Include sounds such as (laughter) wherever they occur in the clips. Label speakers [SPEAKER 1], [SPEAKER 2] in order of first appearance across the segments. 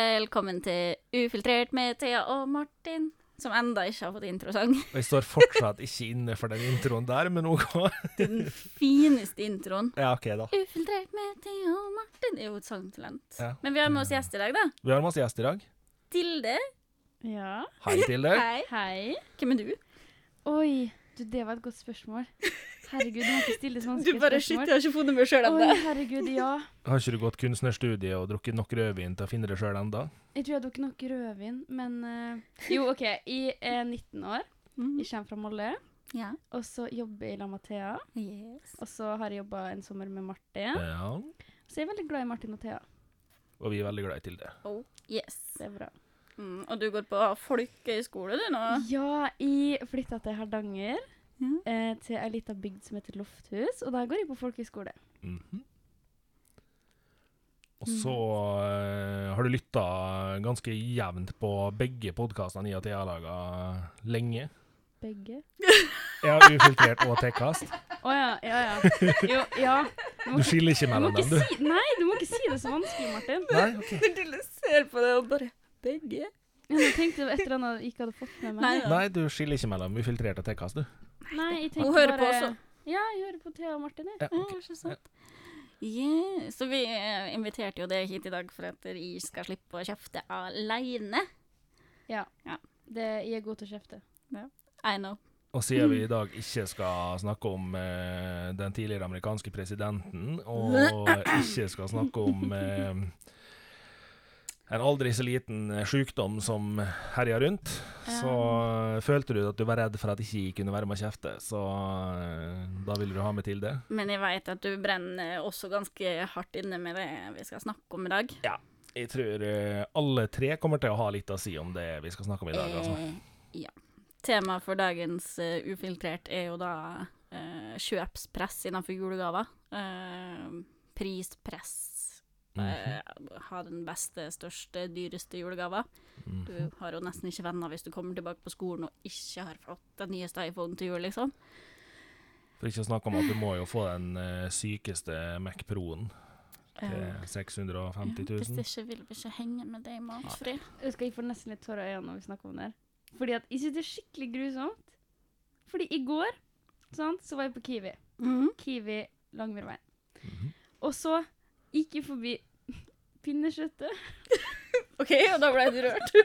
[SPEAKER 1] Velkommen til Ufiltrert med Thea og Martin, som enda ikke har fått (laughs) introsang.
[SPEAKER 2] Og jeg står fortsatt ikke inne for den introen der, men OK.
[SPEAKER 1] Den fineste introen.
[SPEAKER 2] Ja, OK, da.
[SPEAKER 1] Ufiltrert med Thea og Martin er jo et sangtalent.
[SPEAKER 2] Ja.
[SPEAKER 1] Men vi har med oss gjest i dag, da.
[SPEAKER 2] Vi har masse gjester i dag.
[SPEAKER 1] Tilde.
[SPEAKER 3] Ja.
[SPEAKER 2] Hei til deg.
[SPEAKER 1] Hei.
[SPEAKER 3] Hei.
[SPEAKER 1] Hvem er du?
[SPEAKER 3] Oi, du, det var et godt spørsmål. Herregud, du må ikke stille sånne
[SPEAKER 1] (laughs) Du bare shit, jeg
[SPEAKER 3] spørsmål.
[SPEAKER 1] har ikke funnet meg sjøl ennå.
[SPEAKER 3] Oi, herregud, ja.
[SPEAKER 2] Har ikke du gått kunstnerstudiet og drukket nok rødvin til å finne det sjøl ennå?
[SPEAKER 3] Jeg tror jeg dukket nok rødvin, men eh, Jo, OK. Jeg er 19 år. Jeg kommer fra Molde.
[SPEAKER 1] Mm. Ja.
[SPEAKER 3] Og så jobber jeg i lag med Thea.
[SPEAKER 1] Yes.
[SPEAKER 3] Og så har jeg jobba en sommer med Martin.
[SPEAKER 2] Ja.
[SPEAKER 3] Så jeg er veldig glad i Martin og Thea.
[SPEAKER 2] Og vi er veldig glad i Tilde.
[SPEAKER 1] Oh, yes.
[SPEAKER 3] Det er bra.
[SPEAKER 1] Mm, og du går på folkehøyskole, du nå? (laughs)
[SPEAKER 3] Ja, jeg flytta til Hardanger.
[SPEAKER 1] Ja.
[SPEAKER 3] eh, Til ei lita bygd som heter Lofthus, og der går jeg på folkehøyskole.
[SPEAKER 2] Mhm. Og så
[SPEAKER 3] Mm.
[SPEAKER 2] eh, har du lytta ganske jevnt på begge podkastene jeg og Thea har laga lenge.
[SPEAKER 3] Begge.
[SPEAKER 2] Ja, Ufiltrert og Tekast.
[SPEAKER 3] Å ja, ja, ja. Jo, ja. Du
[SPEAKER 2] Du skiller ikke
[SPEAKER 3] Du må
[SPEAKER 2] mellom
[SPEAKER 3] ikke
[SPEAKER 2] dem, du.
[SPEAKER 3] si, nei, du må ikke si det så vanskelig, Martin.
[SPEAKER 2] Nei, ok.
[SPEAKER 1] Når Tilde ser på det og bare Begge?
[SPEAKER 3] Ja, nå tenkte jeg et eller annet jeg ikke hadde fått med meg.
[SPEAKER 2] Nei, du skiller ikke mellom ufiltrert og Tekast, du.
[SPEAKER 3] Nei, jeg tenkte
[SPEAKER 1] Hun hører på
[SPEAKER 3] bare-
[SPEAKER 1] også.
[SPEAKER 3] Ja, jeg hører på Thea og Martin, jeg.
[SPEAKER 2] Ja,
[SPEAKER 1] Ja,
[SPEAKER 2] ok.
[SPEAKER 1] ikke sant. Yeah. Så vi eh, inviterte jo deg hit i dag for at jeg skal slippe å kjefte alene.
[SPEAKER 3] Ja.
[SPEAKER 1] Ja.
[SPEAKER 3] Det, jeg er god til å kjefte.
[SPEAKER 1] I know.
[SPEAKER 2] Og siden
[SPEAKER 1] Mm.
[SPEAKER 2] vi i dag ikke skal snakke om eh, den tidligere amerikanske presidenten, og ikke skal snakke om eh, en aldri så liten eh, sykdom som herjer rundt, så eh, følte du at du var redd for at ikke jeg kunne være med å kjefte, så eh, da ville du ha meg til det.
[SPEAKER 1] Men jeg veit at du brenner også ganske hardt inne med det vi skal snakke om i dag.
[SPEAKER 2] Jeg tror eh, alle tre kommer til å ha litt å si om det vi skal snakke om i dag, altså.
[SPEAKER 1] Eh, ja. Temaet for dagens eh, Ufiltrert er jo da eh, kjøpspress innenfor julegaver. Eh, prispress.
[SPEAKER 2] Mm,
[SPEAKER 1] Eh, ha den beste, største, dyreste julegava.
[SPEAKER 2] Mhm.
[SPEAKER 1] Du har jo nesten ikke venner hvis du kommer tilbake på skolen og ikke har fått den nyeste iPhonen til jul, liksom.
[SPEAKER 2] For ikke å snakke om at du må jo få den eh, sykeste Mac Pro-en til
[SPEAKER 1] Eh,
[SPEAKER 2] 650
[SPEAKER 1] Hvis
[SPEAKER 2] 000.
[SPEAKER 1] ikke vil vi ikke henge med deg, matfri.
[SPEAKER 3] Jeg skal jeg får nesten litt tårer i øynene når vi snakker om det her. Fordi at jeg synes det er skikkelig grusomt. Fordi i går, sant, så var jeg på Kiwi.
[SPEAKER 1] Mhm.
[SPEAKER 3] Kiwi Langmyrveien.
[SPEAKER 2] Mhm.
[SPEAKER 3] Og så gikk jeg forbi (laughs) pinnekjøttet.
[SPEAKER 1] OK, og da ble du rørt.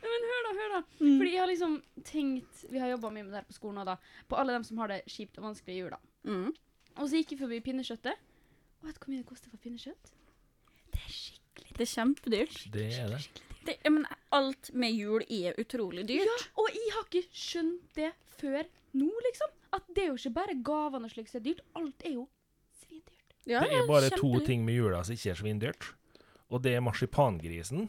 [SPEAKER 3] Nei, men hør da, hør da.
[SPEAKER 1] Mm.
[SPEAKER 3] Fordi jeg har liksom tenkt, vi har jobbet mye med det her på skolen og da, på alle dem som har det kjipt og vanskelig i jula.
[SPEAKER 1] Mm.
[SPEAKER 3] Og så gikk jeg forbi pinnekjøttet. Og vet du hvor mye det koster for pinnekjøtt? Det er skikkelig
[SPEAKER 1] Det er kjempedyrt.
[SPEAKER 2] Det er det.
[SPEAKER 1] Det, jeg mener, alt med jul er utrolig dyrt.
[SPEAKER 3] Ja, og jeg har ikke skjønt det før nå, liksom. At det er jo ikke bare gavene og slikt som er dyrt. Alt er jo svindyrt.
[SPEAKER 1] Ja,
[SPEAKER 2] Det
[SPEAKER 1] ja,
[SPEAKER 2] er bare to
[SPEAKER 1] kjempedyrt.
[SPEAKER 2] ting med jula som ikke er svindyrt. Og det er marsipangrisen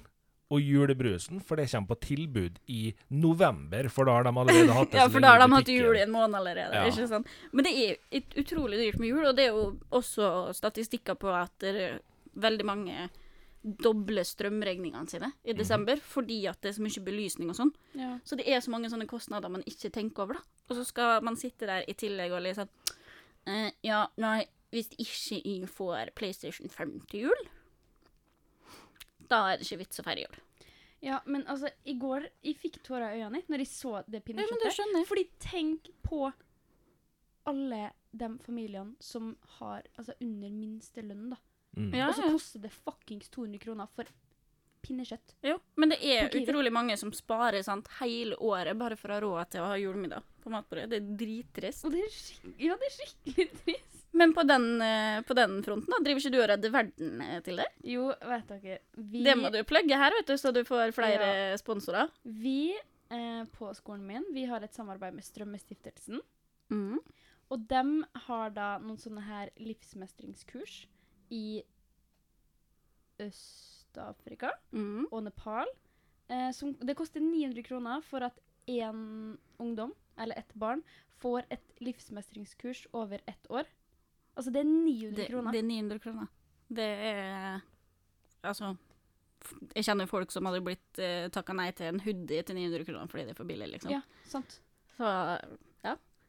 [SPEAKER 2] og julebrusen, for det kommer på tilbud i november. For da har de allerede hatt
[SPEAKER 1] (laughs)
[SPEAKER 2] det
[SPEAKER 1] Ja,
[SPEAKER 2] så
[SPEAKER 1] for
[SPEAKER 2] lenge
[SPEAKER 1] da har
[SPEAKER 2] i
[SPEAKER 1] de hatt
[SPEAKER 2] butikken.
[SPEAKER 1] jul i en måned allerede.
[SPEAKER 2] Ja.
[SPEAKER 1] ikke sant? Men det er ut- utrolig dyrt med jul, og det er jo også statistikker på at det er veldig mange dobler strømregningene sine i
[SPEAKER 2] Mhm.
[SPEAKER 1] desember fordi at det er så mye belysning og sånn.
[SPEAKER 3] Ja.
[SPEAKER 1] Så det er så mange sånne kostnader man ikke tenker over, da. Og så skal man sitte der i tillegg og liksom eh, Ja, nei, hvis ikke jeg får PlayStation 5 til jul, da er det ikke vits å feire jul.
[SPEAKER 3] men altså, i går jeg fikk tårer i øynene når jeg så
[SPEAKER 1] Ja,
[SPEAKER 3] det
[SPEAKER 1] men det
[SPEAKER 3] pinnekjøttet.
[SPEAKER 1] skjønner jeg.
[SPEAKER 3] Fordi tenk på alle de familiene som har altså under minste lønn, da.
[SPEAKER 2] Mm.
[SPEAKER 1] Ja,
[SPEAKER 3] Og så
[SPEAKER 1] ja.
[SPEAKER 3] koster det fuckings 200 kroner for pinnekjøtt.
[SPEAKER 1] Jo, men det er
[SPEAKER 3] På Kiwi.
[SPEAKER 1] utrolig mange som sparer sant, hele året bare for å ha råd til å ha julemiddag på matbordet. Det er drittrist.
[SPEAKER 3] Og det er, skik ja, det er skikkelig trist.
[SPEAKER 1] Men på den, eh, på den fronten, da, driver ikke du og redder verden eh, til det?
[SPEAKER 3] Jo, vet dere vi,
[SPEAKER 1] Det må du plugge her, vet du, så du får flere sponsorer.
[SPEAKER 3] Vi eh, på skolen min vi har et samarbeid med Strømmestiftelsen.
[SPEAKER 1] Mm.
[SPEAKER 3] Og dem har da noen sånne her livsmestringskurs i Øst-Afrika
[SPEAKER 1] Mhm.
[SPEAKER 3] og Nepal. Eh, som, det koster 900 kroner for at én ungdom, eller ett barn, får et livsmestringskurs over ett år. Altså, det er 900
[SPEAKER 1] Det,
[SPEAKER 3] kroner.
[SPEAKER 1] det er 900 kroner. Det er Altså f- Jeg kjenner folk som hadde blitt eh, takka nei til en hoodie til 900 kroner fordi det er for billig, liksom.
[SPEAKER 3] ja, sant.
[SPEAKER 1] Så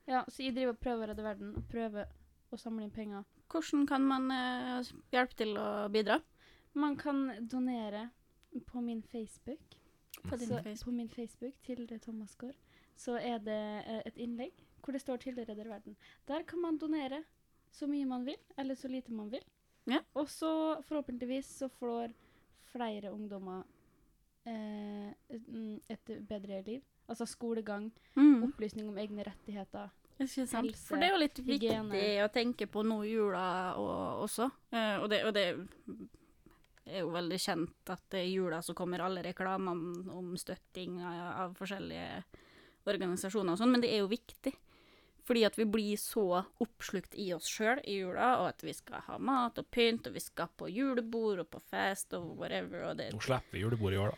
[SPEAKER 3] Ja, så jeg driver og prøver å redde verden, og prøver å samle inn penger.
[SPEAKER 1] hvordan kan man eh, hjelpe til å bidra?
[SPEAKER 3] Man kan donere på min Facebook.
[SPEAKER 1] På din
[SPEAKER 3] så,
[SPEAKER 1] Facebook.
[SPEAKER 3] På min Facebook, Tilde Thomas Gaard, så er det eh, et innlegg hvor det står 'Tilde redder verden'. Der kan man donere så mye man vil, eller så lite man vil.
[SPEAKER 1] Ja.
[SPEAKER 3] Og så forhåpentligvis så får flere ungdommer eh, mm, et bedre liv. Altså skolegang,
[SPEAKER 1] Mm.
[SPEAKER 3] opplysning om egne rettigheter.
[SPEAKER 1] Ikke sant?
[SPEAKER 3] Helse,
[SPEAKER 1] For det er jo litt
[SPEAKER 3] hygiene.
[SPEAKER 1] viktig å tenke på nå i jula og, også. Eh, og, det, og det er jo veldig kjent at det i jula så kommer alle reklamene om støtting av, av forskjellige organisasjoner og sånn, men det er jo viktig. Fordi at vi blir så oppslukt i oss sjøl i jula, og at vi skal ha mat og pynt, og vi skal på julebord og på fest og whatever, og det
[SPEAKER 2] Nå slipper vi julebord i år, da.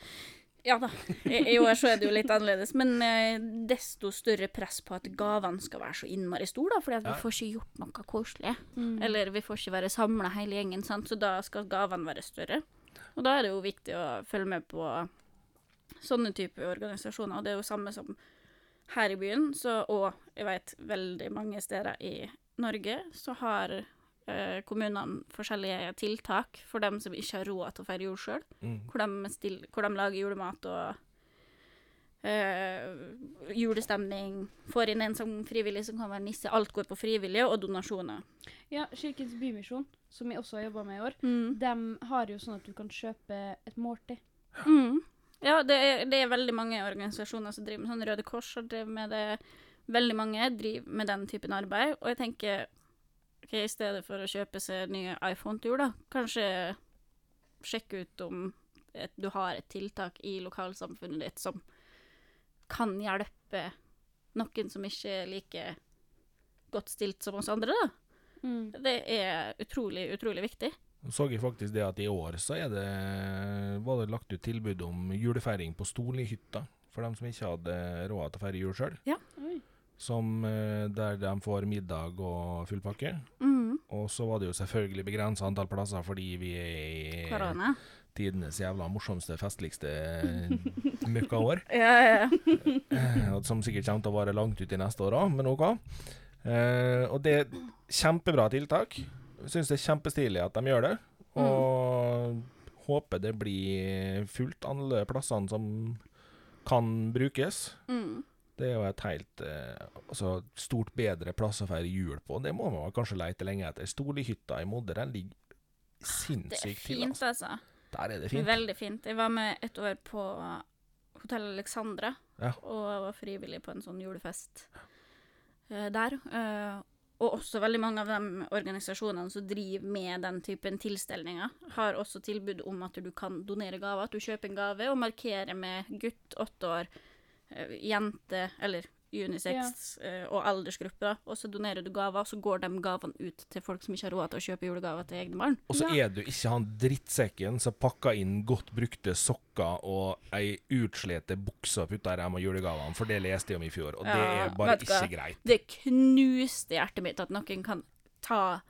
[SPEAKER 1] ja da. I i år så er det jo litt annerledes, men eh, desto større press på at gavene skal være så innmari store, da, fordi at vi
[SPEAKER 2] Ja.
[SPEAKER 1] får ikke gjort noe koselig. Eller vi får ikke være samla hele gjengen, sant? så da skal gavene være større. Og da er det jo viktig å følge med på sånne typer organisasjoner, og det er jo samme som her i byen, så, og jeg vet veldig mange steder i Norge, så har eh, kommunene forskjellige tiltak for dem som ikke har råd til å feire jul sjøl
[SPEAKER 2] Mm.
[SPEAKER 1] hvor de, still, hvor de lager julemat og eh, julestemning. Får inn en som frivillig som kan være nisse. Alt går på frivillige og donasjoner.
[SPEAKER 3] Ja, Kirkens Bymisjon, som jeg også har jobba med i år, de har jo sånn at du kan kjøpe et måltid.
[SPEAKER 1] Mm. Ja, det er, det er veldig mange organisasjoner som driver med sånn. Røde Kors har drevet med det. Veldig mange driver med den typen arbeid. Og jeg tenker ok, i stedet for å kjøpe seg nye iPhone til jul, da, kanskje sjekke ut om et, du har et tiltak i lokalsamfunnet ditt som kan hjelpe noen som ikke er like godt stilt som oss andre, da.
[SPEAKER 3] Mm.
[SPEAKER 1] Det er utrolig, utrolig viktig.
[SPEAKER 2] Nå så jeg faktisk det at i år så er det, var det lagt ut tilbud om julefeiring på Stolihytta, for dem som ikke hadde råd til å feire jul sjøl.
[SPEAKER 3] Oi.
[SPEAKER 2] Som eh, der de får middag og full pakke.
[SPEAKER 1] Mm.
[SPEAKER 2] Og så var det jo selvfølgelig begrensa antall plasser fordi vi er i
[SPEAKER 1] Korona.
[SPEAKER 2] tidenes jævla morsomste,
[SPEAKER 1] (laughs)
[SPEAKER 2] festligste møkkaår.
[SPEAKER 1] Ja, ja, ja.
[SPEAKER 2] Eh, og som sikkert kommer til å vare langt ut i neste år òg, men OK. Eh, og det er kjempebra tiltak. Syns det er kjempestilig at de gjør det.
[SPEAKER 1] Mm.
[SPEAKER 2] Og håper det blir fullt alle plassene som kan brukes.
[SPEAKER 1] Mm.
[SPEAKER 2] Det er jo et helt eh, altså, stort bedre plass å feire jul på. Det må man vel kanskje leite lenge etter. Stolihytta i Molde, den ligger
[SPEAKER 1] Ah, Det er
[SPEAKER 2] sinnssykt til.
[SPEAKER 1] fint,
[SPEAKER 2] Altså.
[SPEAKER 1] altså.
[SPEAKER 2] Der er det fint.
[SPEAKER 1] Veldig fint. Jeg var med et år på Hotell Alexandra,
[SPEAKER 2] Ja.
[SPEAKER 1] og var frivillig på en sånn julefest eh, der. Eh, og også veldig mange av de organisasjonene som driver med den typen tilstelninger, har også tilbud om at du kan donere gaver. At du kjøper en gave og markerer med gutt, åtte år, eh, jente eller unisex eh, og aldersgruppe. da. Og så donerer du gaver, og så går de gavene ut til folk som ikke har råd til å kjøpe julegaver til egne barn.
[SPEAKER 2] Og så er du ikke han drittsekken som pakker inn godt brukte sokker og ei utslete bukse og putter dem og julegavene, for det leste jeg om i fjor, og det
[SPEAKER 1] Ja,
[SPEAKER 2] er bare
[SPEAKER 1] vet du
[SPEAKER 2] ikke
[SPEAKER 1] hva?
[SPEAKER 2] greit.
[SPEAKER 1] det knuste hjertet mitt at noen kan ta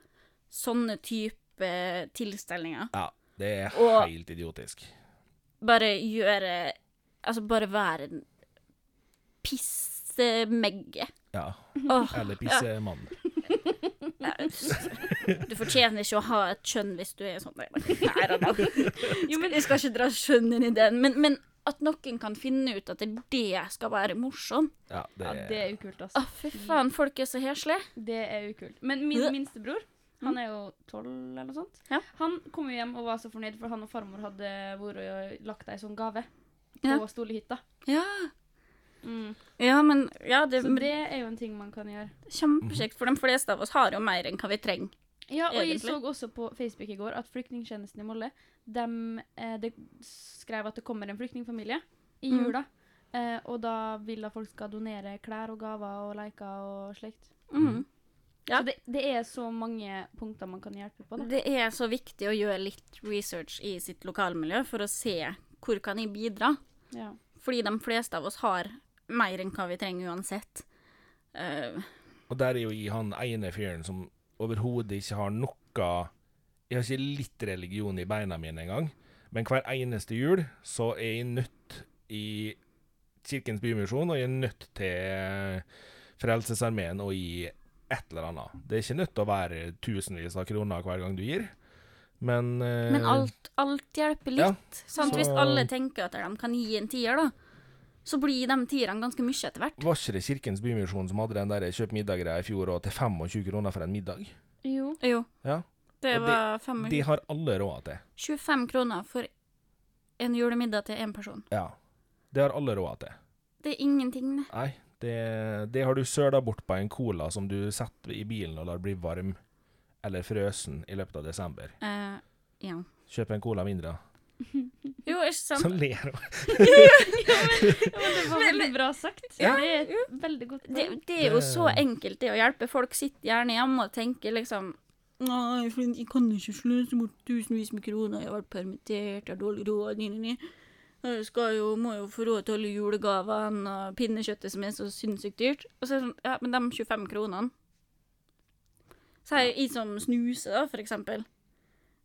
[SPEAKER 1] sånne type tilstelninger.
[SPEAKER 2] Ja, det er
[SPEAKER 1] Og-
[SPEAKER 2] helt idiotisk.
[SPEAKER 1] Bare gjøre Altså, bare være en pissemegge.
[SPEAKER 2] Ja.
[SPEAKER 1] Åh,
[SPEAKER 2] Eller pissemann.
[SPEAKER 1] du fortjener ikke å ha et kjønn hvis du er sånn. Nei, nei, nei, nei. Jo, men jeg skal ikke dra kjønn inn i den, men, men at noen kan finne ut at det skal være morsomt.
[SPEAKER 2] Ja, det
[SPEAKER 3] Ja,
[SPEAKER 2] er
[SPEAKER 3] det er ukult,
[SPEAKER 1] Å,
[SPEAKER 3] altså.
[SPEAKER 1] fy faen, folk er så heslige.
[SPEAKER 3] Det er ukult. Men min
[SPEAKER 1] Ja.
[SPEAKER 3] minstebror, han er jo tolv eller noe sånt,
[SPEAKER 1] Ja.
[SPEAKER 3] han kom jo hjem og var så fornøyd, for han og farmor hadde vært og lagt ei sånn gave på
[SPEAKER 1] Ja.
[SPEAKER 3] Stolehytta.
[SPEAKER 1] Ja.
[SPEAKER 3] Mm.
[SPEAKER 1] ja, men ja, det,
[SPEAKER 3] Så det er jo en ting man kan
[SPEAKER 1] er
[SPEAKER 3] gjøre.
[SPEAKER 1] kjempekjekt, for de fleste av oss har jo mer enn hva vi trenger.
[SPEAKER 3] Ja, og jeg
[SPEAKER 1] Egentlig.
[SPEAKER 3] så også på Facebook i går at flyktningtjenesten i Molde dem, eh, de skrev at det kommer en flyktningfamilie i
[SPEAKER 1] Mm.
[SPEAKER 3] jula. Eh, og da vil at folk skal donere klær og gaver og leker og slikt.
[SPEAKER 1] Mm. Ja.
[SPEAKER 3] Så det, det er så mange punkter man kan hjelpe
[SPEAKER 2] Sånn,
[SPEAKER 3] på. Da.
[SPEAKER 1] Det er så viktig å gjøre litt research i sitt lokalmiljø for å se hvor kan jeg bidra.
[SPEAKER 3] Ja.
[SPEAKER 1] Fordi de fleste av oss har mer enn hva vi trenger uansett. Eh,
[SPEAKER 2] Og der er jo i han ene fyren som overhodet ikke har noe Jeg har ikke litt religion i beina mine engang, men hver eneste jul så er jeg nødt i Kirkens Bymisjon, og jeg er nødt til Frelsesarmeen å gi et eller annet. Det er ikke nødt til å være tusenvis av kroner hver gang du gir. Men, eh,
[SPEAKER 1] Men alt, alt hjelper
[SPEAKER 2] ja,
[SPEAKER 1] litt. sant?
[SPEAKER 2] så-
[SPEAKER 1] Hvis alle tenker at de kan gi en tier, da, så blir de tierne ganske mye etter hvert.
[SPEAKER 2] Var ikke det Kirkens Bymisjon som hadde den der kjøp middag-greia i fjor, og til 25 kroner for en middag?
[SPEAKER 3] Jo.
[SPEAKER 1] Jo,
[SPEAKER 2] Ja.
[SPEAKER 1] det
[SPEAKER 2] Og det-
[SPEAKER 1] var fem
[SPEAKER 2] De har alle råd til.
[SPEAKER 1] 25 kroner for en julemiddag til én person.
[SPEAKER 2] Ja. Det har alle råd til.
[SPEAKER 1] Det er ingenting, det.
[SPEAKER 2] Nei, det, det har du søla bort på en cola som du setter i bilen og lar bli varm eller frøsen i løpet av desember.
[SPEAKER 1] Eh, ja.
[SPEAKER 2] Kjøp en cola mindre.
[SPEAKER 1] Jo, ikke sant?
[SPEAKER 2] Så ler hun.
[SPEAKER 3] Det var veldig bra sagt.
[SPEAKER 2] Ja.
[SPEAKER 3] Det er et veldig godt
[SPEAKER 1] Det,
[SPEAKER 3] poeng.
[SPEAKER 1] det er jo så enkelt det å hjelpe. Folk sitter gjerne hjemme og tenker liksom Nei, for jeg kan ikke sløse bort tusenvis med kroner, jeg har vært permittert, jeg har dårlig råd, ni, ni, ni. Jeg skal jo, må jo få råd til alle julegavene og pinnekjøttet som er så sinnssykt dyrt. Og så er det sånn, ja, men de 25 kronene Så er jeg som snuser, da, for eksempel.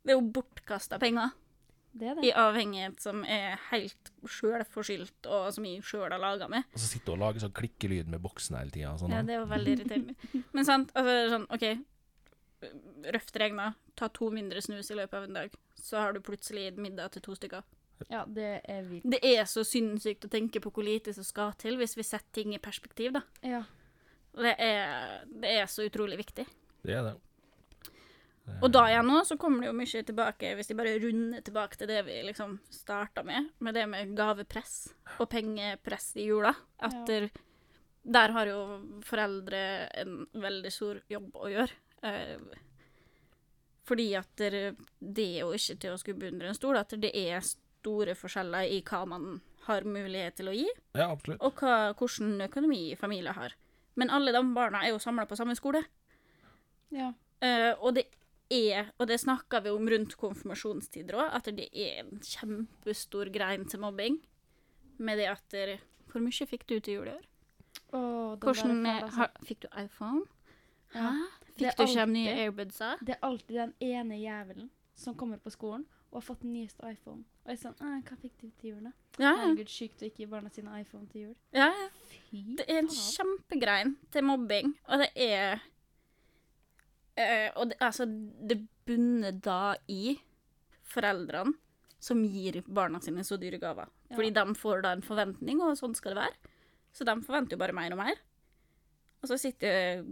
[SPEAKER 1] Det er jo bortkasta penger.
[SPEAKER 3] Det er det.
[SPEAKER 1] i avhengighet som er helt sjølforskyldt, og som jeg sjøl har laga med.
[SPEAKER 2] Og så sitter hun og lager sånn klikkelyd med boksen hele tida. Sånn.
[SPEAKER 1] Ja, det er jo veldig irriterende. Men sant, altså sånn, OK, røft regna, ta to mindre snus i løpet av en dag, så har du plutselig gitt middag til to stykker.
[SPEAKER 3] Ja, det er virkelig
[SPEAKER 1] Det er så sinnssykt å tenke på hvor lite som skal til, hvis vi setter ting i perspektiv, da.
[SPEAKER 3] Ja.
[SPEAKER 1] Og Det er, det er så utrolig viktig.
[SPEAKER 2] det er det.
[SPEAKER 1] Og da igjen nå, så kommer det jo mye tilbake, hvis de bare runder tilbake til det vi liksom starta med, med det med gavepress og pengepress i jula. At
[SPEAKER 3] Ja.
[SPEAKER 1] der, der har jo foreldre en veldig stor jobb å gjøre. Eh, fordi at der, det er jo ikke til å skubbe under en stol, at det er store forskjeller i hva man har mulighet til å gi,
[SPEAKER 2] Ja, absolutt.
[SPEAKER 1] og hva, hvordan økonomi familier har. Men alle de barna er jo samla på samme skole.
[SPEAKER 3] ja.
[SPEAKER 1] Eh, og det er, og det snakka vi om rundt konfirmasjonstider òg, at det er en kjempestor grein til mobbing. Med det at der, Hvor mye fikk du til jul i år?
[SPEAKER 3] Åh, den der er
[SPEAKER 1] Hvordan
[SPEAKER 3] fæl,
[SPEAKER 1] eh,
[SPEAKER 3] altså.
[SPEAKER 1] har, Fikk du iPhone? Hæ?
[SPEAKER 3] Ja. Det
[SPEAKER 1] Fikk
[SPEAKER 3] er
[SPEAKER 1] du ikke de nye
[SPEAKER 3] alltid-
[SPEAKER 1] airbudsa?
[SPEAKER 3] Det er alltid den ene jævelen som kommer på skolen og har fått den nyeste iPhone. Og jeg er sånn «Eh, Hva fikk du til jul, da?
[SPEAKER 1] Ja, ja.
[SPEAKER 3] Herregud, sykt å ikke gi barna sine iPhone til jul.
[SPEAKER 1] ja. ja.
[SPEAKER 3] Fy
[SPEAKER 1] Det er en
[SPEAKER 3] faen.
[SPEAKER 1] kjempegrein til mobbing, og det er eh, Og det, altså, det bunner da i foreldrene som gir barna sine så dyre gaver.
[SPEAKER 3] Ja.
[SPEAKER 1] Fordi de får da en forventning, og sånn skal det være. Så de forventer jo bare mer og mer. Og så sitter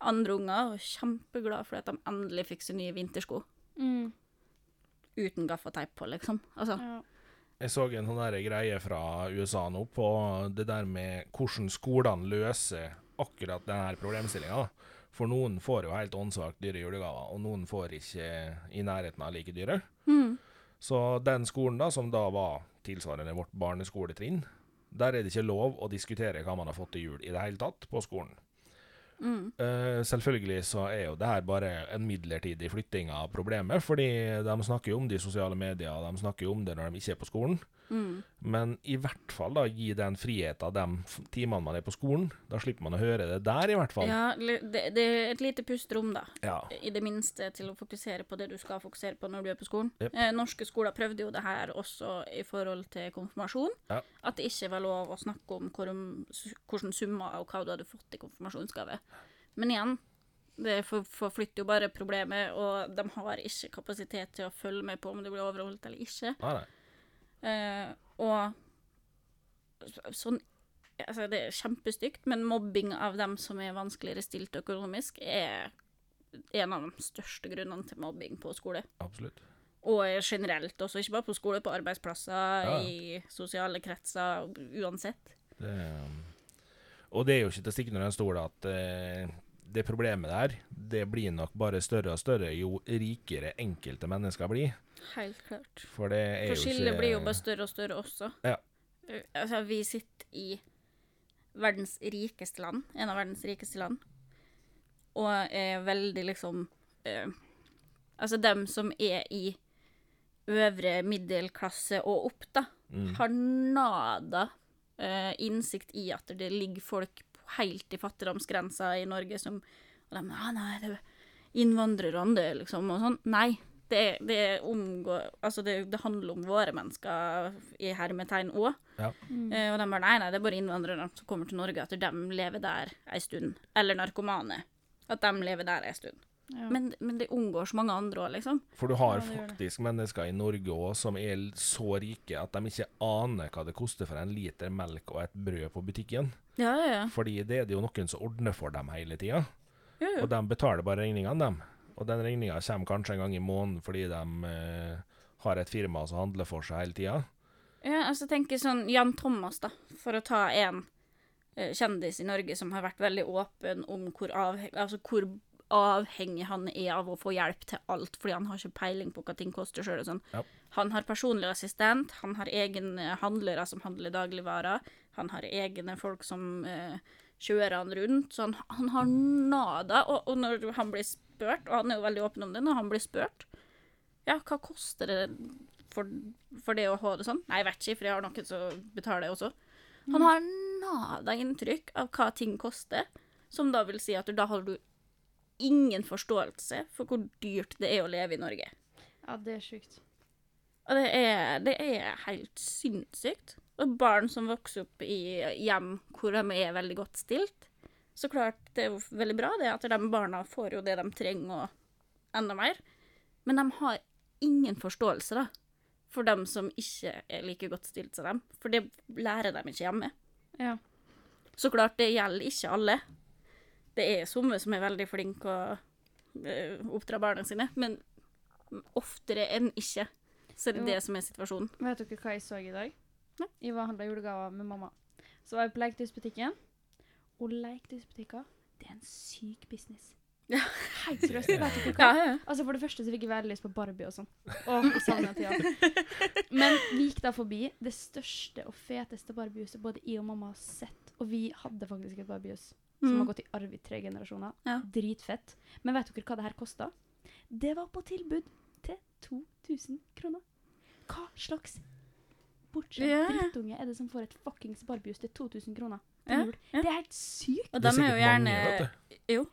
[SPEAKER 1] andre unger og er kjempeglad for at de endelig fikk seg nye vintersko.
[SPEAKER 3] Mm,
[SPEAKER 1] Uten gaffateip på, liksom. Altså,
[SPEAKER 3] ja.
[SPEAKER 2] Jeg så en sånn der greie fra USA nå på det der med hvordan skolene løser akkurat denne problemstillinga. For noen får jo helt åndssvakt dyre julegaver, og noen får ikke i nærheten av like dyre.
[SPEAKER 1] mm,
[SPEAKER 2] Så den skolen da, som da var tilsvarende vårt barneskoletrinn, der er det ikke lov å diskutere hva man har fått til jul i det hele tatt på skolen.
[SPEAKER 1] mm.
[SPEAKER 2] Eh, selvfølgelig så er jo det her bare en midlertidig flytting av problemet, fordi de snakker jo om det i sosiale medier, og de snakker jo om det når de ikke er på skolen.
[SPEAKER 1] Mm.
[SPEAKER 2] Men i hvert fall da, gi den friheten de f- timene man er på skolen. Da slipper man å høre det der, i hvert fall.
[SPEAKER 1] Ja, li- det, det er et lite pusterom, da.
[SPEAKER 2] Ja.
[SPEAKER 1] i det minste til å fokusere på det du skal fokusere på når du er på skolen.
[SPEAKER 2] Jep.
[SPEAKER 1] Eh, norske skoler prøvde jo det her også i forhold til konfirmasjon.
[SPEAKER 2] Ja.
[SPEAKER 1] At det ikke var lov å snakke om hvor, hvordan summer og hva du hadde fått i konfirmasjonsgave. Men igjen, det for- forflytter jo bare problemet, og de har ikke kapasitet til å følge med på om det blir overholdt eller ikke.
[SPEAKER 2] Nei, nei.
[SPEAKER 1] Eh, og så- sånn altså Det er kjempestygt, men mobbing av dem som er vanskeligere stilt økonomisk, er en av de største grunnene til mobbing på skole.
[SPEAKER 2] Absolutt.
[SPEAKER 1] Og generelt også, ikke bare på skole, på arbeidsplasser,
[SPEAKER 2] ja.
[SPEAKER 1] i sosiale kretser, uansett.
[SPEAKER 2] Det, eh, og det er jo ikke til å stikke under en stol at eh, det problemet der, det blir nok bare større og større jo rikere enkelte mennesker blir.
[SPEAKER 1] Helt klart.
[SPEAKER 2] For det er
[SPEAKER 1] For
[SPEAKER 2] jo
[SPEAKER 1] skillet
[SPEAKER 2] ikke
[SPEAKER 1] blir jo bare større og større også.
[SPEAKER 2] Ja.
[SPEAKER 1] Eh, Altså, vi sitter i verdens rikeste land, en av verdens rikeste land, og er veldig liksom eh, Altså, dem som er i øvre middelklasse og opp, da,
[SPEAKER 2] Mm.
[SPEAKER 1] har nada eh, innsikt i at det ligger folk helt i fattigdomsgrensa i Norge som og de, ah, nei, det er innvandrerne, det, liksom, og sånn. Nei. Det, det, omgår, altså det, det handler om våre mennesker i hermetegn òg.
[SPEAKER 2] Ja.
[SPEAKER 3] Mm.
[SPEAKER 1] Eh, og de bare nei, nei, det er bare innvandrerne som kommer til Norge, at de lever der ei stund. Eller narkomane. At de lever der ei stund.
[SPEAKER 3] Ja.
[SPEAKER 1] Men, men det unngår så mange andre òg, liksom.
[SPEAKER 2] For du har
[SPEAKER 3] Ja, det gjør det.
[SPEAKER 2] faktisk mennesker i Norge òg som er l- så rike at de ikke aner hva det koster for en liter melk og et brød på butikken.
[SPEAKER 1] Ja, ja, ja.
[SPEAKER 2] Fordi det er det jo noen som ordner for dem hele tida.
[SPEAKER 1] Jo, jo.
[SPEAKER 2] Og de betaler bare regningene, dem. Og den regninga kommer kanskje en gang i måneden fordi de eh, har et firma som handler for seg hele tida.
[SPEAKER 1] Ja, altså tenker sånn Jan Thomas, da, for å ta en eh, kjendis i Norge som har vært veldig åpen om hvor, avhe altså, hvor avhengig han er av å få hjelp til alt, fordi han har ikke peiling på hva ting koster sjøl og sånn.
[SPEAKER 2] Ja.
[SPEAKER 1] Han har personlig assistent, han har egne handlere som handler dagligvarer, han har egne folk som eh, kjører han rundt, så han, han har nada. Og, og når han blir spurt, og han er jo veldig åpen om det, når han blir spurt ja, hva koster det for, for det å ha det sånn? Nei, jeg vet ikke, for jeg har noen som betaler også. Han har nada inntrykk av hva ting koster, som da vil si at du, da har du ingen forståelse for hvor dyrt det er å leve i Norge.
[SPEAKER 3] Ja, det er sjukt.
[SPEAKER 1] Og det er, det er helt sinnssykt. Og barn som vokser opp i hjem hvor de er veldig godt stilt, så klart det er jo veldig bra det at de barna får jo det de trenger og enda mer. Men de har ingen forståelse da, for dem som ikke er like godt stilt som dem. For det lærer de ikke hjemme.
[SPEAKER 3] Ja.
[SPEAKER 1] Så klart, det gjelder ikke alle. Det er somme som er veldig flinke å eh, oppdra barna sine, men oftere enn ikke. Så er det
[SPEAKER 3] Jo.
[SPEAKER 1] det som er situasjonen.
[SPEAKER 3] Vet dere hva jeg så i dag?
[SPEAKER 1] Nei.
[SPEAKER 3] Jeg var og handla julegaver med mamma. Så var jeg på leketøysbutikken, og leketøysbutikker, det er en syk business.
[SPEAKER 1] Ja.
[SPEAKER 3] Helt seriøst. Vet dere hva?
[SPEAKER 1] Ja, ja.
[SPEAKER 3] Altså For det første så fikk jeg veldig lyst på Barbie og sånn. Åh, jeg savner den tida. Men vi gikk da forbi det største og feteste Barbiehuset både jeg og mamma har sett. Og vi hadde faktisk et Barbiehus som
[SPEAKER 1] Mm.
[SPEAKER 3] har gått i arv i tre generasjoner.
[SPEAKER 1] Ja.
[SPEAKER 3] Dritfett. Men vet dere hva det her kosta? Det var på tilbud til 2000 kroner. Hva slags bortskjemt
[SPEAKER 1] Ja, ja.
[SPEAKER 3] drittunge er det som får et fuckings Barbiehus til 2000 kroner
[SPEAKER 1] Ja,
[SPEAKER 3] til jul?
[SPEAKER 1] ja.
[SPEAKER 3] Det er helt sykt!
[SPEAKER 1] Og de er jo gjerne
[SPEAKER 2] vet du.
[SPEAKER 1] jo.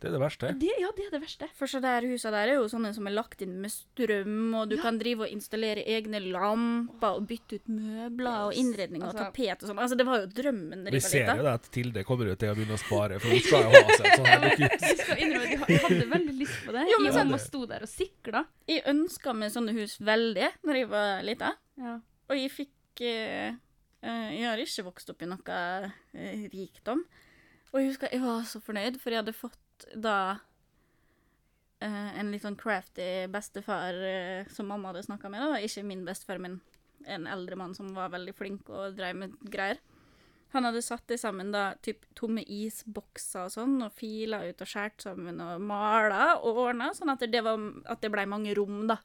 [SPEAKER 2] Det er det verste.
[SPEAKER 3] Det, ja, det er det verste.
[SPEAKER 1] For så der husa der er jo sånne som er lagt inn med strøm, og du
[SPEAKER 3] Ja.
[SPEAKER 1] kan drive og installere egne lamper og bytte ut møbler og innredning og
[SPEAKER 3] Altså-
[SPEAKER 1] tapet og sånn. Altså, det var jo drømmen.
[SPEAKER 2] Vi
[SPEAKER 1] Riva
[SPEAKER 2] ser
[SPEAKER 1] Lita.
[SPEAKER 2] jo det at Tilde kommer jo til å begynne å spare, for hun skal jo ha seg et sånt her dukke.
[SPEAKER 3] Jeg skal innrømme at jeg hadde veldig lyst på det.
[SPEAKER 1] Jo, men
[SPEAKER 3] jeg og
[SPEAKER 1] sånn-
[SPEAKER 3] mamma sto der og sikla.
[SPEAKER 1] Jeg ønska meg sånne hus veldig når jeg var lita.
[SPEAKER 3] Ja.
[SPEAKER 1] Og jeg fikk eh, eh, Jeg har ikke vokst opp i noe eh, rikdom. Og jeg husker jeg var så fornøyd, for jeg hadde fått da eh, en litt sånn crafty bestefar eh, som mamma hadde snakka med. da, Ikke min bestefar, men en eldre mann som var veldig flink og drev med greier. Han hadde satt det sammen da, typ tomme isbokser og sånn, og fila ut og skåret sammen og mala og ordna, sånn at det, var, at det blei mange rom, da.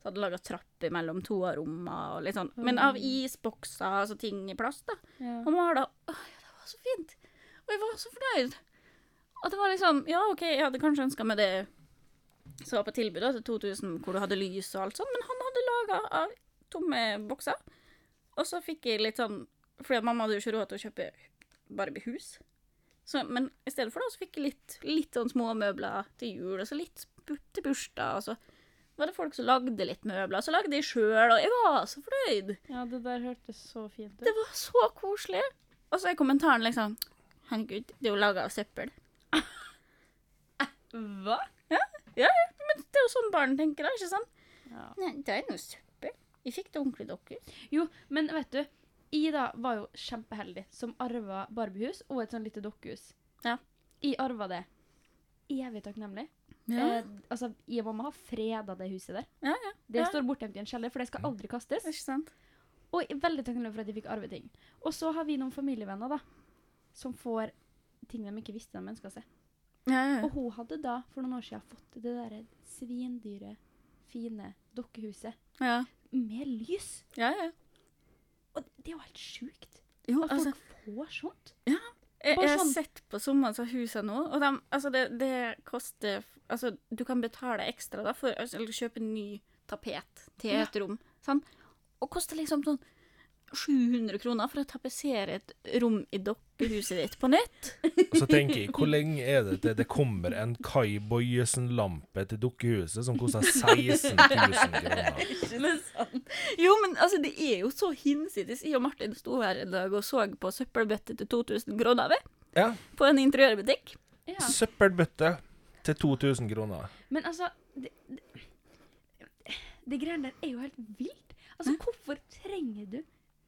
[SPEAKER 1] Så hadde laga trapper mellom to av rommene og litt sånn. Men av isbokser, altså ting i plast, da.
[SPEAKER 3] Ja.
[SPEAKER 1] Han mala Å ja, det var så fint! Og jeg var så fornøyd. At det var liksom Ja, OK, jeg hadde kanskje ønska meg det som var på tilbud, da, til 2000, hvor du hadde lys og alt sånt, men han hadde laga av tomme bokser. Og så fikk jeg litt sånn Fordi at mamma hadde jo ikke råd til å kjøpe Barbie-hus. Så, men i stedet for det, så fikk jeg litt, litt sånn små møbler til jul, og så litt bu- til bursdag, og så var det folk som lagde litt møbler, så lagde jeg sjøl, og jeg var så fornøyd.
[SPEAKER 3] Ja, det der hørtes så fint
[SPEAKER 1] Det var så koselig. Og så er kommentaren liksom Herregud, det er jo laga av søppel.
[SPEAKER 3] Hva?
[SPEAKER 1] Men det er jo sånn barn tenker, da, ikke sant?
[SPEAKER 3] Ja.
[SPEAKER 1] Nei, det er noe søppel. Vi fikk det ordentlig deres.
[SPEAKER 3] Jo, men vet du, Ida var jo kjempeheldig som arva Barbiehus og et sånn lite dokkehus.
[SPEAKER 1] Ja.
[SPEAKER 3] Jeg arva det. Evig takknemlig. Eh, altså, jeg og mamma har freda det huset der.
[SPEAKER 1] Ja,
[SPEAKER 3] Det
[SPEAKER 1] Ja.
[SPEAKER 3] står bortgjemt i en kjeller, for det skal aldri kastes.
[SPEAKER 1] Ikke sant?
[SPEAKER 3] Og jeg er veldig takknemlig for at de fikk arve ting. Og så har vi noen familievenner da, som får ting de ikke visste de ønska seg.
[SPEAKER 1] Ja, ja.
[SPEAKER 3] Og hun hadde da for noen år siden fått det derre svindyre, fine dokkehuset
[SPEAKER 1] ja.
[SPEAKER 3] med lys.
[SPEAKER 1] ja, ja.
[SPEAKER 3] Og det er jo helt sjukt.
[SPEAKER 1] Jo,
[SPEAKER 3] At
[SPEAKER 1] altså,
[SPEAKER 3] folk får sånt.
[SPEAKER 1] jeg,
[SPEAKER 3] bare
[SPEAKER 1] jeg har
[SPEAKER 3] sånn-
[SPEAKER 1] sett på sommeren av husene nå, og dem- altså, det, det koster Altså, du kan betale ekstra da, for altså, eller kjøpe ny tapet til et rom. Sant? Og koster liksom sånn 700 kroner for å tapetsere et rom i dokkehuset ditt på nytt.
[SPEAKER 2] Og så tenker jeg, hvor lenge er det til det kommer en Kai Bojesen-lampe til dukkehuset som koster 16 000 kroner?
[SPEAKER 1] Jo, men altså, det er jo så hinsides. Jeg og Martin sto her en dag og så på søppelbøtte til 2000 kroner ved,
[SPEAKER 2] Ja,
[SPEAKER 1] på en interiørbutikk.
[SPEAKER 3] Ja.
[SPEAKER 2] søppelbøtte. til 2000 kroner.
[SPEAKER 3] Men altså Det, det, det greiene der er jo helt vilt. Altså, hvorfor trenger du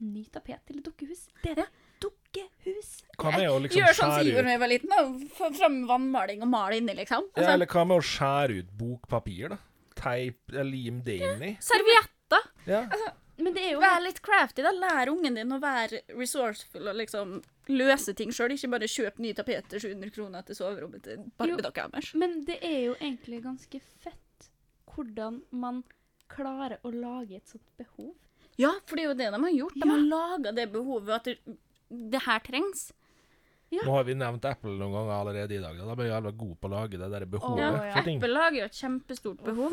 [SPEAKER 3] ny tapet til et dukkehus? Det er et dukkehus!
[SPEAKER 2] Hva med å liksom
[SPEAKER 1] Gjør sånn som jeg
[SPEAKER 2] skjære
[SPEAKER 1] gjorde
[SPEAKER 2] ut
[SPEAKER 1] da jeg var liten. da. Få fram vannmaling og male inni, liksom.
[SPEAKER 2] ja,
[SPEAKER 1] Altså,
[SPEAKER 2] Eller hva med å skjære ut bokpapir, da? Teip eh, Lim det inn i.
[SPEAKER 1] servietter.
[SPEAKER 2] Ja.
[SPEAKER 3] Men det er jo
[SPEAKER 1] Vær litt crafty, da. Lær ungen din å være resourceful og liksom løse ting sjøl. Ikke bare kjøpe ny tapet til 700 kroner til soverommet til barbedokka deres.
[SPEAKER 3] Men det er jo egentlig ganske fett hvordan man klarer å lage et sånt behov.
[SPEAKER 1] Ja, for det er jo det de har gjort. De
[SPEAKER 3] Ja.
[SPEAKER 1] har laga det behovet at det, det her trengs.
[SPEAKER 2] Nå har vi nevnt Apple noen ganger allerede i dag. Da blir jeg jævla god på å lage det der behovet
[SPEAKER 3] Ja,
[SPEAKER 2] for ting.
[SPEAKER 1] Apple lager jo et kjempestort behov.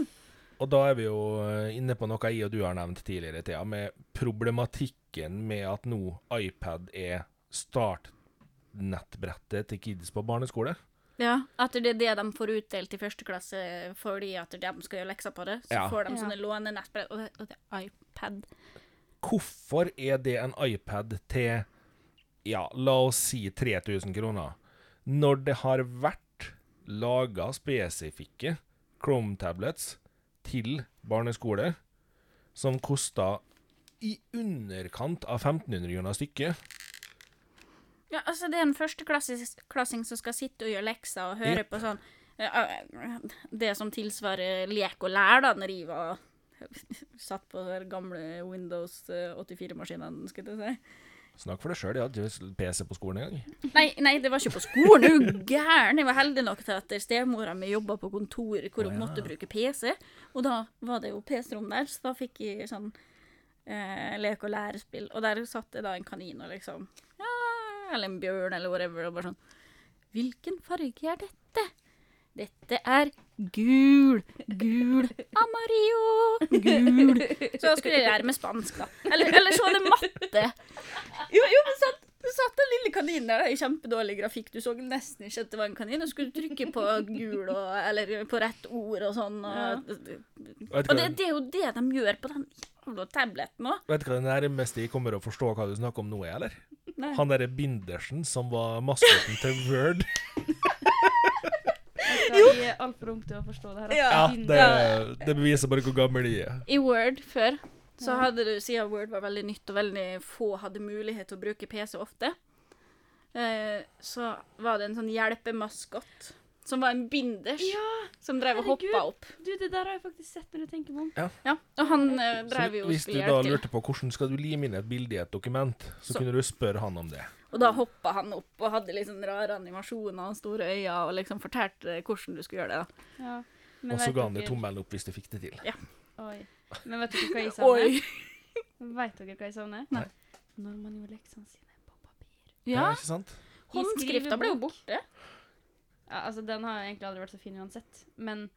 [SPEAKER 2] Og da er vi jo eh, inne på noe jeg og du har nevnt tidligere, Thea, med problematikken med at nå iPad er startnettbrettet til kids på barneskole.
[SPEAKER 1] Ja, At det er det de får utdelt i første klasse fordi at de skal gjøre lekser på det. Så
[SPEAKER 2] Ja.
[SPEAKER 1] får de
[SPEAKER 3] Ja.
[SPEAKER 1] sånne lånenettbrett og, det- og det er iPad.
[SPEAKER 2] Hvorfor er det en iPad til, ja, la oss si 3000 kroner, når det har vært laga spesifikke Chrome-tablets til barneskoler som koster i underkant av 1500 kroner stykket?
[SPEAKER 1] Ja, altså Det er en førsteklassing som skal sitte og gjøre lekser og høre
[SPEAKER 2] Jepp.
[SPEAKER 1] på sånn ja, Det som tilsvarer lek og lær, da, når jeg var (laughs) satt på de gamle Windows 84-maskinene, skulle jeg til å si.
[SPEAKER 2] Snakk for deg sjøl, jeg hadde ikke PC på skolen engang.
[SPEAKER 1] Nei, nei, det var ikke på skolen, er du gæren. Jeg var heldig nok til at stemora mi jobba på kontor hvor hun
[SPEAKER 2] Å, ja.
[SPEAKER 1] måtte bruke PC. Og da var det jo PC-rom der, så da fikk jeg sånn eh, lek- og lærespill. Og der satt det da en kanin og liksom ja, Eller en bjørn eller whatever. Og bare sånn Hvilken farge er dette? Dette er gul. Gul. Amarillo. Gul. Så da skulle jeg lære meg spansk, da. Eller, eller så var det matte. Jo, jo men satt, satt den lille kaninen der da, i kjempedårlig grafikk. Du så nesten ikke at det var en kanin. Du skulle trykke på gul og Eller på rett ord og sånn. Og,
[SPEAKER 2] Vet
[SPEAKER 1] og
[SPEAKER 2] du
[SPEAKER 1] det,
[SPEAKER 2] hva,
[SPEAKER 1] det er jo det de gjør på den jævla tableten òg.
[SPEAKER 2] vet du hva det nærmeste jeg kommer å forstå hva du snakker om nå, er, eller?
[SPEAKER 1] Nei.
[SPEAKER 2] Han derre Bindersen som var maskoten til
[SPEAKER 1] (laughs)
[SPEAKER 2] Word.
[SPEAKER 3] Jo. Vi er altfor unge til å forstå det her.
[SPEAKER 2] Ja,
[SPEAKER 3] altså.
[SPEAKER 2] det, det beviser bare hvor gammel de er.
[SPEAKER 1] I Word før så
[SPEAKER 3] Ja.
[SPEAKER 1] hadde du, siden Word var veldig nytt og veldig få hadde mulighet til å bruke PC ofte, eh, så var det en sånn hjelpemaskott som var en binders
[SPEAKER 3] Ja,
[SPEAKER 1] som drev og
[SPEAKER 3] herregud.
[SPEAKER 1] hoppa opp.
[SPEAKER 3] du, det der har jeg faktisk sett når jeg tenker meg om.
[SPEAKER 1] Ja, og han eh,
[SPEAKER 2] Så
[SPEAKER 1] drev jo og
[SPEAKER 2] hvis du
[SPEAKER 1] skulle
[SPEAKER 2] da
[SPEAKER 1] hjelpe til.
[SPEAKER 2] lurte på hvordan skal du lime inn et bilde i et dokument, så,
[SPEAKER 1] Så-
[SPEAKER 2] kunne du spørre han om det.
[SPEAKER 1] Og da hoppa han opp og hadde litt sånn rare animasjoner og store øyne og liksom fortalte hvordan du skulle gjøre det. da.
[SPEAKER 3] Ja. Men
[SPEAKER 2] Og så
[SPEAKER 3] vet
[SPEAKER 2] ga han
[SPEAKER 3] dere-
[SPEAKER 2] deg tommelen opp hvis du fikk det til.
[SPEAKER 3] Oi. Men vet dere hva jeg savner?
[SPEAKER 1] Oi!
[SPEAKER 3] Vet dere hva jeg savner?
[SPEAKER 2] Nei.
[SPEAKER 3] Når man gjorde leksene sine på papir.
[SPEAKER 1] Ja,
[SPEAKER 2] ikke sant?
[SPEAKER 1] håndskrifta ble jo borte.
[SPEAKER 3] Ja, altså, Den har jo egentlig aldri vært så fin uansett. Men,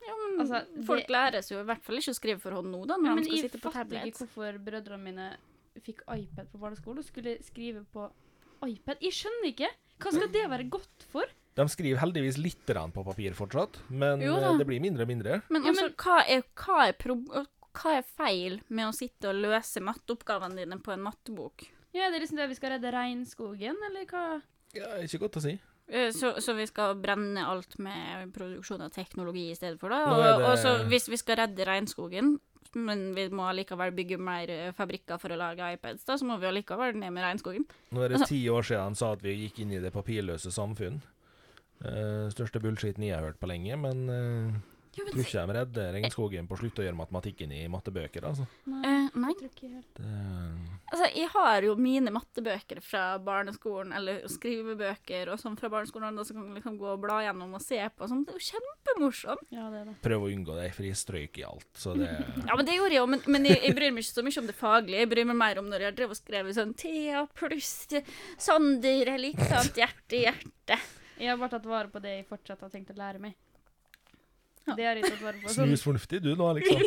[SPEAKER 1] Ja, men
[SPEAKER 3] Altså, det-
[SPEAKER 1] Folk læres jo i hvert fall ikke å skrive for hånd nå, da, når
[SPEAKER 3] men
[SPEAKER 1] de skal
[SPEAKER 3] jeg
[SPEAKER 1] sitte på
[SPEAKER 3] fatter
[SPEAKER 1] tablet.
[SPEAKER 3] ikke hvorfor brødrene mine fikk iPad på barneskolen og skulle skrive på iPad. Jeg skjønner ikke! Hva skal det være godt for?
[SPEAKER 2] De skriver heldigvis litt grann på papir fortsatt, men
[SPEAKER 1] Jo da.
[SPEAKER 2] eh, det blir mindre og mindre.
[SPEAKER 1] Men
[SPEAKER 3] Ja,
[SPEAKER 1] altså, hva, er, hva, er prob hva er feil med å sitte og løse matteoppgavene dine på en mattebok?
[SPEAKER 3] Ja, Det er liksom det vi skal redde regnskogen, eller hva?
[SPEAKER 2] Ja, ikke godt å si.
[SPEAKER 1] Eh, Så, så vi skal brenne alt med produksjon av teknologi i stedet for, da?
[SPEAKER 2] Nå
[SPEAKER 1] Og,
[SPEAKER 2] er det-
[SPEAKER 1] og så hvis vi skal redde regnskogen, men vi må allikevel bygge mer eh, fabrikker for å lage iPads, da, så må vi allikevel ned med regnskogen.
[SPEAKER 2] Nå er det ti år siden de sa at vi gikk inn i det papirløse samfunn. Eh, største bullshiten jeg har hørt på lenge, men eh, tror ikke de redder regnskogen på å slutte å gjøre matematikken i mattebøker, altså.
[SPEAKER 3] Nei,
[SPEAKER 1] Eh, nei,
[SPEAKER 3] jeg tror ikke helt.
[SPEAKER 2] Det, eh,
[SPEAKER 1] altså jeg har jo mine mattebøker fra barneskolen, eller skrivebøker og sånn fra barneskolen, da, så kan jeg liksom gå og bla gjennom og se på og sånn. Det er jo kjempemorsomt.
[SPEAKER 3] Ja, det er det.
[SPEAKER 2] prøv å unngå det, for jeg strøyk i alt, så det
[SPEAKER 1] Ja, men det gjorde jeg òg, men, men jeg, jeg bryr meg ikke så mye om det faglige. Jeg bryr meg mer om når jeg har drevet og skrevet sånn Thea pluss Sander er likt sant hjerte i hjerte.
[SPEAKER 3] Jeg har bare tatt vare på det jeg fortsatt har tenkt å lære meg.
[SPEAKER 1] Ja.
[SPEAKER 3] Det har jeg tatt vare på. Sånn,
[SPEAKER 2] Snus fornuftig du nå, liksom.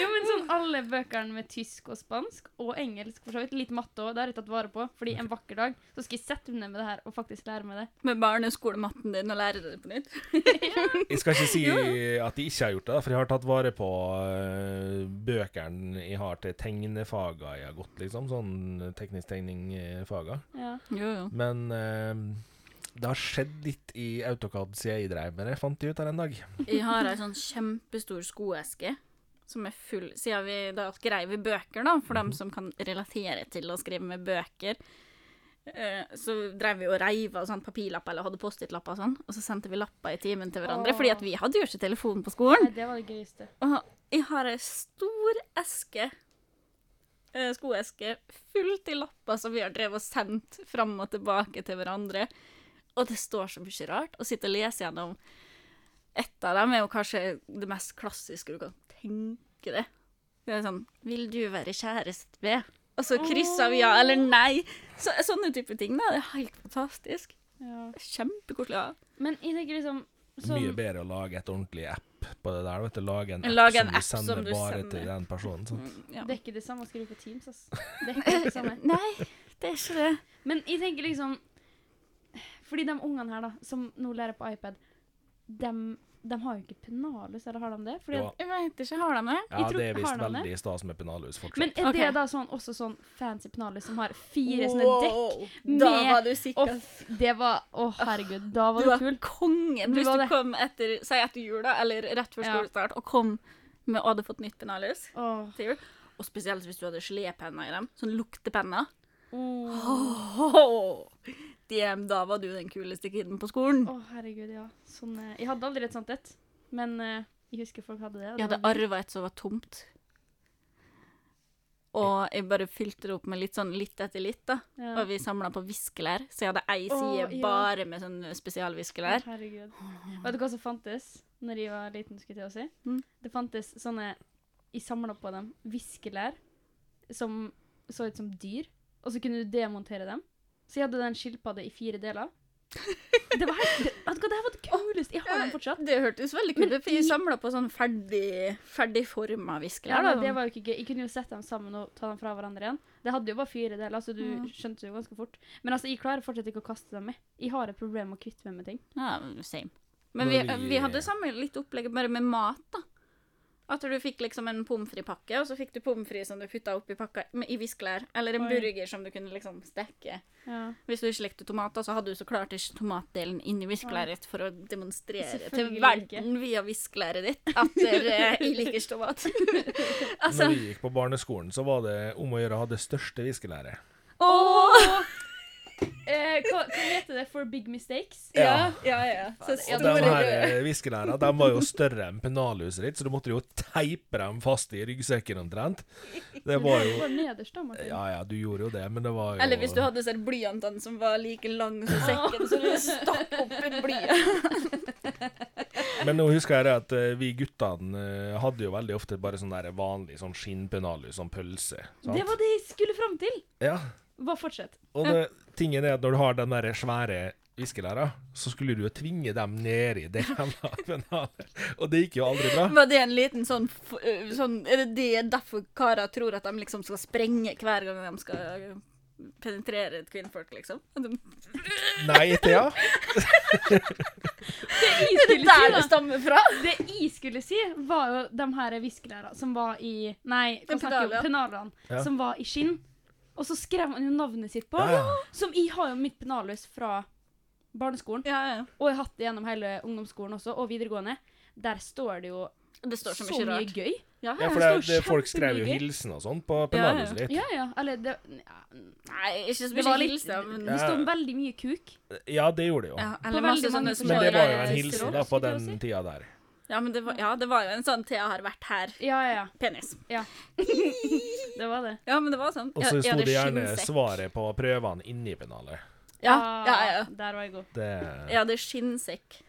[SPEAKER 3] jo, men sånn alle bøkene med tysk og spansk, og engelsk for så vidt, litt matte òg, det har jeg tatt vare på. Fordi en vakker dag så skal jeg sette meg ned med det her og faktisk lære meg det.
[SPEAKER 1] Med barneskolematten din og lære det på nytt.
[SPEAKER 2] Jeg skal ikke si at jeg ikke har gjort det, for jeg har tatt vare på øh, bøkene jeg har til tegnefaga jeg har gått, liksom. Sånn teknisk tegningfaga.
[SPEAKER 3] Ja.
[SPEAKER 1] Jo, jo.
[SPEAKER 2] Men øh, Det har skjedd litt i AutoCAD siden jeg dreiv med det, fant jeg ut her en dag.
[SPEAKER 1] Jeg har ei sånn kjempestor skoeske som er full Siden vi da skrev i bøker, da, for dem som kan relatere til å skrive med bøker, eh, så drev vi og reiv av sånn papirlapper eller hadde Post-It-lapper og sånn, og så sendte vi lapper i timen til hverandre,
[SPEAKER 3] Åh.
[SPEAKER 1] fordi at vi hadde jo ikke telefon på skolen.
[SPEAKER 3] Nei, det var det gøyeste.
[SPEAKER 1] Og jeg har ei stor eske, eh, skoeske, fullt i lapper som vi har drevet og sendt fram og tilbake til hverandre. Og det står så mye rart. Å sitte og lese gjennom ett av dem er jo kanskje det mest klassiske du kan tenke deg. Det er sånn Vil du være kjæreste med? Og så krysser vi ja eller nei. Så, sånne type ting. da, Det er helt fantastisk.
[SPEAKER 3] Ja.
[SPEAKER 1] Kjempekoselig. Ja.
[SPEAKER 3] Men jeg tenker liksom
[SPEAKER 2] Mye
[SPEAKER 3] sånn,
[SPEAKER 2] bedre å lage et ordentlig app på det der. Vet du. Lage en app
[SPEAKER 1] Lage en
[SPEAKER 2] som du
[SPEAKER 1] app som
[SPEAKER 2] sender
[SPEAKER 1] du
[SPEAKER 2] bare
[SPEAKER 1] sender. Mm.
[SPEAKER 2] til den personen. Sant?
[SPEAKER 1] Ja.
[SPEAKER 3] Det er ikke det samme å skrive på Teams, ass. Det er ikke det (laughs) samme.
[SPEAKER 1] Nei, det er ikke det.
[SPEAKER 3] Men jeg tenker liksom Fordi de ungene her, da, som nå lærer på iPad, de, har jo ikke pennalus, eller har de det? Fordi
[SPEAKER 2] Jo,
[SPEAKER 3] at
[SPEAKER 1] Jeg veit ikke. Har de det?
[SPEAKER 2] Ja,
[SPEAKER 3] jeg tror-
[SPEAKER 2] det er visst
[SPEAKER 3] har han det?
[SPEAKER 2] veldig stas med pennalhus fortsatt.
[SPEAKER 3] Men er det
[SPEAKER 1] Ok.
[SPEAKER 3] da sånn, også sånn fancy pennale som har fire sånne dekk?
[SPEAKER 1] Da
[SPEAKER 3] med-
[SPEAKER 1] var du sikker.
[SPEAKER 3] Og f- det var Å, herregud, da var
[SPEAKER 1] du
[SPEAKER 3] det
[SPEAKER 1] var
[SPEAKER 3] kult.
[SPEAKER 1] kongen
[SPEAKER 3] Du
[SPEAKER 1] hvis
[SPEAKER 3] var
[SPEAKER 1] du
[SPEAKER 3] det.
[SPEAKER 1] kom etter, si etter jul, da, eller rett før
[SPEAKER 3] Ja.
[SPEAKER 1] skolestart, og kom med og hadde fått nytt pennalhus
[SPEAKER 3] Åh.
[SPEAKER 1] til jul. Og spesielt hvis du hadde gelépenner i dem, sånn luktepenner.
[SPEAKER 3] Åh,
[SPEAKER 1] Åh, Damn, da var du den kuleste kiden på skolen.
[SPEAKER 3] Åh, herregud, ja. Sånn, eh, jeg hadde aldri et sånt et, men eh, jeg husker folk hadde det. og
[SPEAKER 1] Jeg hadde
[SPEAKER 3] det var gøy.
[SPEAKER 1] arva et som var tomt. Og jeg bare fylte det opp med litt sånn litt etter litt, da.
[SPEAKER 3] Ja.
[SPEAKER 1] Og vi samla på viskelær, så jeg hadde ei side
[SPEAKER 3] Åh, ja.
[SPEAKER 1] bare med sånn spesialviskelær.
[SPEAKER 3] Å, Herregud. Vet du hva som fantes når jeg var liten? skulle jeg til å si?
[SPEAKER 1] Mm.
[SPEAKER 3] Det fantes sånne Jeg samla på dem viskelær som så ut som dyr, og så kunne du demontere dem. Så jeg hadde den skilpadde i fire
[SPEAKER 1] (laughs)
[SPEAKER 3] deler. Det var helt, det, vet du hva, det her var det kuleste! Jeg har den fortsatt.
[SPEAKER 1] Eh, Det hørtes veldig
[SPEAKER 3] Men
[SPEAKER 1] kult ut, for jeg
[SPEAKER 3] i-
[SPEAKER 1] samla på sånn ferdig, ferdig forma
[SPEAKER 3] Ja,
[SPEAKER 1] viskelær.
[SPEAKER 3] da,
[SPEAKER 1] da,
[SPEAKER 3] det
[SPEAKER 1] sånn.
[SPEAKER 3] var jo ikke gøy. Jeg kunne jo sette dem sammen og ta dem fra hverandre igjen. Det hadde jo bare fire deler, så du
[SPEAKER 1] Ja.
[SPEAKER 3] skjønte jo ganske fort. Men altså, jeg klarer fortsatt ikke å kaste dem med. Jeg har et problem med å kvitte meg med ting.
[SPEAKER 1] Ja, same. Men vi,
[SPEAKER 2] Når vi-
[SPEAKER 1] vi hadde samme litt opplegg, bare med mat, da. At du fikk liksom en pommes frites-pakke, og så fikk du pommes frites som du putta oppi pakka med- i viskelær. Eller en
[SPEAKER 3] Oi.
[SPEAKER 1] burger som du kunne liksom steke.
[SPEAKER 3] Ja.
[SPEAKER 1] Hvis du ikke likte tomater, så hadde du så klart ikke tomatdelen inni viskelæret for å demonstrere til
[SPEAKER 3] Selvfølgelig
[SPEAKER 1] verden via viskelæret ditt at dere jeg liker ikke tomat. (laughs) altså,
[SPEAKER 2] Når vi gikk på barneskolen, så var det om å gjøre å ha det største viskelæret.
[SPEAKER 1] åh!
[SPEAKER 3] Eh, hva, hva heter det? For big mistakes?
[SPEAKER 1] Ja, ja, ja. Så
[SPEAKER 2] Og de
[SPEAKER 1] store
[SPEAKER 2] her
[SPEAKER 1] røde.
[SPEAKER 2] eh, viskelæra de var jo større enn pennalhuset ditt, så du måtte jo teipe dem fast i ryggsekken omtrent. Det var jo
[SPEAKER 3] Bare nederst, da, Martin.
[SPEAKER 2] Ja ja, du gjorde jo det, men det var jo
[SPEAKER 1] Eller hvis du hadde sett blyantene som var like lang som sekken, så du stakk opp en
[SPEAKER 2] (laughs)
[SPEAKER 1] blyant.
[SPEAKER 2] Men nå husker jeg det at eh, vi guttene eh, hadde jo veldig ofte bare sånn der vanlig sånn skinnpennalhus, sånn pølse. Sant?
[SPEAKER 3] Det var det jeg skulle fram til!
[SPEAKER 2] Ja.
[SPEAKER 3] Bare fortsett.
[SPEAKER 2] Og det, tingen er at når du har den der svære viskelæra, så skulle du jo tvinge dem ned i det jævla (laughs) pennalet. Og det gikk jo aldri bra.
[SPEAKER 1] Var det en liten sånn, f- øh, sånn Er det det derfor karer tror at de liksom skal sprenge hver gang de skal øh, penetrere et kvinnfolk, liksom? At de-
[SPEAKER 2] Nei, Thea.
[SPEAKER 3] Det jeg
[SPEAKER 1] Er det
[SPEAKER 3] skulle
[SPEAKER 1] der
[SPEAKER 3] si,
[SPEAKER 1] det
[SPEAKER 3] da,
[SPEAKER 1] stammer fra?
[SPEAKER 3] det jeg skulle si, var jo de her viskelæra som var i Nei, hva
[SPEAKER 1] Det
[SPEAKER 3] snakker jeg om?
[SPEAKER 1] pennalet.
[SPEAKER 3] Pennalene.
[SPEAKER 2] Ja.
[SPEAKER 3] Som var i skinn. Og så skrev man jo navnet sitt på.
[SPEAKER 2] Ja.
[SPEAKER 3] Som jeg har jo mitt pennalhus fra barneskolen,
[SPEAKER 1] Ja, ja.
[SPEAKER 3] og jeg har hatt det gjennom hele ungdomsskolen også, og videregående. Der står det jo
[SPEAKER 1] Det står
[SPEAKER 3] så
[SPEAKER 1] så
[SPEAKER 3] mye,
[SPEAKER 1] mye rart.
[SPEAKER 3] gøy.
[SPEAKER 1] Ja,
[SPEAKER 2] Ja,
[SPEAKER 1] ja.
[SPEAKER 2] for
[SPEAKER 3] det
[SPEAKER 2] det,
[SPEAKER 3] står
[SPEAKER 2] det, folk skrev jo
[SPEAKER 3] kjempemye gøy.
[SPEAKER 2] hilsen og sånn på
[SPEAKER 1] Ja, ja.
[SPEAKER 2] pennalhuset ditt.
[SPEAKER 3] Ja, ja. Eller det, ja,
[SPEAKER 1] Nei, ikke så
[SPEAKER 3] det
[SPEAKER 1] mye
[SPEAKER 3] var litt
[SPEAKER 1] hilser, men
[SPEAKER 3] Det
[SPEAKER 2] Ja.
[SPEAKER 3] står veldig mye kuk.
[SPEAKER 2] Ja, det gjorde det jo.
[SPEAKER 1] ja, Eller
[SPEAKER 3] veldig
[SPEAKER 1] masse sånne
[SPEAKER 3] mange
[SPEAKER 1] små
[SPEAKER 2] Men det var jo en
[SPEAKER 1] greier.
[SPEAKER 2] hilsen da på
[SPEAKER 3] skulle jeg si.
[SPEAKER 2] den tida der.
[SPEAKER 1] Ja, men det var, ja, det var jo en sånn Thea har vært her.
[SPEAKER 3] Ja, ja, ja.
[SPEAKER 1] Penis.
[SPEAKER 3] Det var det.
[SPEAKER 1] Ja, men det var sånn.
[SPEAKER 2] Og så
[SPEAKER 1] Ja, ja,
[SPEAKER 2] sto det gjerne
[SPEAKER 1] skinnsekk.
[SPEAKER 2] svaret på prøvene inni pennalet.
[SPEAKER 1] Ja, ja, ja.
[SPEAKER 3] Der var jeg god.
[SPEAKER 2] Det
[SPEAKER 1] Jeg hadde skinnsekk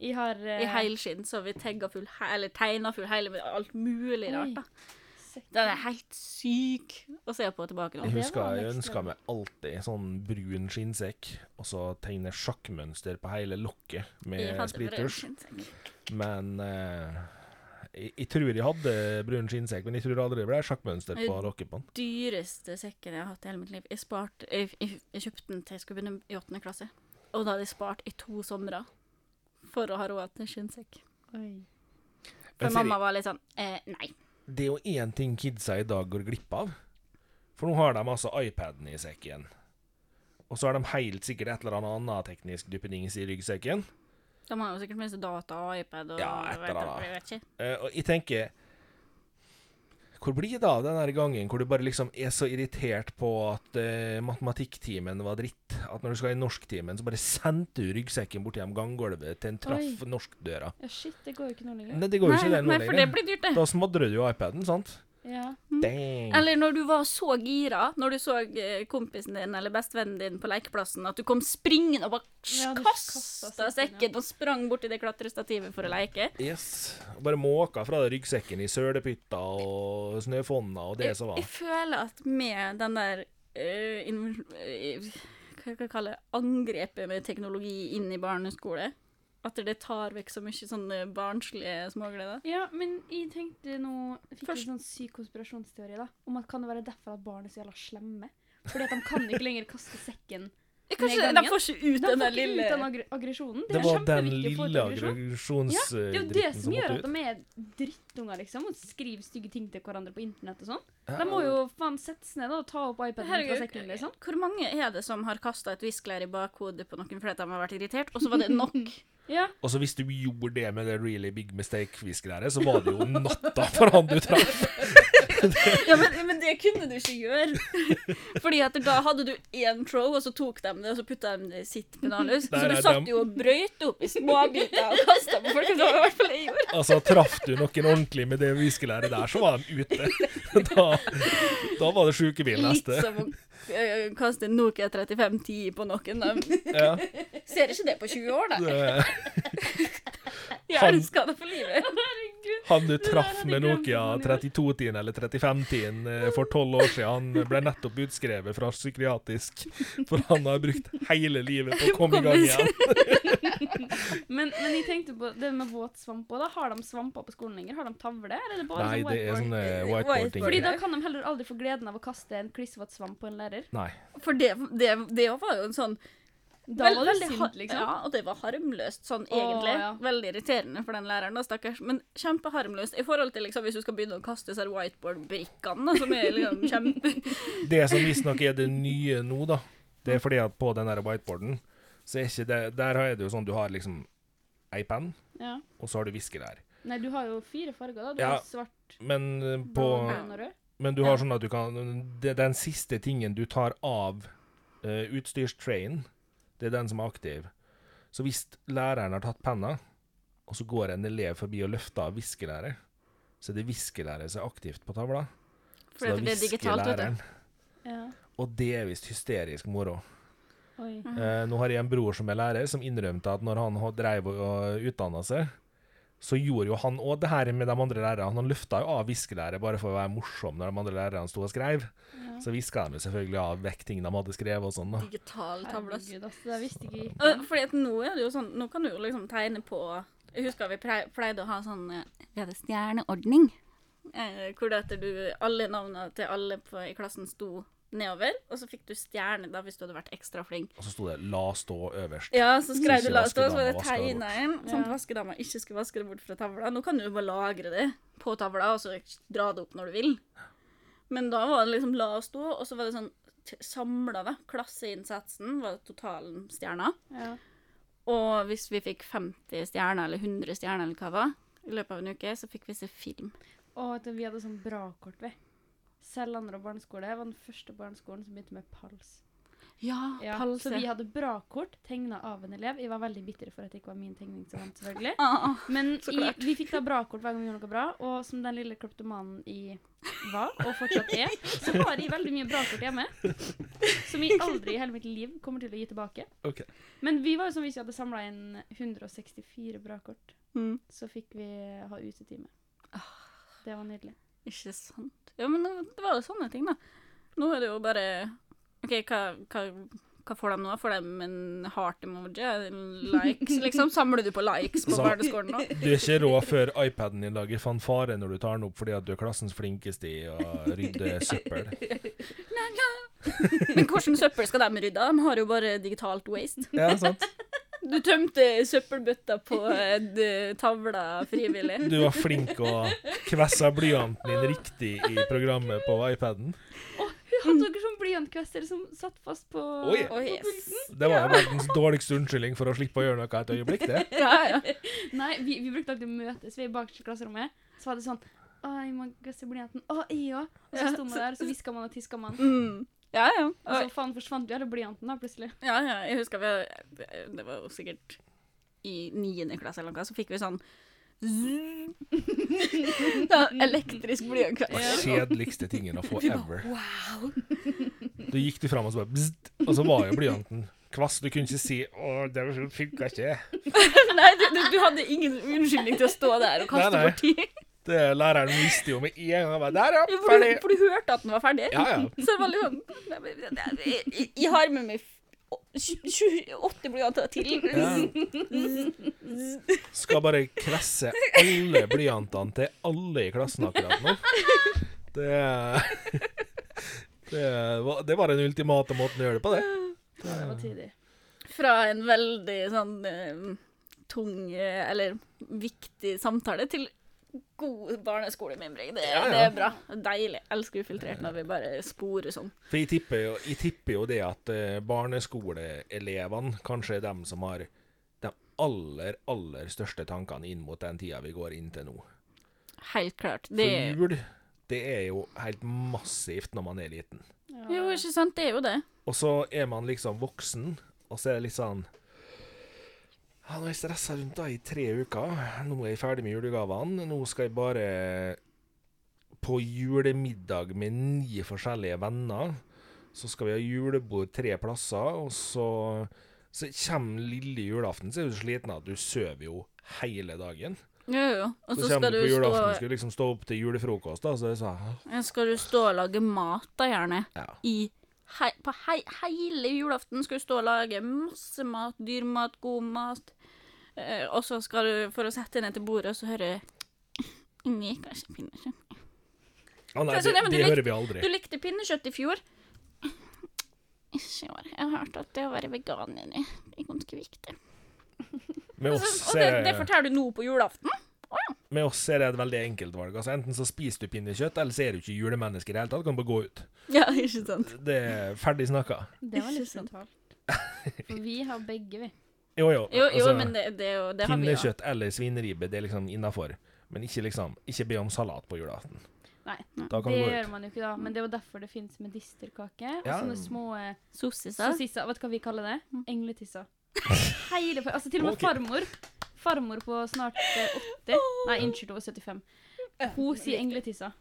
[SPEAKER 3] Jeg har eh,
[SPEAKER 1] i heilskinn, så vi tagga full he eller tegna full heil med alt mulig rart. da.
[SPEAKER 3] sekk.
[SPEAKER 1] Den er helt syk å se på tilbake nå.
[SPEAKER 2] Jeg
[SPEAKER 3] det
[SPEAKER 2] husker
[SPEAKER 3] var
[SPEAKER 2] jeg
[SPEAKER 3] next
[SPEAKER 2] ønska meg alltid sånn brun skinnsekk, og så tegne sjakkmønster på hele lokket
[SPEAKER 1] Jeg
[SPEAKER 2] med
[SPEAKER 1] hadde sånn brun
[SPEAKER 2] sprittusj.
[SPEAKER 1] skinnsekk.
[SPEAKER 2] Men eh, jeg, jeg tror jeg hadde brun skinnsekk, men jeg tror aldri det ble sjakkmønster på lokket på den.
[SPEAKER 1] Dyreste sekken jeg har hatt i hele mitt liv. Jeg, sparte, jeg, jeg, jeg kjøpte den til jeg skulle begynne i åttende klasse, og da hadde jeg spart i to somre for å ha råd til skinnsekk.
[SPEAKER 3] Oi.
[SPEAKER 2] Men
[SPEAKER 1] For
[SPEAKER 2] Siri,
[SPEAKER 1] mamma var litt sånn eh, nei.
[SPEAKER 2] det er jo én ting kidsa i dag går glipp av. For nå har de altså iPaden i sekken. Og så har de helt sikkert et eller annet annet teknisk dyppedings i ryggsekken.
[SPEAKER 1] De har jo sikkert minst data og iPad og
[SPEAKER 2] Ja, et
[SPEAKER 1] jeg vet,
[SPEAKER 2] eller annet.
[SPEAKER 1] jeg vet ikke.
[SPEAKER 2] Eh, og jeg tenker Hvor blir det av den her gangen hvor du bare liksom er så irritert på at eh, matematikktimen var dritt? At når du skal i norsktimen, så bare sendte du ryggsekken bort gjennom ganggulvet til en traff norskdøra.
[SPEAKER 3] Ja, shit, det går jo ikke noe lenger.
[SPEAKER 2] Nei, det går jo ikke det nå
[SPEAKER 1] nei, for det
[SPEAKER 2] lenger.
[SPEAKER 1] blir dyrt, det.
[SPEAKER 2] Da smadrer du jo iPaden, sant?
[SPEAKER 3] Ja.
[SPEAKER 2] Dang.
[SPEAKER 3] Mm.
[SPEAKER 1] Eller når du var så gira, når du så eh, kompisen din eller bestevennen din på lekeplassen, at du kom springende og
[SPEAKER 3] Ja,
[SPEAKER 1] bare
[SPEAKER 3] du
[SPEAKER 1] kasta
[SPEAKER 3] kastet sekken, ja.
[SPEAKER 1] sekken og sprang borti det klatrestativet for å leke.
[SPEAKER 2] Yes. Og Bare måka fra deg ryggsekken i sølepytter og snøfonna og det som
[SPEAKER 1] Jeg
[SPEAKER 2] var.
[SPEAKER 1] føler at med den der eh, inv- eh, Hva skal jeg kalle det? Angrepet med teknologi inn i barneskole. At det tar vekk så mye sånne barnslige smågleder.
[SPEAKER 3] ja, men jeg tenkte nå jeg Fikk
[SPEAKER 1] Først-
[SPEAKER 3] en sånn syk konspirasjonsteori da, om at kan det være derfor at barn er så jævla slemme? Fordi at de kan ikke lenger kaste sekken.
[SPEAKER 1] Kanskje
[SPEAKER 3] gangen.
[SPEAKER 1] de får ikke ut
[SPEAKER 3] De
[SPEAKER 1] den
[SPEAKER 3] får
[SPEAKER 1] der
[SPEAKER 3] ikke ut den
[SPEAKER 1] lille
[SPEAKER 3] aggre- aggresjonen. Det,
[SPEAKER 2] Det
[SPEAKER 3] er
[SPEAKER 2] var den
[SPEAKER 3] kjempeviktig å få ut
[SPEAKER 2] lille
[SPEAKER 3] aggresjon. Ja, Det er jo det
[SPEAKER 2] aggresjonsdritten
[SPEAKER 3] som
[SPEAKER 2] som
[SPEAKER 3] gjør
[SPEAKER 2] måtte
[SPEAKER 3] at
[SPEAKER 2] ut.
[SPEAKER 3] de er drittunger, liksom, og skriver stygge ting til hverandre på internett og sånn.
[SPEAKER 2] Ja.
[SPEAKER 3] De må jo faen sette seg ned da, og ta opp iPaden fra
[SPEAKER 1] Herregud,
[SPEAKER 3] sekken, liksom.
[SPEAKER 1] Hvor mange er det som har kasta et viskelær i bakhodet på noen fordi at de har vært irritert, og så var det nok?
[SPEAKER 3] Ja,
[SPEAKER 2] Og så hvis du gjorde det med det really big mistake-hviskelæret, så var det jo natta for han du traff.
[SPEAKER 1] ja, men, men det kunne du ikke gjøre.
[SPEAKER 2] (laughs)
[SPEAKER 1] Fordi at da hadde du én throw, og så tok de det, og så putta de det i sitt pennalhus. Så
[SPEAKER 2] Der
[SPEAKER 1] du
[SPEAKER 2] er
[SPEAKER 1] satt
[SPEAKER 2] dem.
[SPEAKER 1] jo og brøyt opp
[SPEAKER 2] (laughs)
[SPEAKER 1] i småbiter og kasta på folk. og Det var i hvert fall det jeg gjorde.
[SPEAKER 2] Altså, traff du noen ordentlig med det viskelæret der, så var han ute. Da, da var det sjukebil
[SPEAKER 1] Litt
[SPEAKER 2] neste.
[SPEAKER 1] som å eh, kaste en Nokia 3510 på noen. De
[SPEAKER 2] Ja,
[SPEAKER 1] ser ikke det på 20 år, da.
[SPEAKER 2] det,
[SPEAKER 1] Jeg
[SPEAKER 2] Han-
[SPEAKER 1] elsker det for livet.
[SPEAKER 2] han du
[SPEAKER 3] der
[SPEAKER 2] traff
[SPEAKER 3] hadde
[SPEAKER 2] med
[SPEAKER 3] jeg glemt
[SPEAKER 2] Nokia
[SPEAKER 3] hvordan det var.
[SPEAKER 2] 3210 eller 3510 eh, for tolv år siden, han ble nettopp utskrevet fra psykiatrisk, for han har brukt hele livet på å komme i gang igjen.
[SPEAKER 3] men, men jeg tenkte på det med våtsvamp også, da. Har de svamper på skolen lenger? Har de tavle, eller er det bare
[SPEAKER 2] Nei,
[SPEAKER 3] sånn
[SPEAKER 2] det er
[SPEAKER 3] whiteboard?
[SPEAKER 2] sånne
[SPEAKER 3] Fordi
[SPEAKER 2] whiteboard-ting.
[SPEAKER 3] da kan de heller aldri få gleden av å kaste en klissvåt svamp på en lærer.
[SPEAKER 2] Nei.
[SPEAKER 1] For det, det, det var jo en sånn
[SPEAKER 3] Da
[SPEAKER 1] Vel-
[SPEAKER 3] var det
[SPEAKER 1] veldig har-
[SPEAKER 3] sint, liksom.
[SPEAKER 1] Ja, og det var harmløst, sånn
[SPEAKER 3] Åh,
[SPEAKER 1] egentlig.
[SPEAKER 3] ja.
[SPEAKER 1] Veldig irriterende for den læreren, da, stakkars. Men kjempeharmløst i forhold til liksom, hvis du skal begynne å kaste disse her whiteboard-brikkene, da, som er liksom kjempe...
[SPEAKER 2] Det som visstnok er det nye nå, da, det er fordi at på den der whiteboarden, så er ikke det Der er det jo sånn du har liksom ei penn,
[SPEAKER 3] Ja.
[SPEAKER 2] og så har du viskelær.
[SPEAKER 3] Nei, du har jo fire farger, da. Du
[SPEAKER 2] Ja.
[SPEAKER 3] har svart,
[SPEAKER 2] Men, eh, på,
[SPEAKER 3] blå, grønn og rød.
[SPEAKER 2] men du har sånn at du kan det, er Den siste tingen du tar av uh, utstyrstrayen, det er den som er aktiv. Så hvis læreren har tatt penna, og så går en elev forbi og løfter av viskelæret, så er det viskelæret som er aktivt på tavla. Så
[SPEAKER 1] For det er digitalt, vet du.
[SPEAKER 2] viskelæreren.
[SPEAKER 3] Ja.
[SPEAKER 2] Og det er visst hysterisk moro.
[SPEAKER 3] Oi.
[SPEAKER 2] Eh, nå har jeg en bror som er lærer, som innrømte at når han ho- drev og- og utdanna seg, så gjorde jo han òg det her med de andre lærerne. Han løfta jo av viskelæret bare for å være morsom når de andre lærerne sto og skrev. Så viska de jo selvfølgelig av vekk ting de hadde skrevet og sånn. da.
[SPEAKER 1] Digital tavle. ass.
[SPEAKER 3] Herregud, altså. Det visste ikke jeg.
[SPEAKER 1] Og Fordi at nå er det jo sånn, nå kan du jo liksom tegne på Jeg husker vi plei- pleide å ha sånn eh, Vi hadde stjerneordning. Eh, hvor det at du, alle navnene til alle på, i klassen sto nedover, og så fikk du stjerne da hvis du hadde vært ekstra flink.
[SPEAKER 2] Og så sto det 'la stå' øverst.
[SPEAKER 1] Ja, så skrev
[SPEAKER 2] Ikke
[SPEAKER 1] du last, og så
[SPEAKER 2] vaskedama,
[SPEAKER 1] var det
[SPEAKER 2] vasker det bort.
[SPEAKER 1] tegna inn. Sånn at
[SPEAKER 3] Ja.
[SPEAKER 1] vaskedama ikke skulle vaske det bort fra tavla. Nå kan du jo bare lagre det på tavla, og så dra det opp når du vil. Men da var det liksom la oss stå, og så var det sånn samla, da. Klasseinnsatsen var totalen stjerna.
[SPEAKER 3] Ja.
[SPEAKER 1] Og hvis vi fikk 50 stjerner, eller 100 stjerner, eller hva det var, i løpet av en uke, så fikk vi se film.
[SPEAKER 3] Og at vi hadde sånn brakort, vi. Selvander og barneskole var den første barneskolen som begynte med pals.
[SPEAKER 1] Ah, Ja,
[SPEAKER 3] Ja,
[SPEAKER 1] palse.
[SPEAKER 3] Så vi hadde brakort tegna av en elev. Jeg var veldig bitter for at det ikke var min tegning som vant, selvfølgelig.
[SPEAKER 1] (laughs) Ah,
[SPEAKER 3] Men
[SPEAKER 1] Så
[SPEAKER 3] i,
[SPEAKER 1] klart.
[SPEAKER 3] vi fikk da brakort hver gang vi gjorde noe bra, og som den lille kleptomanen i var, og fortsatt er, så har jeg veldig mye brakort hjemme. Som jeg aldri i hele mitt liv kommer til å gi tilbake.
[SPEAKER 2] Ok.
[SPEAKER 3] Men vi var jo som hvis vi hadde samla inn 164 brakort.
[SPEAKER 1] Mm.
[SPEAKER 3] Så fikk vi ha utetime.
[SPEAKER 1] Ah.
[SPEAKER 3] Det var nydelig.
[SPEAKER 1] Ikke sant. Ja, men det var jo sånne ting, da. Nå er det jo bare OK, hva, hva, hva får de nå? Får de en heart emoji? Likes, liksom? Samler du på likes på
[SPEAKER 2] Så-
[SPEAKER 1] barneskolen nå?
[SPEAKER 2] Du er ikke rå før iPaden din lager fanfare når du tar den opp fordi at du er klassens flinkeste i å rydde søppel.
[SPEAKER 1] Men hvordan søppel skal de rydde? De har jo bare digitalt waste.
[SPEAKER 2] Ja, sant?
[SPEAKER 1] Du tømte søppelbøtta på eh, d- tavla frivillig.
[SPEAKER 2] Du var flink og kvessa blyanten din riktig i programmet på iPaden.
[SPEAKER 3] Å, hun hadde dere sånn bly blyantkvester som satt fast på
[SPEAKER 2] Oi.
[SPEAKER 1] Mm. Oi,
[SPEAKER 3] på
[SPEAKER 1] yes.
[SPEAKER 3] pulsen.
[SPEAKER 2] Det var jo verdens dårligste unnskyldning for å slippe å gjøre noe et øyeblikk, det.
[SPEAKER 1] Ja, ja.
[SPEAKER 3] (laughs) Nei, vi, vi brukte alltid å møtes vi i bakerste klasserommet. Så var det sånn Å, jeg må kveste blyanten. Å, jeg òg. Og så
[SPEAKER 1] Ja,
[SPEAKER 3] sto man der, og så hviska man og tiska man.
[SPEAKER 1] Mm. Ja, ja.
[SPEAKER 3] Og så
[SPEAKER 1] Og,
[SPEAKER 3] faen forsvant jo alle blyanten da, plutselig.
[SPEAKER 1] ja, ja. Jeg husker vi Det var jo sikkert i niende klasse eller noe, så fikk vi sånn (laughs) ja, elektrisk
[SPEAKER 2] Det var
[SPEAKER 1] blyantkvast.
[SPEAKER 2] kjedeligste tingen å få ever. Da gikk du fram og så bare bzzzt, og så var jo blyanten kvass. Du kunne ikke si 'Å, det funka ikke'.
[SPEAKER 1] (laughs) Nei, du, du, du hadde ingen unnskyldning til å stå der og kaste
[SPEAKER 2] Nei, nei.
[SPEAKER 1] bort tid.
[SPEAKER 2] Det læreren visste jo med en gang. Han bare 'Der, ja,
[SPEAKER 1] Jo, for, du, (laughs)
[SPEAKER 2] ferdig'.
[SPEAKER 1] for du hørte at den var ferdig.
[SPEAKER 2] Ja, ja.
[SPEAKER 1] Så det var litt sånn Nei, men det er- Jeg, jeg, jeg har med meg å- tju- tju- 80 blyanter til. (laughs)
[SPEAKER 2] Ja. Skal bare kvesse alle blyantene til alle i klassen akkurat nå. Det (laughs) det var, det var den ultimate måten å gjøre det på, det.
[SPEAKER 3] Ja, det var tidlig.
[SPEAKER 1] Fra en veldig sånn eh, tung eh, eller viktig samtale til god barneskolemimring. Det,
[SPEAKER 2] Ja, ja.
[SPEAKER 1] det er bra. Deilig. Elsker ufiltrert når vi bare sporer sånn.
[SPEAKER 2] For jeg tipper jo, jeg tipper jo det at eh, barneskoleelevene kanskje er dem som har de aller, aller største tankene inn mot den tida vi går inn til nå.
[SPEAKER 1] Helt klart.
[SPEAKER 2] For
[SPEAKER 1] Det,
[SPEAKER 2] jul, det er jo helt massivt når man er liten.
[SPEAKER 3] Ja.
[SPEAKER 1] jo, ikke sant. Det er jo det.
[SPEAKER 2] Og så er man liksom voksen, og så er det litt sånn ja, Nå har jeg stressa rundt da i tre uker. Nå er jeg ferdig med julegavene. Nå skal jeg bare på julemiddag med ni forskjellige venner. Så skal vi ha julebord tre plasser, og så Så kommer lille julaften, så er du sliten av at du sover jo hele dagen.
[SPEAKER 1] Jo, jo. Og
[SPEAKER 2] Så
[SPEAKER 1] så skal
[SPEAKER 2] kommer du
[SPEAKER 1] du
[SPEAKER 2] på
[SPEAKER 1] stå,
[SPEAKER 2] julaften skal du liksom stå opp til julefrokost, da, så er det sånn
[SPEAKER 1] skal du stå og lage mat, da, gjerne.
[SPEAKER 2] Ja.
[SPEAKER 1] i hei, På hei, hele julaften skal du stå og lage masse mat, dyr mat, god mat. Eh, og så skal du, for å sette deg ned til bordet, og så høre Inni, kanskje pinnekjøtt.
[SPEAKER 2] Å nei,
[SPEAKER 1] Så- så
[SPEAKER 2] det,
[SPEAKER 1] det- men du
[SPEAKER 2] det
[SPEAKER 1] likte-
[SPEAKER 2] hører vi aldri.
[SPEAKER 1] Du likte pinnekjøtt i fjor. Ikke i år. Jeg har hørt at det å være veganer det er ganske viktig.
[SPEAKER 2] Med
[SPEAKER 1] Altså,
[SPEAKER 2] oss
[SPEAKER 1] og det,
[SPEAKER 2] er
[SPEAKER 1] det forteller du nå på julaften?
[SPEAKER 2] Med oss er det et veldig enkelt valg. Altså, enten så spiser du pinnekjøtt, eller så er du ikke julemenneske i det hele tatt. Du kan bare gå ut.
[SPEAKER 1] Ja, ikke sant?
[SPEAKER 2] Det er ferdig snakka.
[SPEAKER 3] Det var litt
[SPEAKER 1] Ikke sant.
[SPEAKER 3] sentralt. (laughs) For vi har begge, vi.
[SPEAKER 2] Jo, jo.
[SPEAKER 1] Jo, jo
[SPEAKER 2] altså,
[SPEAKER 1] men det, det, er jo- det har vi jo.
[SPEAKER 2] pinnekjøtt eller svinribbe, det er liksom innafor. Men ikke liksom Ikke be om salat på julaften.
[SPEAKER 3] Nei,
[SPEAKER 2] Da kan du
[SPEAKER 3] det
[SPEAKER 2] gå
[SPEAKER 3] gjør
[SPEAKER 2] ut.
[SPEAKER 3] man jo ikke da, men det er jo derfor det finnes medisterkake. Og
[SPEAKER 2] Ja.
[SPEAKER 3] sånne små eh,
[SPEAKER 1] Sossiser.
[SPEAKER 3] sossisser. Vet du hva vi kaller det? Engletisser. Hele, fa- altså til og med
[SPEAKER 2] Ok.
[SPEAKER 3] farmor. Farmor på snart eh, 80 Nei, unnskyld, hun var 75. Hun sier engletisser.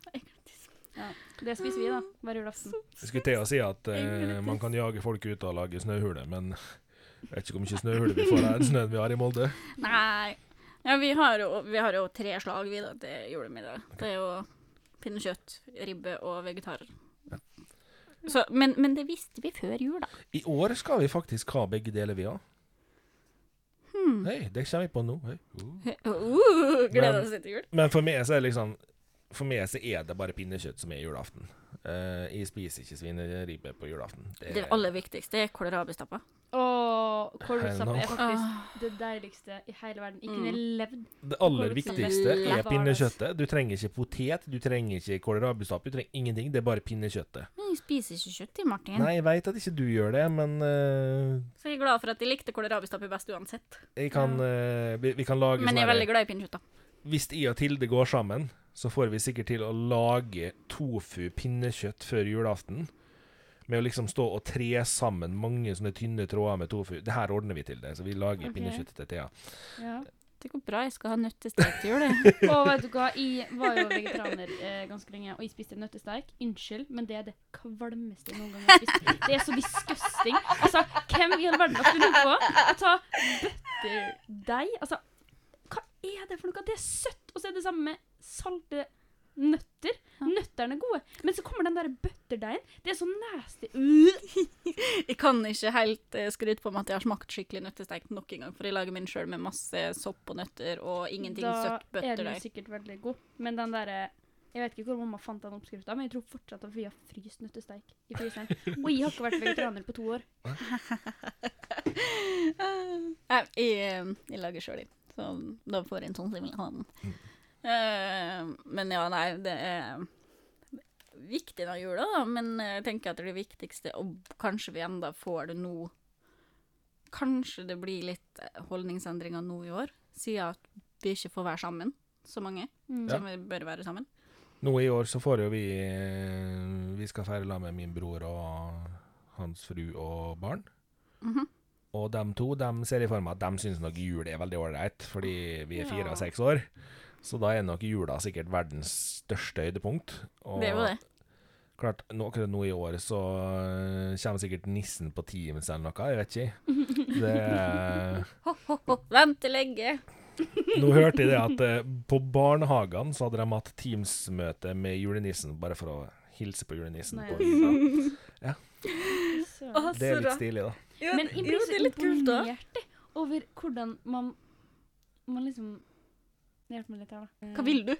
[SPEAKER 3] Ja. Det spiser vi, da. Hver julaften.
[SPEAKER 2] Jeg skulle til å si at eh,
[SPEAKER 1] Egentlig.
[SPEAKER 2] man kan jage folk ut og lage snøhuler, men jeg vet ikke hvor mye snøhuler vi får av den snøen vi har i Molde.
[SPEAKER 1] Nei. Ja, vi har jo, vi har jo tre slag vi da, til julemiddag. Det er jo pinnekjøtt, ribbe og vegetarer. Så, men, men det visste vi før jul, da.
[SPEAKER 2] I år skal vi faktisk ha begge deler, vi òg.
[SPEAKER 1] Hmm.
[SPEAKER 2] Hei, det kommer vi på nå. Hei. Uh.
[SPEAKER 1] (laughs) Uh, gleder
[SPEAKER 2] Men-
[SPEAKER 1] oss til jul.
[SPEAKER 2] Men for meg så er det liksom For meg så er det bare pinnekjøtt som er julaften. Eh, jeg spiser ikke svineribbe på julaften.
[SPEAKER 1] Det aller viktigste er kålrabistappa.
[SPEAKER 3] Og kålrotsapp
[SPEAKER 2] Hello.
[SPEAKER 3] er faktisk det deiligste i hele verden. Ikke kunne levd.
[SPEAKER 2] Det aller
[SPEAKER 3] Kål-
[SPEAKER 2] viktigste er
[SPEAKER 1] Lett.
[SPEAKER 2] pinnekjøttet. Du trenger ikke potet, du trenger ikke kålrabistappe, du trenger ingenting. Det er bare pinnekjøttet.
[SPEAKER 1] Men jeg spiser ikke kjøtt, jeg, Martin.
[SPEAKER 2] Nei, jeg veit at ikke du gjør det, men eh,
[SPEAKER 1] Så jeg er glad for at de likte kålrabistappa best uansett.
[SPEAKER 2] jeg kan, eh, vi, vi kan lage
[SPEAKER 1] Men jeg er
[SPEAKER 2] sånn
[SPEAKER 1] veldig glad i pinnekjøtt, da.
[SPEAKER 2] Hvis jeg og Tilde går sammen, så får vi sikkert til å lage tofu-pinnekjøtt før julaften. Med å liksom stå og tre sammen mange sånne tynne tråder med tofu. Det her ordner vi til det, så vi lager
[SPEAKER 3] Ok.
[SPEAKER 2] pinnekjøttet til Thea.
[SPEAKER 3] Ja.
[SPEAKER 1] Det går bra, jeg skal ha nøttestek til jul. (laughs) jeg.
[SPEAKER 3] Og vet du hva, jeg var jo vegetarianer eh, ganske lenge, og jeg spiste nøttesteik. Unnskyld, men det er det kvalmeste jeg noen gang har spist. Det er så disgusting. Altså, hvem i all verden har funnet på å ta butterdeig? Altså, hva er det for noe? Det er søtt, og så er det samme med salte nøtter. Nøtterne er gode, men så kommer den der butterdeigen. Det er så nasty. Øh.
[SPEAKER 1] Uh! Jeg kan ikke helt eh, skryte på meg at jeg har smakt skikkelig nøttestek nok en gang, for jeg lager min sjøl med masse sopp og nøtter og ingenting
[SPEAKER 3] Da
[SPEAKER 1] søtt
[SPEAKER 3] er
[SPEAKER 1] bøtter
[SPEAKER 3] den jo
[SPEAKER 1] der.
[SPEAKER 3] sikkert veldig god, men den derre jeg vet ikke hvor mamma fant den oppskrifta, men jeg tror fortsatt at vi har fryst nøttesteik i fryseren. Og jeg har ikke vært vegetarianer på to år.
[SPEAKER 1] Nei, eh, jeg, jeg lager sjøl, jeg. Så da får
[SPEAKER 2] Mm.
[SPEAKER 1] jeg en sånn som jeg vil ha den. Eh, men ja, nei, det er viktig av jula, da, men jeg tenker at det er det viktigste, og kanskje vi enda får det nå Kanskje det blir litt eh, holdningsendringer nå i år, siden at vi ikke får være sammen så mange
[SPEAKER 3] Mm.
[SPEAKER 1] som vi bør være sammen.
[SPEAKER 2] Nå i år så får jo vi eh, Vi skal feire sammen med min bror og hans fru og barn.
[SPEAKER 1] Mhm.
[SPEAKER 2] Og de to de ser i form av at de syns nok jul er veldig ålreit, fordi vi er fire
[SPEAKER 1] Ja.
[SPEAKER 2] og seks år. Så da er nok jula sikkert verdens største høydepunkt. Og
[SPEAKER 1] Det er jo det.
[SPEAKER 2] klart, nå, akkurat nå i år så eh, kommer sikkert nissen på Teams eller noe, jeg vet ikke. Det er
[SPEAKER 1] Ho, ho, ho. Vent til legge.
[SPEAKER 2] Nå hørte jeg det at eh, på barnehagene så hadde de hatt Teams-møte med julenissen, bare for å hilse på julenissen.
[SPEAKER 3] Nei.
[SPEAKER 1] (laughs)
[SPEAKER 2] På jula.
[SPEAKER 3] Så.
[SPEAKER 1] Å,
[SPEAKER 2] det er
[SPEAKER 1] så
[SPEAKER 2] litt
[SPEAKER 1] rart.
[SPEAKER 2] stilig, da.
[SPEAKER 1] Jo,
[SPEAKER 3] Men jeg blir
[SPEAKER 1] jo, det
[SPEAKER 3] så
[SPEAKER 1] er litt kult òg.
[SPEAKER 3] imponert jeg, over hvordan man, man liksom Hjelp meg litt her, da.
[SPEAKER 1] Hva vil du?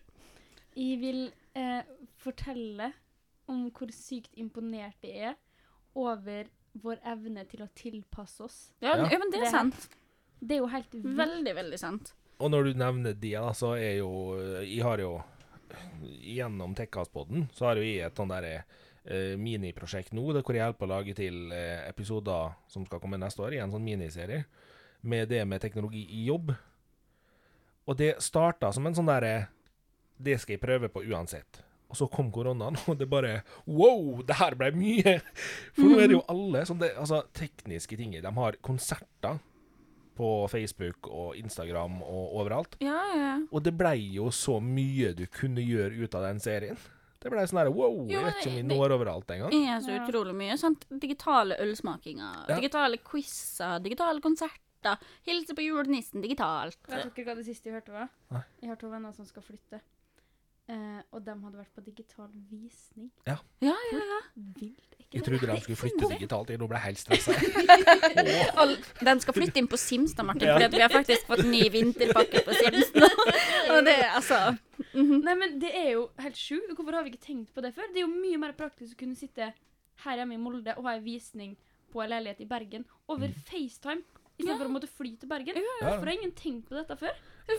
[SPEAKER 3] Jeg vil eh, fortelle om hvor sykt imponert jeg er over vår evne til å tilpasse oss.
[SPEAKER 1] Ja,
[SPEAKER 2] Ja.
[SPEAKER 1] ja men det er Mhm.
[SPEAKER 3] Det er
[SPEAKER 1] sant.
[SPEAKER 3] Det er jo helt
[SPEAKER 1] Mm.
[SPEAKER 3] vilt.
[SPEAKER 1] Veldig, veldig sant.
[SPEAKER 2] Og når du nevner de, da, så er jo eh, Jeg har jo Gjennom Tekkaspodden så har jo jeg et sånn derre eh, miniprosjekt nå, det hvor jeg hjelper å lage til eh, episoder som skal komme neste år, i en sånn miniserie, med det med teknologi i jobb. Og det starta som en sånn derre Det skal jeg prøve på uansett. Og så kom koronaen, (laughs) og det bare Wow, det her ble mye! For nå er det jo alle som det, Altså, tekniske ting. De har konserter på Facebook og Instagram og overalt.
[SPEAKER 1] Ja, ja.
[SPEAKER 2] Og det blei jo så mye du kunne gjøre ut av den serien. Det blei sånn her wow,
[SPEAKER 1] Jo,
[SPEAKER 2] jeg
[SPEAKER 1] men
[SPEAKER 2] vet ikke om vi
[SPEAKER 1] det-
[SPEAKER 2] når overalt engang.
[SPEAKER 1] Det er så
[SPEAKER 3] Ja.
[SPEAKER 1] utrolig mye. Sant? Digitale ølsmakinger,
[SPEAKER 2] Ja.
[SPEAKER 1] digitale quizer, digitale konserter. Hilse på julenissen digitalt.
[SPEAKER 3] Vet dere hva det siste jeg hørte var?
[SPEAKER 2] Nei.
[SPEAKER 3] Jeg har to venner som skal flytte. Eh, og de hadde vært på digital visning.
[SPEAKER 1] Ja, ja, ja.
[SPEAKER 3] Vilt. er
[SPEAKER 2] Jeg
[SPEAKER 3] ikke det?
[SPEAKER 2] trodde de skulle flytte digitalt, jeg nå ble jeg helt stressa.
[SPEAKER 1] All, den skal flytte inn på Sims da, Martin,
[SPEAKER 2] Ja.
[SPEAKER 1] fordi at vi har faktisk fått ny vinterpakke på Sims nå. Og det er altså
[SPEAKER 3] Nei, men det er jo helt sjukt. Hvorfor har vi ikke tenkt på det før? Det er jo mye mer praktisk å kunne sitte her hjemme i Molde og ha en visning på en leilighet i Bergen
[SPEAKER 2] Mm.
[SPEAKER 3] over FaceTime. Istedenfor for å måtte fly til Bergen. Hvorfor har ingen tenkt på dette før?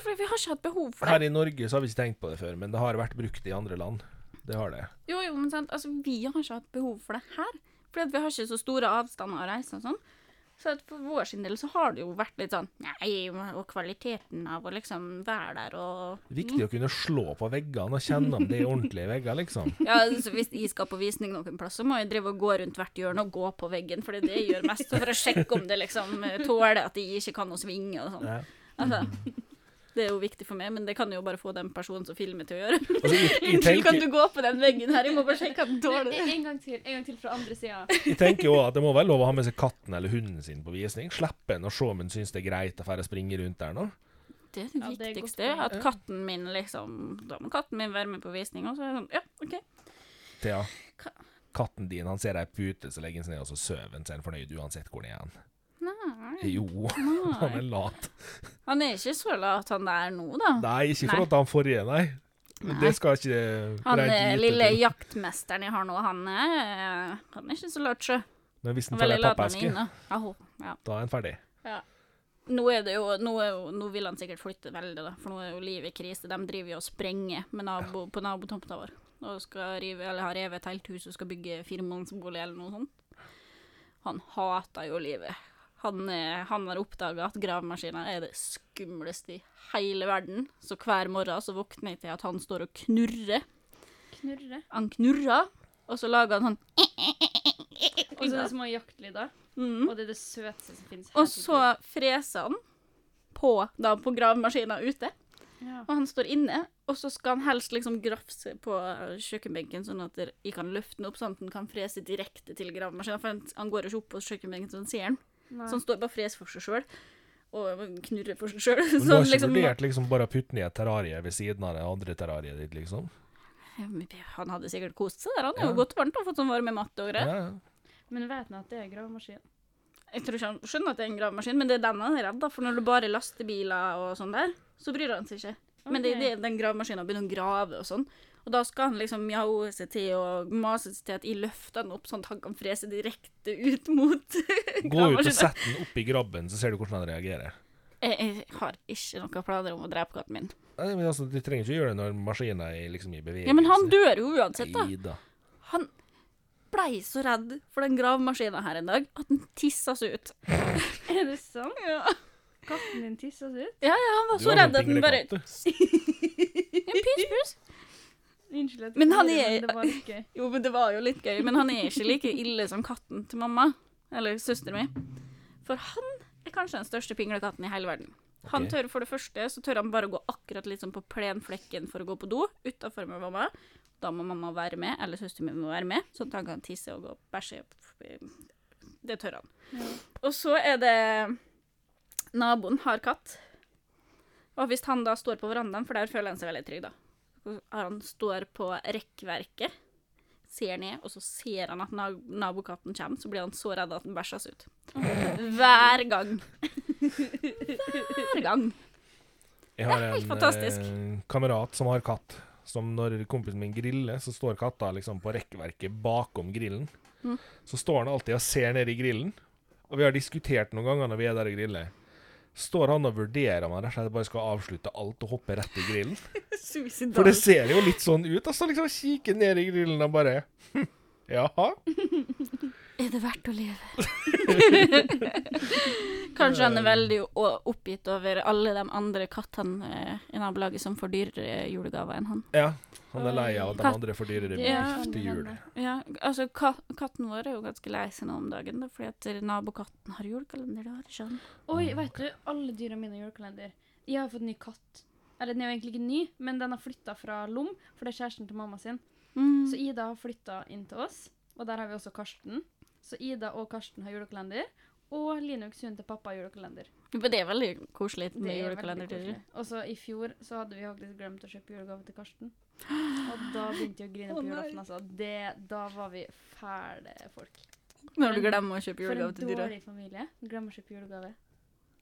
[SPEAKER 1] For vi har ikke hatt behov for det.
[SPEAKER 2] Her i Norge så har vi ikke tenkt på det før, men det har vært brukt i andre land. Det har det.
[SPEAKER 1] Jo, jo, men sant? Altså, vi har ikke hatt behov for det her. Fordi at vi har ikke så store avstander å reise og sånn. Så at for vår sin del så har det jo vært litt sånn Nei, og kvaliteten av å liksom være der og
[SPEAKER 2] Viktig å kunne slå på veggene og kjenne om det er ordentlige vegger, liksom.
[SPEAKER 1] Ja, så hvis jeg skal på visning noen plass, så må jeg drive og gå rundt hvert hjørne og gå på veggen, for det er det jeg gjør mest, for å sjekke om det liksom eh, tåler at jeg ikke kan å svinge og sånn.
[SPEAKER 2] Ja.
[SPEAKER 1] Altså, det er jo viktig for meg, men det kan jo bare få den personen som filmer til å gjøre.
[SPEAKER 2] Altså,
[SPEAKER 1] (laughs)
[SPEAKER 2] jeg, jeg,
[SPEAKER 1] Unnskyld, kan
[SPEAKER 2] tenker,
[SPEAKER 1] du gå på den veggen her? Jeg må bare sjekke at den
[SPEAKER 3] Men,
[SPEAKER 1] tåler det.
[SPEAKER 3] en gang til. En gang til fra andre sida.
[SPEAKER 1] (laughs)
[SPEAKER 2] jeg tenker jo at det må være lov å ha med seg katten eller hunden sin på visning. Slippe en å se om en syns det er greit å fære springe rundt der nå.
[SPEAKER 1] Det er det
[SPEAKER 3] Ja, det er godt
[SPEAKER 1] viktigste,
[SPEAKER 3] poeng.
[SPEAKER 1] at katten min liksom Da må katten min være med på visning, og så er det sånn Ja, OK.
[SPEAKER 2] Thea.
[SPEAKER 1] Ka-
[SPEAKER 2] Katten din han ser ei pute, så legger han seg ned og så sover han, så er han fornøyd uansett hvor han er. hen.
[SPEAKER 1] Nei.
[SPEAKER 2] Eh, Jo, (laughs) han
[SPEAKER 1] Nei.
[SPEAKER 2] er lat.
[SPEAKER 1] Han er ikke så lat han er nå, da.
[SPEAKER 2] Nei, ikke i
[SPEAKER 1] Nei.
[SPEAKER 2] forhold til han forrige, nei.
[SPEAKER 1] Nei.
[SPEAKER 2] Det skal ikke
[SPEAKER 1] Han
[SPEAKER 2] rent
[SPEAKER 1] eh,
[SPEAKER 2] lite
[SPEAKER 1] lille
[SPEAKER 2] til.
[SPEAKER 1] jaktmesteren jeg har nå, han er, eh, han er ikke så lat, sjø.
[SPEAKER 2] Men hvis han tar
[SPEAKER 1] Veldig
[SPEAKER 2] ei
[SPEAKER 1] lat når han er
[SPEAKER 2] pappeske,
[SPEAKER 1] inne. Aho, ja.
[SPEAKER 2] da er han ferdig.
[SPEAKER 1] Nå er det jo, nå, er jo, nå vil han sikkert flytte veldig, da, for nå er jo livet i krise. De driver jo og sprenger med nabo, på nabotomta vår. Og skal rive, eller har revet et helt hus og skal bygge firemannsbolig eller noe sånt. Han hater jo livet. Han, er, han har oppdaga at gravemaskiner er det skumleste i hele verden. Så hver morgen så våkner jeg til at han står og knurrer.
[SPEAKER 3] Knurre.
[SPEAKER 1] Han knurrer, og så lager han sånn
[SPEAKER 3] Og så de små jaktlyder.
[SPEAKER 1] mm.
[SPEAKER 3] Og det er det søteste som finnes.
[SPEAKER 1] Og så freser han på, da, på gravemaskina ute,
[SPEAKER 3] ja.
[SPEAKER 1] og han står inne. Og så skal han helst liksom grafse på eh, kjøkkenbenken, sånn at der- jeg kan løfte den opp, sånn at den kan frese direkte til gravemaskina. For han, han går jo ikke opp på kjøkkenbenken, så han ser den.
[SPEAKER 3] Nei.
[SPEAKER 1] Så han står bare og freser for seg sjøl. Og knurrer for seg Sånn sjøl. (laughs)
[SPEAKER 2] Men du har ikke vurdert liksom bare å putte den i et terrarie ved siden av det andre terrariet ditt, liksom?
[SPEAKER 1] Han hadde sikkert kost seg der. Han er jo
[SPEAKER 2] Ja.
[SPEAKER 1] godt varmt og har fått sånn varme matte og
[SPEAKER 2] Ja,
[SPEAKER 1] greier. (laughs)
[SPEAKER 2] ja.
[SPEAKER 3] Men vet nå at det er gravemaskin.
[SPEAKER 1] Jeg tror ikke han skjønner at det er en gravemaskin, men det er den han er redd da, for når det bare er lastebiler og sånn der, så bryr han seg ikke. Men det,
[SPEAKER 3] Ok.
[SPEAKER 1] det, den gravemaskinen begynner å grave og sånn, og da skal han liksom mjaue seg til og mase seg til at jeg løfter den opp sånn at han kan frese direkte ut mot (laughs)
[SPEAKER 2] Gå ut og
[SPEAKER 1] gravemaskinen.
[SPEAKER 2] sett den oppi grabben, så ser du hvordan han reagerer.
[SPEAKER 1] Jeg, jeg har ikke noen planer om å drepe katten min.
[SPEAKER 2] Nei, men altså, Du trenger ikke gjøre det når maskinen er liksom i bevegelse.
[SPEAKER 1] Ja, men han dør jo uansett da.
[SPEAKER 2] Nei da.
[SPEAKER 1] Han blei så redd for den gravemaskina her en dag at han tissa seg ut.
[SPEAKER 3] Er det sant?
[SPEAKER 1] Ja.
[SPEAKER 3] Katten din tisser seg ut?
[SPEAKER 1] Han var
[SPEAKER 2] Du
[SPEAKER 1] så
[SPEAKER 2] har sånn
[SPEAKER 1] redd at han bare
[SPEAKER 2] pinglekatt, du.
[SPEAKER 1] En pys, pys.
[SPEAKER 3] Unnskyld at jeg
[SPEAKER 1] Men han
[SPEAKER 3] sier
[SPEAKER 1] er-
[SPEAKER 3] det, men det var litt gøy.
[SPEAKER 1] Jo, men det var jo litt gøy. Men han er ikke like ille som katten til mamma. Eller søsteren min. For han er kanskje den største pinglekatten i hele verden. Han
[SPEAKER 2] Ok.
[SPEAKER 1] tør for det første så tør han bare å gå akkurat litt sånn på plenflekken for å gå på do utafor med mamma. Da må mamma være med, eller søsteren min må være med, sånn at han kan tisse og gå og bæsje. Det tør han.
[SPEAKER 3] Ja.
[SPEAKER 1] Og så er det Naboen har katt. Og hvis han da står på verandaen, for der føler han seg veldig trygg, da. Og Han står på rekkverket, ser ned, og så ser han at na- nabokatten kommer, så blir han så redd at han bæsjer seg (laughs) ut. Hver gang. Hver gang.
[SPEAKER 2] Jeg har
[SPEAKER 1] Det er helt
[SPEAKER 2] en
[SPEAKER 1] fantastisk.
[SPEAKER 2] eh, kamerat som har katt. Som når kompisen min griller, så står katta liksom på rekkverket bakom grillen.
[SPEAKER 1] Mm.
[SPEAKER 2] Så står han alltid og ser ned i grillen. Og vi har diskutert noen ganger når vi er der og griller. Står han og vurderer om han rett og slett bare skal avslutte alt og hoppe rett i
[SPEAKER 1] (laughs)
[SPEAKER 2] grillen? For det ser jo litt sånn ut. Altså liksom kikker ned i grillen og bare «Hm, Jaha?
[SPEAKER 1] Er det verdt å leve? (laughs) Kanskje han er veldig o- oppgitt over alle de andre kattene eh, i nabolaget som får dyrere julegaver enn han.
[SPEAKER 2] Ja. Han er lei av at de
[SPEAKER 1] Katt-
[SPEAKER 2] andre får dyrere
[SPEAKER 1] Ja.
[SPEAKER 2] biff til jul.
[SPEAKER 1] Ja, altså ka Katten vår er jo ganske lei seg nå om dagen, da, fordi at nabokatten har julekalender. Det har ikke han.
[SPEAKER 3] Oi, vet du, alle dyra mine har julekalender. Jeg har fått ny katt. Eller den er jo egentlig ikke ny, men den har flytta fra Lom, for det er kjæresten til mamma sin.
[SPEAKER 1] Mm.
[SPEAKER 3] Så Ida har flytta inn til oss, og der har vi også Karsten. Så Ida og Karsten har julekalender, og Linux hun til pappa har julekalender.
[SPEAKER 1] Men det er veldig koselig
[SPEAKER 3] Det
[SPEAKER 1] med
[SPEAKER 3] er
[SPEAKER 1] julekalender.
[SPEAKER 3] veldig
[SPEAKER 1] til
[SPEAKER 3] koselig. Og så i fjor så hadde vi faktisk glemt å kjøpe julegave til Karsten. Og da begynte jeg å
[SPEAKER 1] (gasps)
[SPEAKER 3] grine
[SPEAKER 1] Å,
[SPEAKER 3] på
[SPEAKER 1] nei.
[SPEAKER 3] julaften, altså. Det, da var vi fæle folk.
[SPEAKER 1] dyr. Når du glemmer å kjøpe
[SPEAKER 3] For en
[SPEAKER 1] julegave til dyra.
[SPEAKER 3] dårlig familie. Glemmer å kjøpe julegave.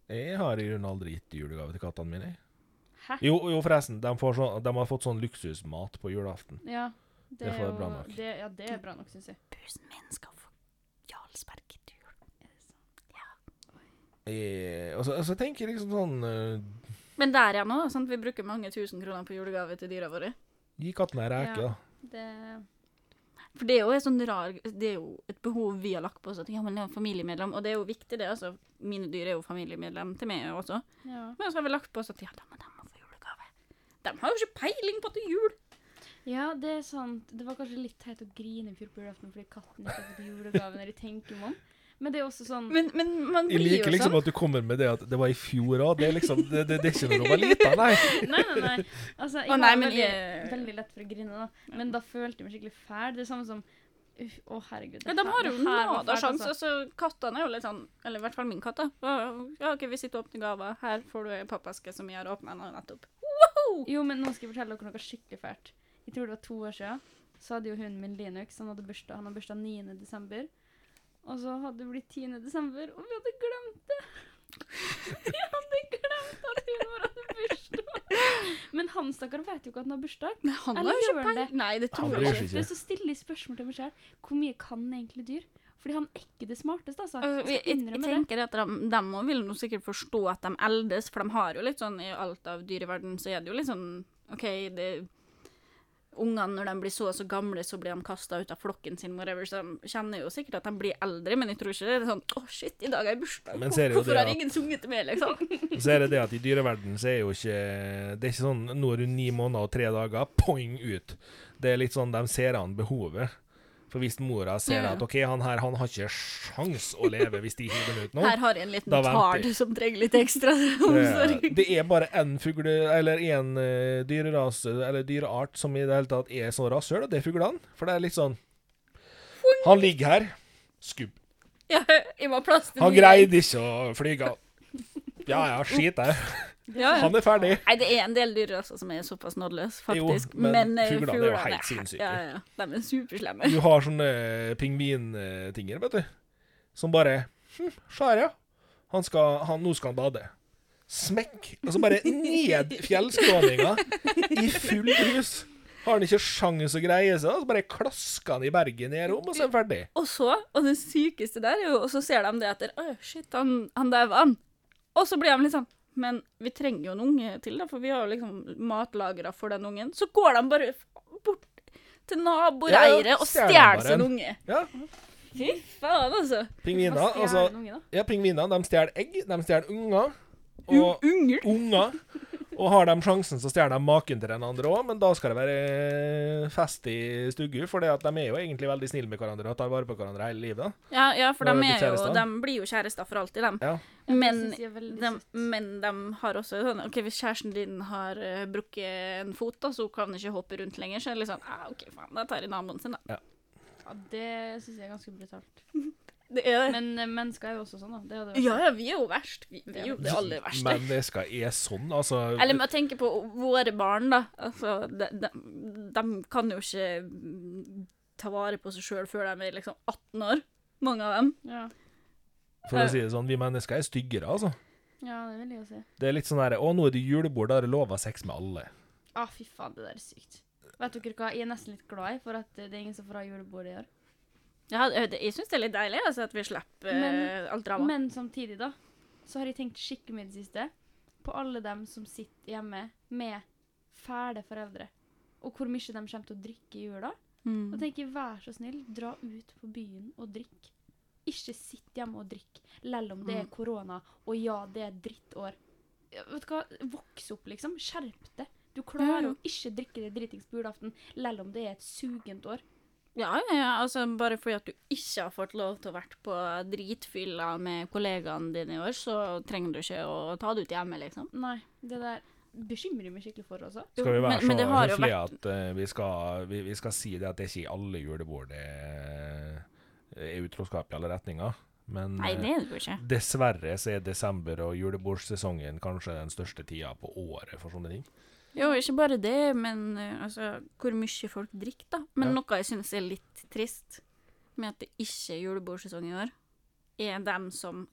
[SPEAKER 2] Jeg har i grunnen aldri gitt julegave til kattene mine. jeg.
[SPEAKER 3] Hæ?
[SPEAKER 2] Jo, jo forresten. De, får sånn, de har fått sånn luksusmat på julaften.
[SPEAKER 3] Ja, det,
[SPEAKER 2] Det
[SPEAKER 3] er
[SPEAKER 2] får
[SPEAKER 3] jo,
[SPEAKER 2] være bra nok.
[SPEAKER 3] Det, ja, det er bra nok, syns jeg.
[SPEAKER 1] Busen min skal få Jarlsberg til jul.
[SPEAKER 2] Eh, og, så, og så tenker jeg liksom sånn eh,
[SPEAKER 1] Men der igjen òg, sant. Vi bruker mange tusen kroner på julegave til dyra våre.
[SPEAKER 2] Gi katten ei reke,
[SPEAKER 3] Ja.
[SPEAKER 2] da.
[SPEAKER 3] Det,
[SPEAKER 1] For det er jo en sånn rar Det er jo et behov vi har lagt på oss. At ja, men jeg er familiemedlem. Og det er jo viktig, det. altså. Mine dyr er jo familiemedlem til meg også.
[SPEAKER 3] ja.
[SPEAKER 1] Men så har vi lagt på oss at ja, da må de få julegave. De har jo ikke peiling på at det er jul.
[SPEAKER 3] ja, det er sant. Det var kanskje litt teit å grine i fjor på julaften fordi katten ikke fikk julegave når jeg tenker meg om. Men det er også sånn
[SPEAKER 1] Men, men man
[SPEAKER 2] Jeg
[SPEAKER 1] blir
[SPEAKER 2] liker
[SPEAKER 1] jo
[SPEAKER 2] liksom
[SPEAKER 1] sånn.
[SPEAKER 2] at du kommer med det at det var i fjor òg. Det, er liksom, det, det, det er ikke når du var liten, nei.
[SPEAKER 3] Nei, nei, nei. Altså, jeg
[SPEAKER 1] Å, nei,
[SPEAKER 3] har
[SPEAKER 1] men
[SPEAKER 3] veldig,
[SPEAKER 1] jeg-
[SPEAKER 3] veldig lett for å grine, da. Men da følte jeg meg skikkelig fæl. Det er samme som Uff, Å, herregud. det
[SPEAKER 1] Men de
[SPEAKER 3] her-
[SPEAKER 1] har
[SPEAKER 3] det
[SPEAKER 1] jo
[SPEAKER 3] her var fælt,
[SPEAKER 1] nada sjanse.
[SPEAKER 3] altså.
[SPEAKER 1] Altså, kattene er jo litt sånn Eller i hvert fall min katt, da. Ja, OK, vi sitter og åpner gaver. Her får du en pappeske som jeg har åpna nettopp. Woho!
[SPEAKER 3] Jo, men nå skal jeg fortelle dere noe skikkelig fælt. Jeg tror det var to år siden. Så hadde jo hunden min Linux, han hadde bursdag, han hadde bursdag 9. desember. Og så hadde det blitt 10. desember, og vi hadde glemt det. (laughs) Vi hadde glemt at hunden vår hadde bursdag. Men han stakkar vet jo ikke at han har bursdag.
[SPEAKER 1] Nei, han
[SPEAKER 3] Eller
[SPEAKER 1] har jo
[SPEAKER 3] gjør
[SPEAKER 1] ikke
[SPEAKER 3] han
[SPEAKER 1] peiling.
[SPEAKER 3] det?
[SPEAKER 1] Nei, det
[SPEAKER 2] Han
[SPEAKER 1] tror
[SPEAKER 2] bryr
[SPEAKER 1] jeg
[SPEAKER 2] seg
[SPEAKER 1] ikke.
[SPEAKER 2] ikke.
[SPEAKER 3] Det er så stille spørsmål til meg selv. Hvor mye kan egentlig dyr? Fordi han er ikke det smarteste, altså.
[SPEAKER 1] Altså, jeg,
[SPEAKER 3] Jeg
[SPEAKER 1] jeg, jeg
[SPEAKER 3] innrømmer det.
[SPEAKER 1] tenker at de, de må vil nå sikkert forstå at de eldes, for de har jo litt sånn I alt av dyr i verden så er det jo litt sånn OK, det Ungene, når de blir så og så gamle, så blir de kasta ut av flokken sin, whatever, så de kjenner jo sikkert at de blir eldre, men jeg tror ikke det er sånn Å, shit, i dag er jeg bursdag.
[SPEAKER 2] Men
[SPEAKER 1] Hvor-
[SPEAKER 2] ser jeg jo det
[SPEAKER 1] Hvorfor har
[SPEAKER 2] at-
[SPEAKER 1] ingen sunget til meg, liksom?
[SPEAKER 2] Så er det det at i dyreverdenen så er jo ikke Det er ikke sånn nå er du ni måneder og tre dager, poeng ut. Det er litt sånn de ser an behovet. For hvis mora ser
[SPEAKER 1] Ja.
[SPEAKER 2] at OK, han her han har ikke sjans å leve hvis de hiver den ut nå.
[SPEAKER 1] Her har jeg en liten
[SPEAKER 2] Da venter
[SPEAKER 1] tard
[SPEAKER 2] jeg.
[SPEAKER 1] som trenger litt ekstra omsorg.
[SPEAKER 2] Det, det er bare én fugle, eller én eh, dyrerase, eller dyreart, som i det hele tatt er så rasshøl, og det er fuglene. For det er litt sånn Han ligger her. Skubb.
[SPEAKER 1] (laughs) Ja, jeg må ha plass til
[SPEAKER 2] Han
[SPEAKER 1] nye.
[SPEAKER 2] greide ikke å flyge. Ja ja, skit det.
[SPEAKER 1] Ja, ja.
[SPEAKER 2] Han er ferdig.
[SPEAKER 1] Nei, det er en del dyr altså, som er såpass nådeløse, faktisk.
[SPEAKER 2] Jo, men
[SPEAKER 1] eh,
[SPEAKER 2] fuglene er jo
[SPEAKER 1] fuglene
[SPEAKER 2] helt sinnssyke.
[SPEAKER 1] Ja, ja, ja. De er superslemme.
[SPEAKER 2] Du har sånne pingvintinger, vet du, som bare hm, Skjær, ja. Han skal, han, nå skal han bade. Smekk! Og så bare ned fjellskråninga i full rus. Har han ikke sjans å greie seg, da, så bare klasker han i berget ned om, og så er han ferdig.
[SPEAKER 1] Og så, og det sykeste der er jo, og så ser de det etter, «Åh, shit, han, han daua han. Og så blir de litt sånn, men vi trenger jo en unge til da, for vi har jo liksom matlagret for den ungen. Så går de bare bort, til naboreiret
[SPEAKER 2] Ja,
[SPEAKER 1] og
[SPEAKER 2] stjeler
[SPEAKER 1] stjele
[SPEAKER 2] bare
[SPEAKER 1] sin
[SPEAKER 2] en.
[SPEAKER 1] unge.
[SPEAKER 2] Ja.
[SPEAKER 1] Fy faen, altså.
[SPEAKER 2] Pingviner.
[SPEAKER 3] Hva stjeler
[SPEAKER 2] Altså,
[SPEAKER 3] en unge, da?
[SPEAKER 2] ja, pingviner de stjeler egg, de stjeler unger.
[SPEAKER 1] U-
[SPEAKER 2] Og
[SPEAKER 1] Unger.
[SPEAKER 2] unger. Og har de sjansen, så stjeler de maken til den andre òg, men da skal det være fest i stugu, for de er jo egentlig veldig snille med hverandre og tar vare på hverandre hele livet.
[SPEAKER 1] Ja, ja for
[SPEAKER 2] Nå
[SPEAKER 1] de,
[SPEAKER 2] er det blitt
[SPEAKER 1] er jo,
[SPEAKER 2] kjærester.
[SPEAKER 1] de blir jo kjærester for alltid, dem.
[SPEAKER 2] Ja.
[SPEAKER 3] Ja, det
[SPEAKER 1] Men
[SPEAKER 3] synes jeg er veldig
[SPEAKER 1] De,
[SPEAKER 3] søtt.
[SPEAKER 1] men de har også sånn OK, hvis kjæresten din har eh, brukket en fot, da, så hun kan ikke hoppe rundt lenger, så er det litt sånn ah, OK, faen, da tar jeg naboen sin, da.
[SPEAKER 3] Ja, det syns jeg er ganske brutalt.
[SPEAKER 1] Det er det.
[SPEAKER 3] Men eh, mennesker er jo også sånn, da. Det hadde vært
[SPEAKER 1] Øh. Ja, ja, vi er jo verst. Vi, vi er jo det aller verste.
[SPEAKER 2] Mennesker er sånn, altså.
[SPEAKER 1] Eller med å tenke på våre barn, da. Altså, de, de, de kan jo ikke mm, ta vare på seg sjøl før de er liksom 18 år. Mange av dem.
[SPEAKER 3] ja.
[SPEAKER 2] For
[SPEAKER 1] eh,
[SPEAKER 2] å si det sånn, vi mennesker er styggere, altså.
[SPEAKER 3] ja, det vil jeg jo si.
[SPEAKER 2] Det er litt sånn her Å, nå er det julebord, da er det lov å ha sex med alle.
[SPEAKER 3] Ah, fy faen, det der er sykt. Vet dere hva, jeg er nesten litt glad i, for at eh, det er ingen som får ha julebord i år.
[SPEAKER 1] Ja, det, jeg syns det er litt deilig altså, at vi slipper
[SPEAKER 3] Men-
[SPEAKER 1] eh, alt drama.
[SPEAKER 3] Men samtidig, da, så har jeg tenkt skikkelig mye i det siste på alle dem som sitter hjemme med fæle foreldre, og hvor mye de kommer til å drikke i jula. Og
[SPEAKER 1] mm.
[SPEAKER 3] tenker, vær så snill, dra ut på byen og drikk. Ikke sitt hjemme og drikk, lell om det er
[SPEAKER 1] Mm.
[SPEAKER 3] korona, og ja, det er drittår. Ja, Vet du hva, voks opp, liksom. Skjerp deg. Du
[SPEAKER 1] Ja,
[SPEAKER 3] klarer
[SPEAKER 1] ja.
[SPEAKER 3] å ikke drikke deg dritings på julaften, lell om det er et sugent år.
[SPEAKER 1] ja, ja, ja. Altså, bare fordi at du ikke har fått lov til å vært på dritfylla med kollegaene dine i år, så trenger du ikke å ta det ut hjemme, liksom.
[SPEAKER 3] Nei, det der bekymrer meg skikkelig for, altså.
[SPEAKER 1] Jo,
[SPEAKER 2] Skal vi være
[SPEAKER 1] men- men det
[SPEAKER 2] så
[SPEAKER 1] har jo
[SPEAKER 2] høflige at eh, vi, skal, vi, vi skal si det at det er ikke i alle julebord det eh, er utroskap i alle retninger, men
[SPEAKER 1] Nei,
[SPEAKER 2] eh,
[SPEAKER 1] det er det jo ikke.
[SPEAKER 2] Dessverre så er desember og julebordsesongen kanskje den største tida på året for sånne ting.
[SPEAKER 1] Jo, ikke bare det, men eh, altså, hvor mye folk drikker, da. Men
[SPEAKER 2] Ja.
[SPEAKER 1] noe jeg syns er litt trist med at det ikke er julebordsesong i år, er dem som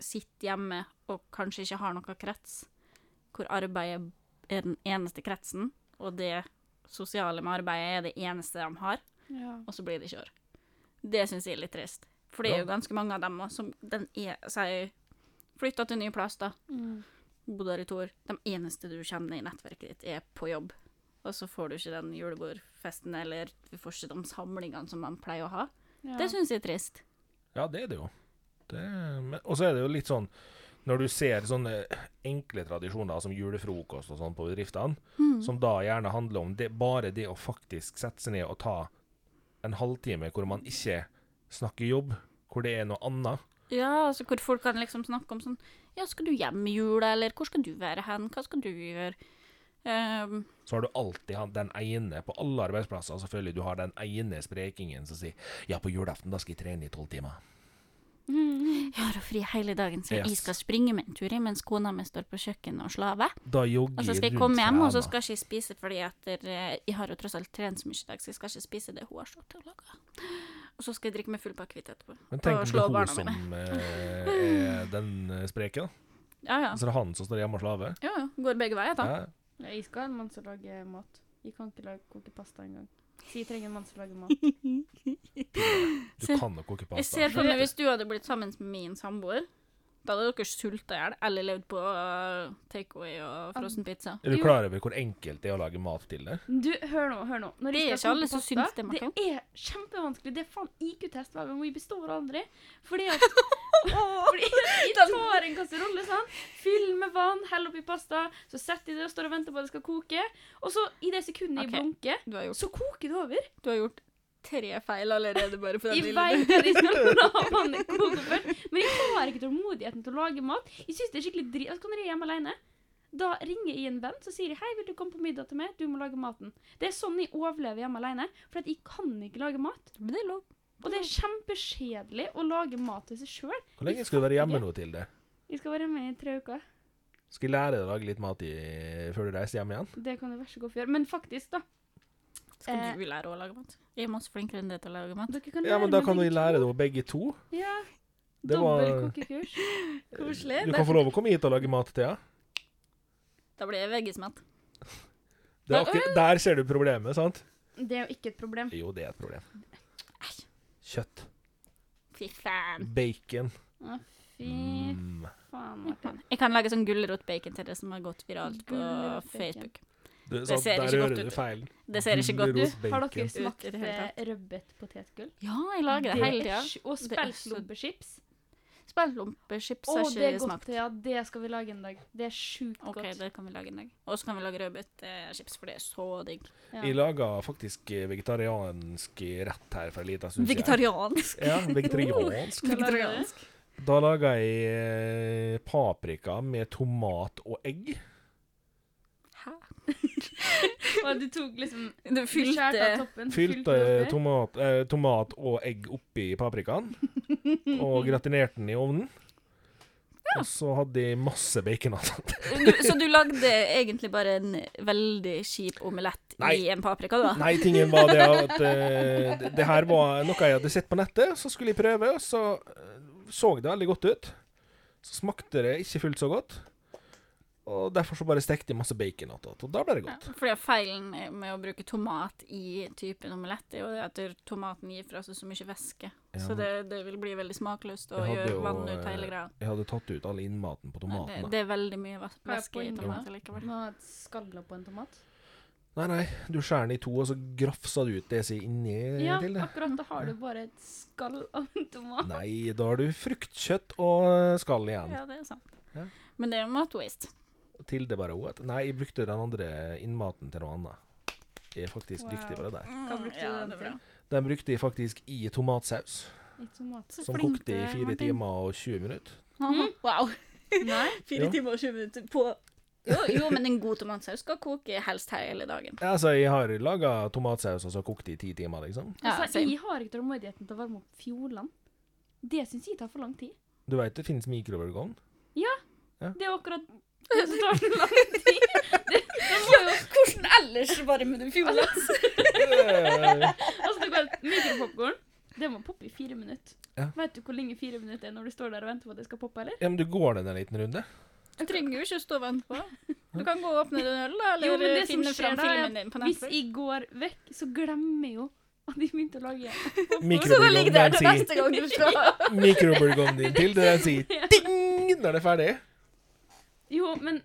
[SPEAKER 1] sitter hjemme og kanskje ikke har noe krets, hvor arbeidet er den eneste kretsen, og det sosiale med arbeidet er det eneste de har,
[SPEAKER 3] Ja.
[SPEAKER 1] og så blir det ikke år. Det syns jeg er litt trist. For det er jo ganske mange av dem også, som den er, sier Flytta til ny plass, da
[SPEAKER 3] Mm.
[SPEAKER 1] bodde her i to år. De eneste du kjenner i nettverket ditt, er på jobb. Og så får du ikke den julebordfesten, eller du får ikke de samlingene som man pleier å ha.
[SPEAKER 3] Ja.
[SPEAKER 1] Det syns jeg er trist.
[SPEAKER 2] Ja, det er det jo. Det, men- og så er det jo litt sånn Når du ser sånne enkle tradisjoner som julefrokost og sånn på bedriftene, som da gjerne handler om det, bare det å faktisk sette seg ned og ta en halvtime hvor man ikke snakker jobb, hvor det er noe annet.
[SPEAKER 1] Ja, altså hvor folk kan liksom snakke om sånn Ja, skal du hjem i jula, eller hvor skal du være hen, hva skal du gjøre? Ehm,
[SPEAKER 2] Så har du alltid han- den ene på alle arbeidsplasser, selvfølgelig, du har den ene sprekingen som sier 'ja, på julaften da skal jeg trene i tolv timer'.
[SPEAKER 1] jeg har jo fri hele dagen, så jeg
[SPEAKER 2] Yes.
[SPEAKER 1] skal springe meg en tur mens kona mi står på kjøkkenet og slaver.
[SPEAKER 2] Da jogger
[SPEAKER 1] Og så skal Altså, jeg
[SPEAKER 2] rundt
[SPEAKER 1] komme hjem, og så
[SPEAKER 2] trærne.
[SPEAKER 1] skal ikke jeg spise fordi at eh, jeg har jo tross alt trent så mye i dag, så jeg skal ikke spise det hun har stått til å lage. Og så skal jeg drikke meg full på akevitt etterpå.
[SPEAKER 2] Men
[SPEAKER 1] Og
[SPEAKER 2] tenk om det
[SPEAKER 1] slå
[SPEAKER 2] er hun
[SPEAKER 1] barna
[SPEAKER 2] som
[SPEAKER 1] mine.
[SPEAKER 2] eh,
[SPEAKER 1] (laughs)
[SPEAKER 2] er den eh, spreke, da.
[SPEAKER 1] Ja, ja.
[SPEAKER 2] Så det er han som står hjemme og slaver.
[SPEAKER 1] Ja, ja. Går begge veier, da.
[SPEAKER 2] Ja.
[SPEAKER 3] Ja, jeg skal ha en mann som lager mat. Jeg kan ikke lage koke pasta engang. Så jeg trenger en mann som lager mat.
[SPEAKER 2] Du
[SPEAKER 1] Se-
[SPEAKER 2] kan jo koke
[SPEAKER 1] Jeg
[SPEAKER 2] pasta.
[SPEAKER 1] ser for meg hvis du hadde blitt sammen med min samboer, da hadde dere sulta i hjel eller levd på øh, takeaway og frossen pizza.
[SPEAKER 2] Er du klar over hvor enkelt det er å lage mat til det?
[SPEAKER 3] Du, hør nå, hør nå. Når
[SPEAKER 1] Det
[SPEAKER 3] jeg
[SPEAKER 1] er
[SPEAKER 3] skal
[SPEAKER 1] ikke alle
[SPEAKER 3] koke
[SPEAKER 1] som
[SPEAKER 3] pasta,
[SPEAKER 1] syns det, Martin.
[SPEAKER 3] Det er kjempevanskelig. Det er faen IQ-test hver gang vi består aldri. Fordi
[SPEAKER 1] (laughs)
[SPEAKER 3] at (laughs) fordi jeg tar en kasserolle, sant? fyller med vann, heller oppi pasta, så setter jeg det og står og venter på at det skal koke. Og så, i det sekundet jeg
[SPEAKER 1] Ok.
[SPEAKER 3] blunker,
[SPEAKER 1] Du har gjort,
[SPEAKER 3] så koker det over.
[SPEAKER 1] du har gjort tre feil allerede bare på den
[SPEAKER 3] Jeg
[SPEAKER 1] lille
[SPEAKER 3] vet liksom. at jeg (laughs) skal la vannet koke først, men jeg har ikke tålmodigheten til å lage mat. Jeg synes det er skikkelig drit. Altså, kan jeg er hjemme alene, da ringer jeg en venn så sier jeg, hei, vil du komme på middag til meg? Du må lage maten. Det er sånn jeg overlever hjemme alene, for at jeg kan ikke lage mat.
[SPEAKER 1] Men det er lov.
[SPEAKER 3] Og det er kjempeskjedelig å lage mat til seg sjøl.
[SPEAKER 2] Hvor lenge skal du være hjemme nå til det?
[SPEAKER 3] Jeg skal være med i tre uker.
[SPEAKER 2] Skal jeg lære deg å lage litt mat i, før du reiser hjem igjen?
[SPEAKER 3] Det kan du vær så god få gjøre. Men faktisk, da. Eh.
[SPEAKER 1] Skal du lære å lage mat? Jeg er masse flinkere enn det til å lage mat.
[SPEAKER 3] Dere kan
[SPEAKER 2] Ja, men da
[SPEAKER 3] meg
[SPEAKER 2] kan vi
[SPEAKER 3] begge
[SPEAKER 2] lære det begge to.
[SPEAKER 3] to. Ja.
[SPEAKER 2] Det var-
[SPEAKER 3] Dobbel kokekurs.
[SPEAKER 1] Koselig.
[SPEAKER 2] Du kan få lov å komme hit og lage mat, Thea.
[SPEAKER 1] Da blir jeg veggismatt.
[SPEAKER 2] Det er
[SPEAKER 1] øh.
[SPEAKER 2] akkur- Der ser du problemet, sant?
[SPEAKER 3] Det er jo ikke et problem.
[SPEAKER 2] Jo, det er et problem. Kjøtt.
[SPEAKER 1] Fy faen.
[SPEAKER 2] Bacon.
[SPEAKER 3] Å, fy
[SPEAKER 2] Mm.
[SPEAKER 3] faen, Martin.
[SPEAKER 1] Jeg kan lage sånn gulrotbacon til det som har gått viralt på
[SPEAKER 3] Gulrotbacon.
[SPEAKER 1] Facebook.
[SPEAKER 2] Du,
[SPEAKER 1] Det ser ikke godt ut.
[SPEAKER 2] feil.
[SPEAKER 1] Det ser ikke godt
[SPEAKER 3] Du,
[SPEAKER 1] ut.
[SPEAKER 2] Rotbacon.
[SPEAKER 3] har dere
[SPEAKER 1] Ut i
[SPEAKER 3] smakt
[SPEAKER 1] det hele
[SPEAKER 3] eh,
[SPEAKER 1] tatt.
[SPEAKER 3] rødbet potetgull?
[SPEAKER 1] Ja, jeg lager det
[SPEAKER 3] Det
[SPEAKER 1] hele
[SPEAKER 3] er
[SPEAKER 1] tida.
[SPEAKER 3] sj- Og
[SPEAKER 1] Det er så-
[SPEAKER 3] speltlompechips.
[SPEAKER 1] Speltlompechips
[SPEAKER 3] Å,
[SPEAKER 1] har
[SPEAKER 3] det er
[SPEAKER 1] ikke
[SPEAKER 3] godt.
[SPEAKER 1] smakt.
[SPEAKER 3] Ja, det skal vi lage en dag. Det er sjukt
[SPEAKER 1] OK,
[SPEAKER 3] godt.
[SPEAKER 1] det kan vi lage en dag. Og så kan vi lage rødbetchips, for det er så digg.
[SPEAKER 3] Ja.
[SPEAKER 2] Jeg laga faktisk eh, vegetariansk rett her for en liten stund siden.
[SPEAKER 1] Vegetariansk.
[SPEAKER 2] Ja,
[SPEAKER 3] (laughs)
[SPEAKER 2] vegetariansk.
[SPEAKER 3] Hva lager du?
[SPEAKER 1] Vegetariansk.
[SPEAKER 2] Da laga jeg eh, paprika med tomat og egg.
[SPEAKER 1] Hæ?
[SPEAKER 3] Og du tok liksom
[SPEAKER 1] Du
[SPEAKER 3] du skjærte av
[SPEAKER 1] fylte
[SPEAKER 3] toppen.
[SPEAKER 2] Fylte
[SPEAKER 3] fylte oppi.
[SPEAKER 2] tomat, eh, tomat og egg oppi paprikaen, og gratinerte den i ovnen. Og så hadde jeg masse bacon. altså.
[SPEAKER 1] du, Så du lagde egentlig bare en veldig kjip omelett i
[SPEAKER 2] Nei.
[SPEAKER 1] en paprika, da?
[SPEAKER 2] Nei, tingen var det at eh, det- det her var noe jeg hadde sett på nettet, så skulle jeg prøve, og så eh, så det veldig godt ut. Så smakte det ikke fullt så godt, og derfor så bare stekte jeg masse bacon attåt, og da ble det
[SPEAKER 1] Ja,
[SPEAKER 2] godt.
[SPEAKER 1] Fordi at feilen med å bruke tomat i typen omelett er jo det at tomaten gir fra seg så mye væske.
[SPEAKER 2] Ja,
[SPEAKER 1] så det, det vil bli veldig smakløst å
[SPEAKER 2] Jeg
[SPEAKER 1] gjøre
[SPEAKER 2] hadde jo,
[SPEAKER 1] vann ut av
[SPEAKER 2] eh,
[SPEAKER 1] hele greia.
[SPEAKER 2] Jeg hadde tatt ut all innmaten
[SPEAKER 1] Nei,
[SPEAKER 2] på
[SPEAKER 1] Det,
[SPEAKER 2] tomatene.
[SPEAKER 1] det er veldig mye vas-
[SPEAKER 3] Hva er
[SPEAKER 1] væske i
[SPEAKER 3] poenget
[SPEAKER 1] tomat
[SPEAKER 3] da?
[SPEAKER 1] likevel.
[SPEAKER 3] Nå har jeg et skalle på en tomat.
[SPEAKER 2] Nei, nei, du skjærer den i to, og så grafser du ut det som er inni
[SPEAKER 3] Ja,
[SPEAKER 2] til
[SPEAKER 1] (laughs)
[SPEAKER 2] det.
[SPEAKER 3] akkurat. Da har du bare et skall av en tomat.
[SPEAKER 2] Nei, da har du fruktkjøtt og skall igjen.
[SPEAKER 1] Ja, det er sant.
[SPEAKER 2] Ja.
[SPEAKER 1] Men det er jo mat waste.
[SPEAKER 2] Tilde bare what? Nei, jeg brukte den andre innmaten til noe annet. Jeg er faktisk
[SPEAKER 3] Wow.
[SPEAKER 2] riktig på det der.
[SPEAKER 1] Mm,
[SPEAKER 3] Hva brukte
[SPEAKER 1] ja,
[SPEAKER 3] du
[SPEAKER 1] det
[SPEAKER 3] den
[SPEAKER 1] er
[SPEAKER 3] til?
[SPEAKER 1] bra.
[SPEAKER 2] Den brukte jeg faktisk i tomatsaus,
[SPEAKER 3] I tomat.
[SPEAKER 1] Så
[SPEAKER 2] som
[SPEAKER 1] flink du
[SPEAKER 2] kokte i
[SPEAKER 1] er,
[SPEAKER 2] fire
[SPEAKER 1] (laughs) Martin.
[SPEAKER 2] timer og 20 minutter.
[SPEAKER 1] Haha, Wow. (laughs)
[SPEAKER 3] Nei?
[SPEAKER 2] Jo.
[SPEAKER 1] timer og 20 minutter på jo, jo, men en god tomatsaus skal koke helst hele dagen.
[SPEAKER 2] Ja, Altså, jeg har laga tomatsaus, og så kokte i ti timer, liksom.
[SPEAKER 1] Ja,
[SPEAKER 3] altså,
[SPEAKER 1] same.
[SPEAKER 3] jeg har ikke tålmodigheten til å varme opp fjolene. Det syns jeg tar for lang tid.
[SPEAKER 2] Du veit det finnes
[SPEAKER 1] (laughs)
[SPEAKER 2] mikrobølgeovn?
[SPEAKER 3] Det er akkurat det som tar så lang tid. Det, det må jo,
[SPEAKER 1] Hvordan ellers varmer du fjorden?
[SPEAKER 2] Eh,
[SPEAKER 3] altså, du kan mikropopkorn. Det må poppe i fire minutter.
[SPEAKER 2] Ja.
[SPEAKER 3] Vet du hvor lenge fire minutter er når du står der og venter på at det skal poppe, eller?
[SPEAKER 2] Ja, men du går den en liten runde?
[SPEAKER 1] Du trenger jo ikke å stå og vente på. Du kan gå og åpne en øl, da, (laughs) eller
[SPEAKER 3] Jo, men det som
[SPEAKER 1] finne
[SPEAKER 3] skjer
[SPEAKER 1] fram
[SPEAKER 3] da, er
[SPEAKER 1] filmen
[SPEAKER 3] at
[SPEAKER 1] din på
[SPEAKER 3] Hvis
[SPEAKER 1] Netflix.
[SPEAKER 3] jeg går vekk, så glemmer jeg jo at jeg begynte å lage
[SPEAKER 1] Så det ligger der
[SPEAKER 2] Mikrobølgeovnen den
[SPEAKER 1] til
[SPEAKER 2] sier
[SPEAKER 1] neste gang du skal
[SPEAKER 2] (laughs) Mikrobølgeovnen din til,
[SPEAKER 1] (laughs)
[SPEAKER 2] den sier ding når det er ferdig.
[SPEAKER 3] Jo, men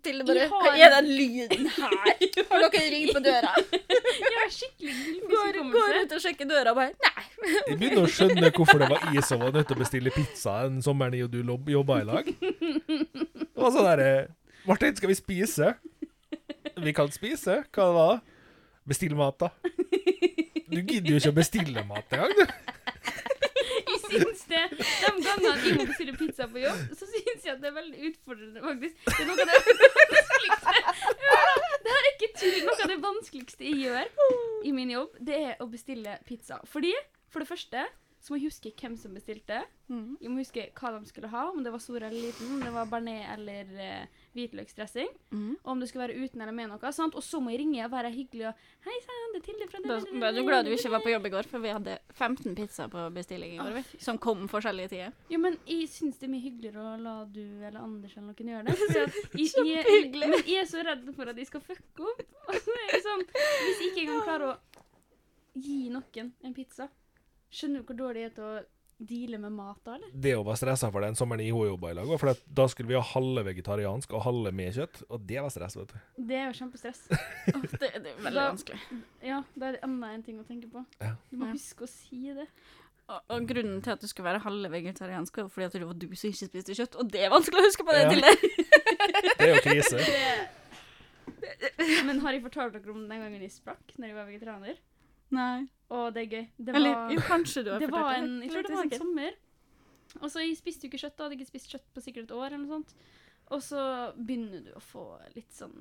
[SPEAKER 1] Til det bare
[SPEAKER 3] Jeg har-
[SPEAKER 1] Hva er den lyden (laughs) her? Har dere ringt på døra?
[SPEAKER 3] jeg har skikkelig
[SPEAKER 1] Går, går
[SPEAKER 3] gullfiskhukommelse.
[SPEAKER 1] ut og sjekker døra og bare Nei.
[SPEAKER 2] Jeg begynner å skjønne hvorfor det var jeg som var nødt til å bestille pizza den sommeren jeg og du lob- jobba i lag. Det var sånn derre Martin, skal vi spise? Vi kan spise. Hva det var det? Bestill mat, da. Du gidder jo ikke å bestille mat engang, du.
[SPEAKER 3] (laughs) Jeg syns det. De gangene jeg må bestille pizza på jobb, så syns jeg at det er veldig utfordrende, faktisk. Det er noe av det vanskeligste ja, Det her er ikke tull. Noe av det vanskeligste jeg gjør i min jobb, det er å bestille pizza. Fordi, for det første, så må jeg huske hvem som bestilte.
[SPEAKER 1] Mm.
[SPEAKER 3] Jeg må huske hva de skulle ha, om det var stor eller liten, om det var bearnés eller eh, hvitløksdressing.
[SPEAKER 1] Mhm.
[SPEAKER 3] Og om det skulle være uten eller med noe. Sant? Og så må jeg ringe og være hyggelig og Hei sann, det er Tilde fra
[SPEAKER 1] Da da er du glad du ikke var på jobb i går, for vi hadde 15 pizzaer på bestilling i går,
[SPEAKER 3] Å,
[SPEAKER 1] vi, som kom forskjellige tider.
[SPEAKER 3] Jo, men jeg syns det er mye hyggeligere å la du eller Anders eller noen gjøre det. Fordi at jeg, jeg,
[SPEAKER 1] Kjempehyggelig.
[SPEAKER 3] men jeg er så redd for at jeg skal fucke opp. (laughs) Og så er jeg sånn, Hvis jeg ikke engang klarer å gi noen en pizza Skjønner du hvor dårlig jeg er til å deale med mat da, eller?
[SPEAKER 2] Det å være stressa for den sommeren jeg og hun jobba i lag, og for at da skulle vi ha halve vegetariansk og halve med kjøtt, og det var stress, vet du.
[SPEAKER 3] Det er jo kjempestress.
[SPEAKER 1] Det, det er veldig
[SPEAKER 3] Da-
[SPEAKER 1] vanskelig.
[SPEAKER 3] Ja, da er det enda en ting å tenke på.
[SPEAKER 2] Ja.
[SPEAKER 3] Du må
[SPEAKER 1] Ja.
[SPEAKER 3] huske å si det.
[SPEAKER 1] Og, og grunnen til at du skulle være halve vegetariansk, var jo fordi at det var du som ikke spiste kjøtt, og det er vanskelig å huske på det
[SPEAKER 2] Ja.
[SPEAKER 1] til deg.
[SPEAKER 2] Det er jo
[SPEAKER 1] (laughs)
[SPEAKER 2] krise.
[SPEAKER 3] det. Men har jeg fortalt dere om den gangen jeg sprakk når jeg var vegetarianer?
[SPEAKER 1] Nei.
[SPEAKER 3] Å, det er gøy. Det
[SPEAKER 1] Eller
[SPEAKER 3] var
[SPEAKER 1] jo, kanskje du har
[SPEAKER 3] det var
[SPEAKER 1] fortalt
[SPEAKER 3] en, jeg
[SPEAKER 1] Eller
[SPEAKER 3] tror det
[SPEAKER 1] er
[SPEAKER 3] var en
[SPEAKER 1] sikkert.
[SPEAKER 3] sommer. Og så jeg spiste jo ikke kjøtt, da. Hadde ikke spist kjøtt på sikkert et år. eller noe sånt. Og så begynner du å få litt sånn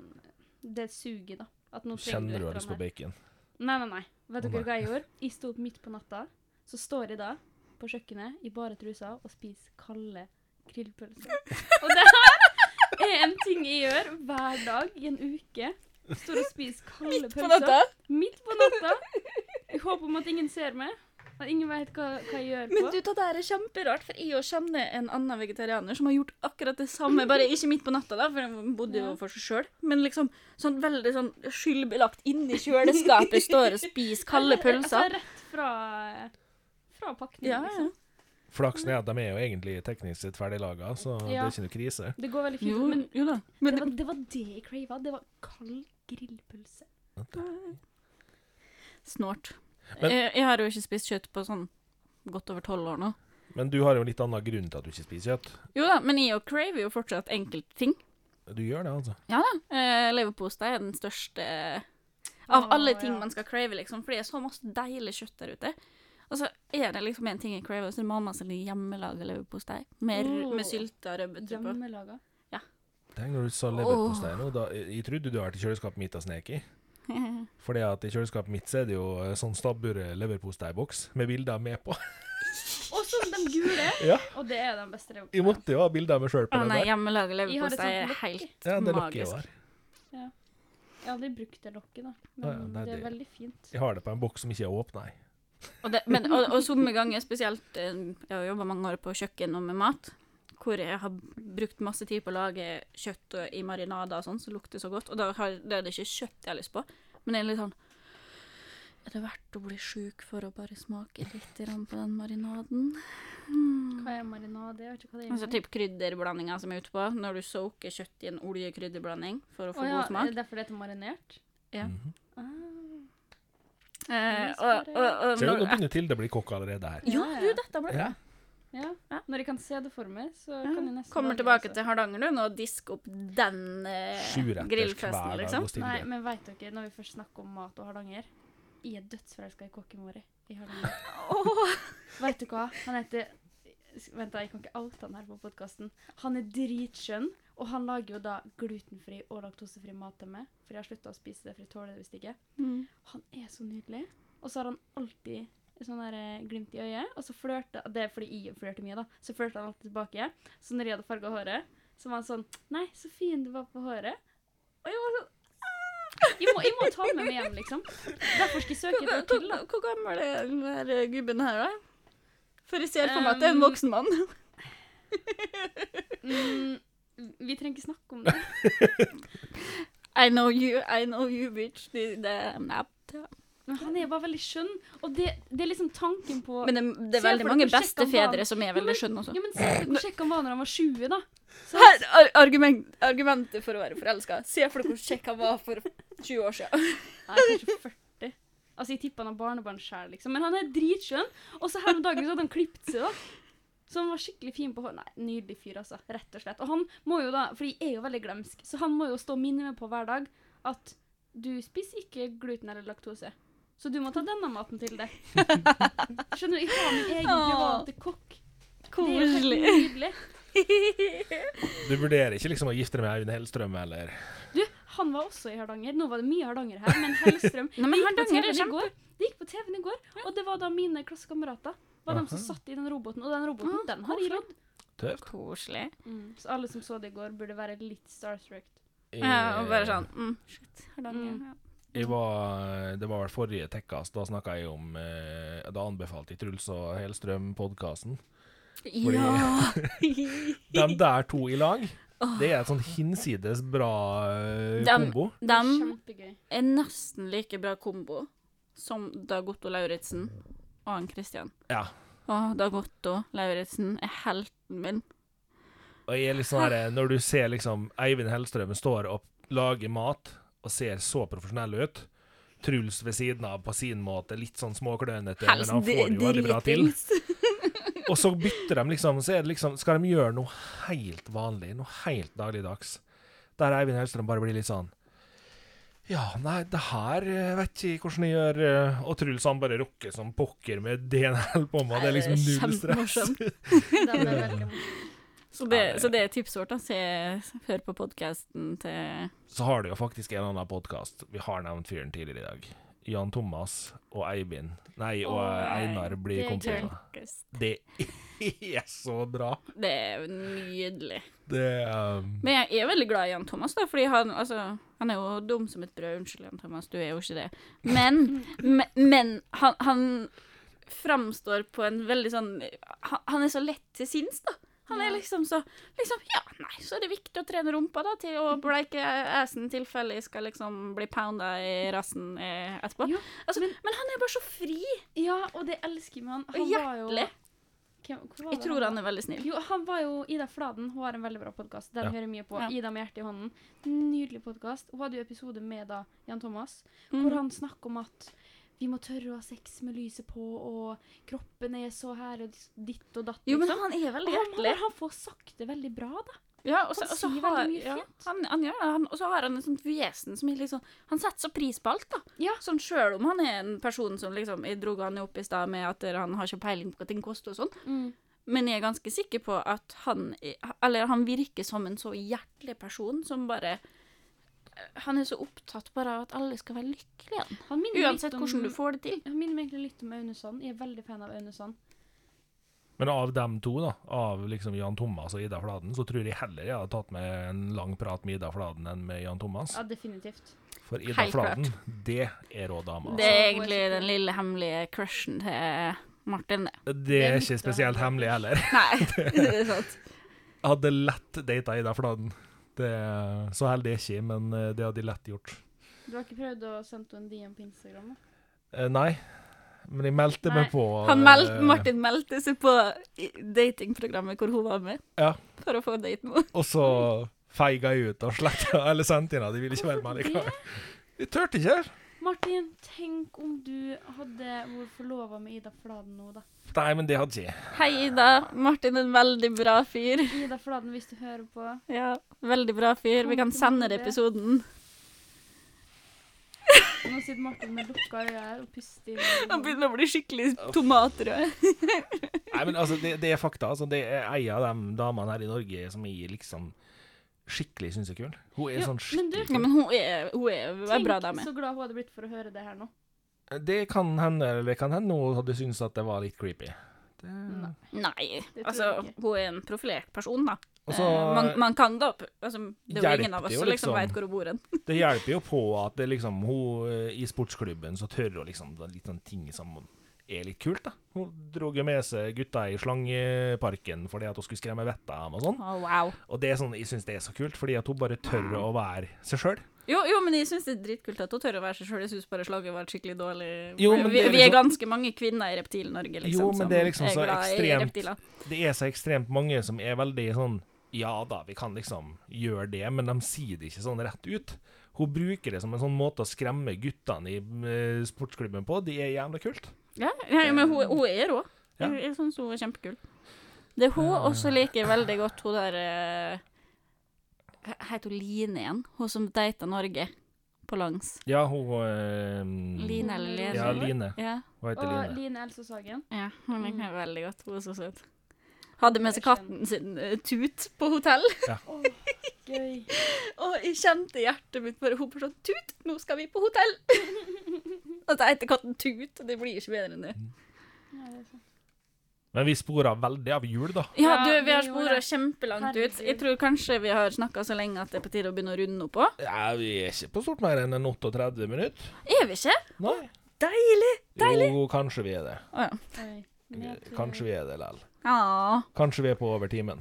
[SPEAKER 3] Det suget, da. At nå trenger
[SPEAKER 2] Kjenner du
[SPEAKER 3] du
[SPEAKER 2] har
[SPEAKER 3] et
[SPEAKER 2] lyst på
[SPEAKER 3] eller annet.
[SPEAKER 2] bacon?
[SPEAKER 3] Nei, nei, nei. Vet
[SPEAKER 2] Å,
[SPEAKER 3] dere
[SPEAKER 2] nei.
[SPEAKER 3] hva jeg gjorde? Jeg sto opp midt på natta. Så står jeg da på kjøkkenet i bare trusa og spiser kalde
[SPEAKER 1] (laughs)
[SPEAKER 3] grillpølser. Og det her er en ting jeg gjør hver dag i en uke. Står og spiser kalde
[SPEAKER 1] På
[SPEAKER 3] pølser.
[SPEAKER 1] natta?
[SPEAKER 3] Midt på natta. Jeg håper om at ingen ser meg. At ingen vet hva, hva jeg gjør på.
[SPEAKER 1] Men du, det der er kjemperart, for jeg jo kjenner en annen vegetarianer som har gjort akkurat det samme, bare ikke midt på natta, da, for han bodde jo
[SPEAKER 3] Ja.
[SPEAKER 1] for seg sjøl. Men liksom sånn veldig sånn skyldbelagt inni (laughs) kjøleskapet står og spiser kalde pølser.
[SPEAKER 3] Altså rett fra, fra pakningen,
[SPEAKER 1] Ja, ja.
[SPEAKER 3] liksom.
[SPEAKER 2] Flaksen er at de er jo egentlig teknisk sett ferdiglaga, så det
[SPEAKER 3] Ja.
[SPEAKER 2] er ikke noe krise.
[SPEAKER 3] Det går veldig fint.
[SPEAKER 1] Jo,
[SPEAKER 3] men
[SPEAKER 1] jo da. Men
[SPEAKER 3] det var, det var det jeg crava. Det var kald grillpølse.
[SPEAKER 1] snålt.
[SPEAKER 2] Men-
[SPEAKER 1] Eh, jeg, jeg har jo ikke spist kjøtt på sånn godt over tolv år nå.
[SPEAKER 2] Men du har jo en litt annen grunn til at du ikke spiser kjøtt.
[SPEAKER 1] Jo da, men jeg og craver jo fortsatt enkeltting.
[SPEAKER 2] Du gjør det, altså.
[SPEAKER 1] Ja da. Eh, Leverpostei er den største av alle
[SPEAKER 3] Å,
[SPEAKER 1] ting
[SPEAKER 3] ja.
[SPEAKER 1] man skal crave, liksom. For det er så masse deilig kjøtt der ute. Og så er det liksom en ting jeg craver, så er det mamma sin hjemmelaga leverpostei. Med, r-
[SPEAKER 3] Åh.
[SPEAKER 1] med sylta rødbeter på. (laughs)
[SPEAKER 3] Hjemmelaga.
[SPEAKER 2] Tenk når du sa leverpostei nå. Da, jeg, jeg trodde du hadde vært i kjøleskapet mitt og sneket i. Fordi at i kjøleskapet mitt så er det jo eh, sånn stabburet leverposteiboks med bilder med på. (laughs)
[SPEAKER 3] Og så de gule!
[SPEAKER 2] Ja.
[SPEAKER 3] Og det er den beste leverposteien.
[SPEAKER 2] Jeg måtte jo ha bilder av meg sjøl på
[SPEAKER 1] Å
[SPEAKER 2] den
[SPEAKER 1] nei,
[SPEAKER 2] der.
[SPEAKER 1] hjemmelaga
[SPEAKER 3] Jeg har et
[SPEAKER 1] leverpostei er
[SPEAKER 3] sånt lokk.
[SPEAKER 1] helt
[SPEAKER 2] Ja, det lokket jeg
[SPEAKER 1] magisk.
[SPEAKER 2] har.
[SPEAKER 3] Jeg har aldri brukt det lokket, da. Men
[SPEAKER 2] Å ja, nei,
[SPEAKER 3] det er
[SPEAKER 2] det-
[SPEAKER 3] veldig fint.
[SPEAKER 2] Jeg har det på en boks som ikke er åpna. jeg.
[SPEAKER 1] Og, det, men, og, og somme ganger, spesielt eh, Jeg har jobba mange år på kjøkken og med mat, hvor jeg har brukt masse tid på å lage kjøtt og, i marinader og sånn, som lukter så godt. Og da, har, da er det ikke kjøtt jeg har lyst på, men jeg er litt sånn Er det verdt å bli sjuk for å bare smake litt grann på den marinaden? Hmm.
[SPEAKER 3] Hva er marinade? Jeg vet ikke hva det er.
[SPEAKER 1] Altså typ krydderblandinga som er ute på, når du soaker kjøtt i en oljekrydderblanding for å få
[SPEAKER 3] Å ja,
[SPEAKER 1] god smak.
[SPEAKER 3] er det derfor det heter marinert?
[SPEAKER 1] Ja.
[SPEAKER 2] Mhm.
[SPEAKER 3] Ah.
[SPEAKER 1] Eh, og, og, og,
[SPEAKER 2] Ser du, nå
[SPEAKER 1] når,
[SPEAKER 2] begynner Tilde å bli kokk allerede her.
[SPEAKER 1] ja,
[SPEAKER 3] Ja,
[SPEAKER 1] du,
[SPEAKER 3] ja.
[SPEAKER 1] dette ble
[SPEAKER 2] Ja.
[SPEAKER 3] Ja.
[SPEAKER 1] Ja.
[SPEAKER 3] Når jeg kan se det for meg, så kan jeg nesten
[SPEAKER 1] Kommer
[SPEAKER 3] lage det altså.
[SPEAKER 1] tilbake
[SPEAKER 3] også.
[SPEAKER 1] til Hardanger du, nå og disk opp den eh,
[SPEAKER 2] Sjuretters
[SPEAKER 1] grillfesten,
[SPEAKER 2] hver dag altså.
[SPEAKER 1] liksom.
[SPEAKER 2] hos Tilde.
[SPEAKER 3] Nei, men veit dere, når vi først snakker om mat og Hardanger Jeg er dødsforelska i kokken vår i Hardanger. (laughs) Veit du hva? Han heter Vent, da, jeg kan ikke oute han her på podkasten. Han er dritskjønn, og han lager jo da glutenfri og laktosefri mat til meg. For jeg har slutta å spise det, for jeg tåler det visst ikke.
[SPEAKER 1] Mm.
[SPEAKER 3] Han er så nydelig. Og så har han alltid et sånn der eh, glimt i øyet. Og så flørte Det er fordi jeg flørte mye, da. Så flørte han alltid tilbake. Så når jeg hadde farga håret, så var han sånn Nei, så fin du var på håret. Og jeg var sånn «Ah!» jeg må, jeg må ta med meg hjem, liksom. Derfor skal jeg
[SPEAKER 1] (laughs)
[SPEAKER 3] søke
[SPEAKER 1] Hvor,
[SPEAKER 3] etter
[SPEAKER 1] hvor,
[SPEAKER 3] til. da.
[SPEAKER 1] hvor gammel er den der eh, gubben her, da? For jeg ser for meg at det er en
[SPEAKER 3] Um,
[SPEAKER 1] voksen mann. (laughs)
[SPEAKER 3] Mm, vi trenger ikke snakke om det.
[SPEAKER 1] I know you, I know you, bitch. Det, det, nei.
[SPEAKER 3] Men han er bare veldig skjønn. Og det, det er liksom tanken på
[SPEAKER 1] Men det, det er
[SPEAKER 3] Se for
[SPEAKER 1] veldig
[SPEAKER 3] deg
[SPEAKER 1] mange
[SPEAKER 3] hvor kjekk han var.
[SPEAKER 1] bestefedre som er
[SPEAKER 3] Ja, men-
[SPEAKER 1] veldig skjønne også.
[SPEAKER 3] Ja, men se hvor kjekk han var når han var 20, da. Så
[SPEAKER 1] Her, ar argument, argumentet for å være forelska. Se for deg hvor kjekk han var for 20 år siden.
[SPEAKER 3] Nei, kanskje 40. Altså, jeg tipper han har barnebarn sjøl, liksom. Men han er dritskjønn. Og så her om dagen så hadde han klippet seg, da. Så han var skikkelig fin på hår. Nei, nydelig fyr, altså. Rett og slett. Og han må jo da, for jeg er jo veldig glemsk, så han må jo stå og minne meg på hver dag at du spiser ikke gluten eller laktose. Så du må ta denne maten til
[SPEAKER 1] (laughs)
[SPEAKER 3] deg. Skjønner du? Jeg har min egen
[SPEAKER 1] Åh.
[SPEAKER 3] private kokk. Det er jo helt
[SPEAKER 1] Koselig.
[SPEAKER 3] nydelig.
[SPEAKER 2] Du vurderer ikke liksom å gifte deg med Aune Hellstrøm, eller
[SPEAKER 3] Du, han var også i Hardanger. Nå var det mye Hardanger her, men (laughs) Hellstrøm
[SPEAKER 1] Nei, men
[SPEAKER 3] Det gikk på
[SPEAKER 1] Hardanger er
[SPEAKER 3] TV-en i
[SPEAKER 1] kjempe.
[SPEAKER 3] går. Det gikk på TV-en i går, og det var da mine klassekamerater var de som
[SPEAKER 2] Aha.
[SPEAKER 3] satt i den roboten. Og den roboten,
[SPEAKER 1] Ah,
[SPEAKER 3] den har jeg lodd.
[SPEAKER 2] tøft?
[SPEAKER 1] Koselig.
[SPEAKER 3] Mm. Så alle som så det i går, burde være litt starstruck.
[SPEAKER 2] Eh,
[SPEAKER 1] Ja, og bare sånn mm, Shit, Hardanger.
[SPEAKER 3] Mm.
[SPEAKER 1] Ja.
[SPEAKER 2] Jeg var, det var vel forrige Tekkas, da snakka jeg om eh, Da anbefalte jeg Truls og
[SPEAKER 1] (laughs)
[SPEAKER 2] Hellstrøm-podkasten.
[SPEAKER 1] Ja! (laughs)
[SPEAKER 2] De der to i lag, det er et sånn hinsides bra eh,
[SPEAKER 1] Dem-
[SPEAKER 2] kombo.
[SPEAKER 1] De
[SPEAKER 3] (laughs) Kjempegøy.
[SPEAKER 1] er nesten like bra kombo som Dag Otto Lauritzen og han Christian.
[SPEAKER 2] Ja.
[SPEAKER 1] Å, Dag Otto Lauritzen er helten min.
[SPEAKER 2] Og jeg er litt sånn her, eh, når du ser liksom Eivind Hellstrøm står og lager mat og ser så profesjonell ut Truls ved siden av på sin måte, litt sånn småklønete, men han får det jo veldig bra til. Og så bytter de liksom, så er det liksom Skal de gjøre noe helt vanlig, noe helt dagligdags? Der Eivind Hellstrøm bare blir litt sånn Ja, nei, det her eh, vet ikke hvordan jeg gjør eh», Og Truls han bare rukker som pokker med DNL på meg. Det er liksom null stress.
[SPEAKER 1] Kjempemorsomt.
[SPEAKER 3] Den er veldig morsom.
[SPEAKER 1] Så det, så det er tipset vårt. da. Se, hør på podkasten til
[SPEAKER 2] Så har du jo faktisk en annen podkast. Vi har nevnt fyren tidligere i dag. Jan Thomas og Eivind Nei, og
[SPEAKER 3] Åh,
[SPEAKER 2] eh, Einar blir
[SPEAKER 3] det er
[SPEAKER 2] kompiser. Det (laughs) er så bra.
[SPEAKER 1] Det er nydelig.
[SPEAKER 2] Det um,
[SPEAKER 1] Men jeg er veldig glad i Jan Thomas, da, fordi han, altså, han er jo dum som et brød. Unnskyld, Jan Thomas, du er jo ikke det.
[SPEAKER 3] (laughs)
[SPEAKER 1] Men, me- men han, han framstår på en veldig sånn Han, han er så lett til sinns, da. Han er
[SPEAKER 3] Ja.
[SPEAKER 1] liksom så liksom, Ja, nei, så er det viktig å trene rumpa, da, til å
[SPEAKER 3] Mm.
[SPEAKER 1] bleike assen tilfelle jeg skal liksom bli pounda i rassen eh, etterpå.
[SPEAKER 3] Jo,
[SPEAKER 1] altså, men, han er bare så fri
[SPEAKER 3] Ja, og det elsker jeg med han.
[SPEAKER 1] og
[SPEAKER 3] Han var jo
[SPEAKER 1] hjertelig.
[SPEAKER 3] Hvem, hvor var
[SPEAKER 1] Jeg
[SPEAKER 3] det
[SPEAKER 1] tror han
[SPEAKER 3] var?
[SPEAKER 1] er veldig snill.
[SPEAKER 3] Jo, han var jo Ida Fladen. Hun har en veldig bra podkast. Den
[SPEAKER 2] Ja.
[SPEAKER 3] hører jeg mye på.
[SPEAKER 1] Ja.
[SPEAKER 3] Ida med hjertet i hånden. Nydelig podkast. Hun hadde jo episode med da Jan Thomas, hvor
[SPEAKER 1] Mm.
[SPEAKER 3] han snakker om at vi må tørre å ha sex med lyset på, og kroppen er så her, og ditt og datt.
[SPEAKER 1] Jo, men
[SPEAKER 3] liksom.
[SPEAKER 1] han er veldig
[SPEAKER 3] Og han,
[SPEAKER 1] hjertelig.
[SPEAKER 3] har- han får sagt det veldig bra, da.
[SPEAKER 1] Ja, og så,
[SPEAKER 3] Han
[SPEAKER 1] og så
[SPEAKER 3] sier
[SPEAKER 1] har,
[SPEAKER 3] veldig mye
[SPEAKER 1] ja,
[SPEAKER 3] fint.
[SPEAKER 1] han, han gjør det. Han, og så har han et sånt vesen som er litt sånn Han setter så pris på alt, da.
[SPEAKER 3] Ja.
[SPEAKER 1] Sånn Sjøl om han er en person som liksom Jeg dro han jo opp i stad med at han har ikke peiling på hva ting koster og sånn,
[SPEAKER 3] Mm.
[SPEAKER 1] men jeg er ganske sikker på at han er- Eller han virker som en så hjertelig person som bare Han er så opptatt bare av at alle skal være lykkelige. han.
[SPEAKER 3] Han minner
[SPEAKER 1] Uansett
[SPEAKER 3] litt om-
[SPEAKER 1] hvordan du får det til.
[SPEAKER 3] Han minner meg egentlig litt om Aune Sand. Jeg er veldig fan av Aune Sand.
[SPEAKER 2] Men av dem to, da, av liksom Jan Thomas og Ida Fladen, så tror jeg heller jeg hadde tatt med en lang prat med Ida Fladen enn med Jan Thomas.
[SPEAKER 3] Ja, definitivt.
[SPEAKER 2] For Ida
[SPEAKER 1] Helt klart.
[SPEAKER 2] Fladen, det er rå
[SPEAKER 1] Det er
[SPEAKER 2] dame. Altså.
[SPEAKER 3] Altså, hun er
[SPEAKER 1] egentlig
[SPEAKER 3] skikkelig-
[SPEAKER 1] den lille hemmelige crushen til Martin, det.
[SPEAKER 2] Det,
[SPEAKER 3] er
[SPEAKER 2] er
[SPEAKER 3] mitt,
[SPEAKER 2] ikke
[SPEAKER 3] da.
[SPEAKER 2] spesielt hemmelig heller.
[SPEAKER 1] Nei,
[SPEAKER 3] (laughs)
[SPEAKER 1] det er sant.
[SPEAKER 2] Jeg hadde lett data Ida Fladen. Det, så heldig er jeg ikke, men eh, det hadde jeg lett gjort.
[SPEAKER 3] Du har ikke prøvd å sende henne en DM på Instagram? da?
[SPEAKER 2] Eh, Nei, men jeg meldte
[SPEAKER 3] Nei.
[SPEAKER 2] meg på
[SPEAKER 1] Han meldte,
[SPEAKER 2] eh,
[SPEAKER 1] Martin meldte seg på i- datingprogrammet hvor hun var med,
[SPEAKER 2] Ja.
[SPEAKER 1] for å få date med henne.
[SPEAKER 2] Og så feiga jeg ut og sletta (laughs) eller sendte inn. De ville ikke være med likevel. Jeg turte ikke.
[SPEAKER 3] Martin, tenk om du hadde vært forlova med Ida Fladen nå, da.
[SPEAKER 2] Nei, men det hadde jeg ikke.
[SPEAKER 1] Hei, Ida. Martin er en veldig bra fyr.
[SPEAKER 3] Ida Fladen, hvis du hører på.
[SPEAKER 1] Ja, veldig bra fyr. Vi kan sende deg episoden.
[SPEAKER 3] Nå sitter Martin med lukka øyne her og puster inn.
[SPEAKER 1] Han begynner å bli skikkelig tomatrød.
[SPEAKER 2] Nei, men altså, det, det er fakta. Altså, det er ei av de damene her i Norge som jeg liksom skikkelig syns er kul. Hun er
[SPEAKER 3] Ja,
[SPEAKER 2] sånn
[SPEAKER 3] men du-
[SPEAKER 2] skikkelig
[SPEAKER 1] Ja,
[SPEAKER 2] kul.
[SPEAKER 1] men hun er, hun er en
[SPEAKER 3] Tenk
[SPEAKER 1] bra dame.
[SPEAKER 3] så glad hun hadde blitt for å høre det her nå.
[SPEAKER 2] Eh, Det kan hende eller det kan hende hun hadde syntes at det var litt creepy. Det...
[SPEAKER 3] Nei.
[SPEAKER 1] Nei,
[SPEAKER 3] Det tror
[SPEAKER 1] altså,
[SPEAKER 3] jeg ikke.
[SPEAKER 1] hun er en profilert person, da.
[SPEAKER 2] Og så,
[SPEAKER 1] Eh, man, man kan da altså, Det er jo ingen av
[SPEAKER 2] Hjelper
[SPEAKER 1] oss
[SPEAKER 2] jo
[SPEAKER 1] som liksom
[SPEAKER 2] liksom.
[SPEAKER 1] veit hvor hun bor hen.
[SPEAKER 2] Det hjelper jo på at det liksom, hun eh, i sportsklubben så tør hun liksom det er litt sånn ting som er litt kult, da. Hun dro jo med seg gutta i slangeparken fordi at hun skulle skremme vettet av dem og sånn.
[SPEAKER 1] Å, wow.
[SPEAKER 2] Og det er sånn, jeg syns det er så kult, fordi at hun bare tør å være seg sjøl.
[SPEAKER 1] Jo, jo, men jeg syns det er dritkult at hun tør å være seg sjøl. Jeg syns bare slaget var et skikkelig dårlig
[SPEAKER 2] Jo, men
[SPEAKER 1] vi,
[SPEAKER 2] det er
[SPEAKER 1] vi er
[SPEAKER 2] liksom-
[SPEAKER 1] ganske mange kvinner i Reptil-Norge, liksom.
[SPEAKER 2] Jo, men
[SPEAKER 1] som
[SPEAKER 2] det er liksom så
[SPEAKER 1] glad i
[SPEAKER 2] ekstremt.
[SPEAKER 1] reptiler.
[SPEAKER 2] Det er så ekstremt mange som er veldig sånn Ja da, vi kan liksom gjøre det, men de sier det ikke sånn rett ut. Hun bruker det som en sånn måte å skremme guttene i eh, sportsklubben på. Det er jævla kult.
[SPEAKER 1] Ja, ja, men hun, hun er rå.
[SPEAKER 2] Ja. Ah.
[SPEAKER 1] Jeg, jeg syns hun er kjempekul. Det er hun også liker veldig godt, hun der eh, Hva heter hun Line igjen? Hun som data Norge på langs.
[SPEAKER 2] Ja, hun eh,
[SPEAKER 1] Line eller Lene?
[SPEAKER 2] Ja, Line.
[SPEAKER 1] Ja,
[SPEAKER 2] Hun heter
[SPEAKER 3] Og
[SPEAKER 2] Line.
[SPEAKER 3] Line Else Sagen.
[SPEAKER 1] ja, hun liker meg veldig godt. Hun er så søt.
[SPEAKER 3] Jeg
[SPEAKER 1] Hadde med seg
[SPEAKER 3] kjenner-
[SPEAKER 1] katten sin eh, Tut på hotell,
[SPEAKER 3] Åh, gøy.
[SPEAKER 1] og jeg kjente hjertet mitt bare Hun bare sånn Tut, nå skal vi på hotell! (laughs) At jeg heter katten Tut, og det blir ikke bedre enn det.
[SPEAKER 3] Ja, det er sant.
[SPEAKER 2] Men vi spora veldig av jul, da.
[SPEAKER 1] Ja,
[SPEAKER 3] Ja,
[SPEAKER 1] du,
[SPEAKER 3] vi
[SPEAKER 1] vi har
[SPEAKER 3] gjorde
[SPEAKER 1] spora
[SPEAKER 3] det.
[SPEAKER 1] kjempelangt ut.
[SPEAKER 3] Herregud.
[SPEAKER 1] Jeg tror kanskje vi har snakka så lenge at det er på tide å begynne å runde opp òg.
[SPEAKER 2] Ja, vi er ikke på stort mer enn en 38 minutter.
[SPEAKER 1] Er vi ikke?
[SPEAKER 2] Nei.
[SPEAKER 1] Deilig!
[SPEAKER 2] Jo, kanskje vi er det.
[SPEAKER 1] Å ja.
[SPEAKER 3] Oi. Men jeg tror-
[SPEAKER 2] Eh, Kanskje vi er det likevel.
[SPEAKER 1] Ja.
[SPEAKER 2] Kanskje vi er på over timen.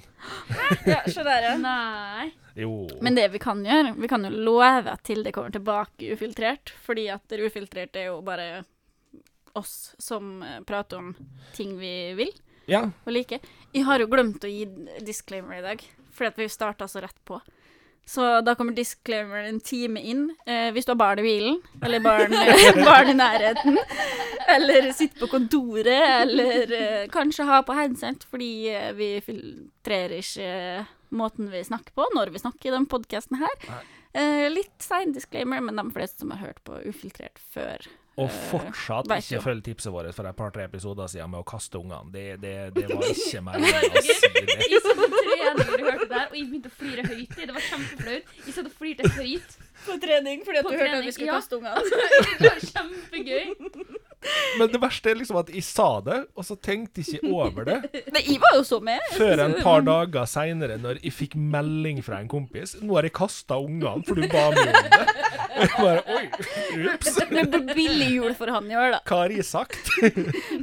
[SPEAKER 1] ja, se der, ja.
[SPEAKER 3] Nei.
[SPEAKER 2] Jo.
[SPEAKER 1] Men det vi kan gjøre, vi kan jo love at Tilde kommer tilbake ufiltrert, fordi at det ufiltrert er jo bare oss som eh, prater om ting vi vil
[SPEAKER 2] Ja.
[SPEAKER 1] og liker. Jeg har jo glemt å gi disclaimer i dag, fordi at vi starta så rett på. Så da kommer disclaimer en time inn. Eh, hvis du har barn i bilen, eller barn, (laughs) barn i nærheten, eller sitter på kontoret, eller eh, kanskje har på headset fordi eh, vi filtrerer ikke eh, måten vi snakker på når vi snakker i denne podkasten her. Eh, litt sein disclaimer, men de fleste som har hørt på Ufiltrert før
[SPEAKER 2] Og fortsatt
[SPEAKER 1] vet
[SPEAKER 2] ikke
[SPEAKER 1] jo.
[SPEAKER 2] følg tipset vårt for et par-tre episoder siden med å kaste ungene. Det, det,
[SPEAKER 1] (laughs)
[SPEAKER 2] det var ikke meningen å si det.
[SPEAKER 3] Jeg satt på trening og hørte det her, og jeg begynte å flire høyt. Det var kjempeflaut. Jeg satt og flirte høyt.
[SPEAKER 1] På trening, fordi
[SPEAKER 3] at du hørte at vi skulle kaste
[SPEAKER 1] ungene.
[SPEAKER 3] Det var kjempegøy.
[SPEAKER 2] Men det verste er liksom at jeg sa det, og så tenkte jeg ikke over det
[SPEAKER 1] (laughs) Nei, jeg var jo (laughs) så med.
[SPEAKER 2] før en par dager seinere, når jeg fikk melding fra en kompis. 'Nå har jeg kasta ungene, for du ba meg om det.' (laughs) Jeg bare Oi, ups.
[SPEAKER 1] Det blir billig jul for han i år, da.
[SPEAKER 2] Hva har jeg sagt?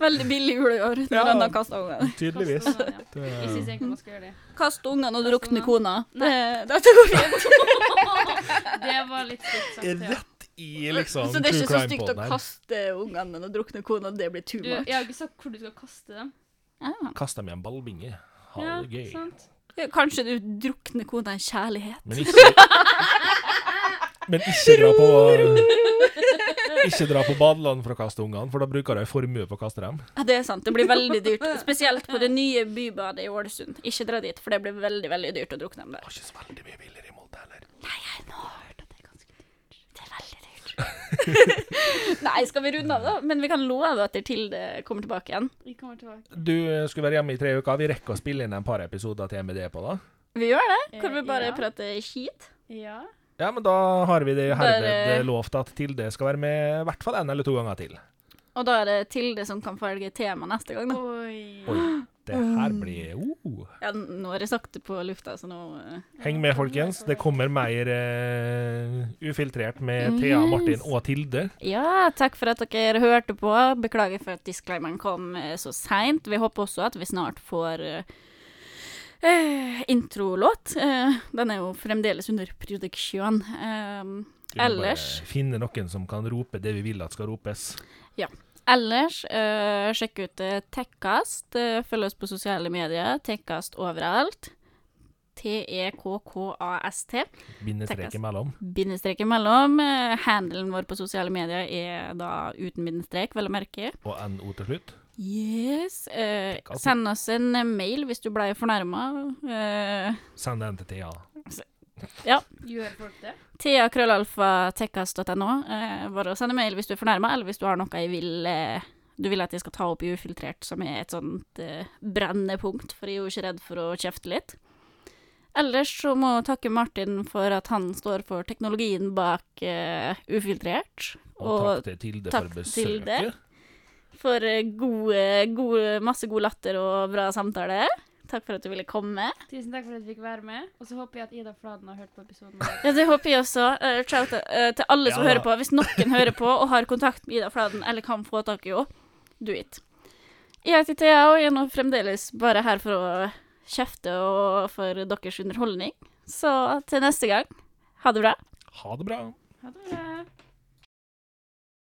[SPEAKER 1] Veldig billig jul i år når
[SPEAKER 2] Ja.
[SPEAKER 1] han har kasta ungene.
[SPEAKER 2] Tydeligvis.
[SPEAKER 3] Kaste ungene, ja. Jeg syns
[SPEAKER 2] Det-
[SPEAKER 3] egentlig man skal gjøre det.
[SPEAKER 1] Kast ungene og
[SPEAKER 3] Kaste
[SPEAKER 1] drukne
[SPEAKER 3] ungene.
[SPEAKER 1] kona. Det, (laughs) dette går fint.
[SPEAKER 3] Det var litt
[SPEAKER 2] Er
[SPEAKER 3] stygt sagt. Ja.
[SPEAKER 2] rett i liksom
[SPEAKER 1] så det er
[SPEAKER 2] true
[SPEAKER 1] ikke så
[SPEAKER 2] crime
[SPEAKER 1] stygt å
[SPEAKER 2] podden her.
[SPEAKER 1] kaste ungene, men å drukne kona, det blir too
[SPEAKER 3] Du, jeg har
[SPEAKER 1] much.
[SPEAKER 3] ikke sagt hvor du skal kaste dem.
[SPEAKER 1] Ah.
[SPEAKER 2] Kast dem i en ballbinge. Ha
[SPEAKER 3] Ja,
[SPEAKER 2] det gøy.
[SPEAKER 3] sant?
[SPEAKER 1] Kanskje du drukner kona i kjærlighet.
[SPEAKER 2] Men ikke, men ikke dra
[SPEAKER 1] (laughs)
[SPEAKER 2] på Ikke dra på badeland for å kaste ungene, for da bruker de formue på å kaste dem.
[SPEAKER 1] Ja, det er sant. Det blir veldig dyrt. Spesielt på det nye bybadet i Ålesund. Ikke dra dit, for det blir veldig veldig dyrt å drukne dem
[SPEAKER 2] Det
[SPEAKER 1] der.
[SPEAKER 2] var ikke så veldig mye billigere i Molde heller.
[SPEAKER 1] Det er veldig dyrt. (laughs) Nei, skal vi runde av, da? Men vi kan love at Tilde kommer tilbake igjen.
[SPEAKER 3] Vi kommer tilbake.
[SPEAKER 2] Du eh, skulle være hjemme i tre uker. Vi rekker å spille inn en par episoder til med det på, da.
[SPEAKER 1] Vi gjør det. Kan
[SPEAKER 3] Eh,
[SPEAKER 1] vi bare
[SPEAKER 3] ja.
[SPEAKER 1] prate skit?
[SPEAKER 3] Ja.
[SPEAKER 2] Ja, men da har vi det herved
[SPEAKER 1] Bare-
[SPEAKER 2] eh, lovt at Tilde skal være med i hvert fall én eller to ganger til.
[SPEAKER 1] Og da er det Tilde som kan velge tema neste gang, da.
[SPEAKER 3] Oi.
[SPEAKER 2] Oi, det her blir
[SPEAKER 1] (gasps)
[SPEAKER 2] oh.
[SPEAKER 1] Ja, nå har jeg sagt det på lufta, så nå eh,
[SPEAKER 2] Heng med, folkens. Det kommer mer eh, ufiltrert med Thea,
[SPEAKER 1] Yes.
[SPEAKER 2] Martin og Tilde.
[SPEAKER 1] Ja, takk for at dere hørte på. Beklager for at disclaimeren kom eh, så seint. Vi håper også at vi snart får eh, eh, introlåt. Eh, den er jo fremdeles under produksjon. Eh,
[SPEAKER 2] Vi må
[SPEAKER 1] Ellers-
[SPEAKER 2] bare Finne noen som kan rope det vi vil at skal ropes.
[SPEAKER 1] ellers, eh, sjekk ut eh, Tekkast. Eh, følg oss på sosiale medier. Tekkast overalt. E T-e-k-k-a-s-t.
[SPEAKER 2] Bindestrek
[SPEAKER 1] Takkes.
[SPEAKER 2] imellom.
[SPEAKER 1] Bindestrek imellom. Eh, handelen vår på sosiale medier er da uten bindestrek, vel å merke.
[SPEAKER 2] Og NO til slutt.
[SPEAKER 1] Yes. Eh,
[SPEAKER 2] Takk, altså.
[SPEAKER 1] send oss en eh, mail hvis du blei fornærma. Eh,
[SPEAKER 2] Send den til Thea.
[SPEAKER 3] Gjør folk det?
[SPEAKER 1] Thea.krøllalfa.tekkas.no. Eh, bare å sende mail hvis du er fornærma, eller hvis du har noe jeg vil, eh, du vil at jeg skal ta opp i Ufiltrert, som er et sånt eh, brennepunkt, for jeg er jo ikke redd for å kjefte litt. Ellers så må jeg takke Martin for at han står for teknologien bak eh, Ufiltrert.
[SPEAKER 2] Og, takk til Tilde
[SPEAKER 1] takk
[SPEAKER 2] for
[SPEAKER 1] til det.
[SPEAKER 2] besøket.
[SPEAKER 1] for eh, gode, gode, masse god latter og bra samtale. Takk for at du ville komme.
[SPEAKER 3] Tusen takk for at jeg fikk være med. Og så håper jeg at Ida Fladen har hørt på episoden. vår.
[SPEAKER 1] Ja, det håper jeg også. Eh, shout out eh, til alle som
[SPEAKER 2] Ja.
[SPEAKER 1] hører på. Hvis noen hører på og har kontakt med Ida Fladen, eller kan få tak i henne, do it. Jeg heter Thea og jeg er nå fremdeles bare her for å kjefte og for deres underholdning. Så til neste gang, ha det bra.
[SPEAKER 2] Ha det bra.
[SPEAKER 3] Ha det bra.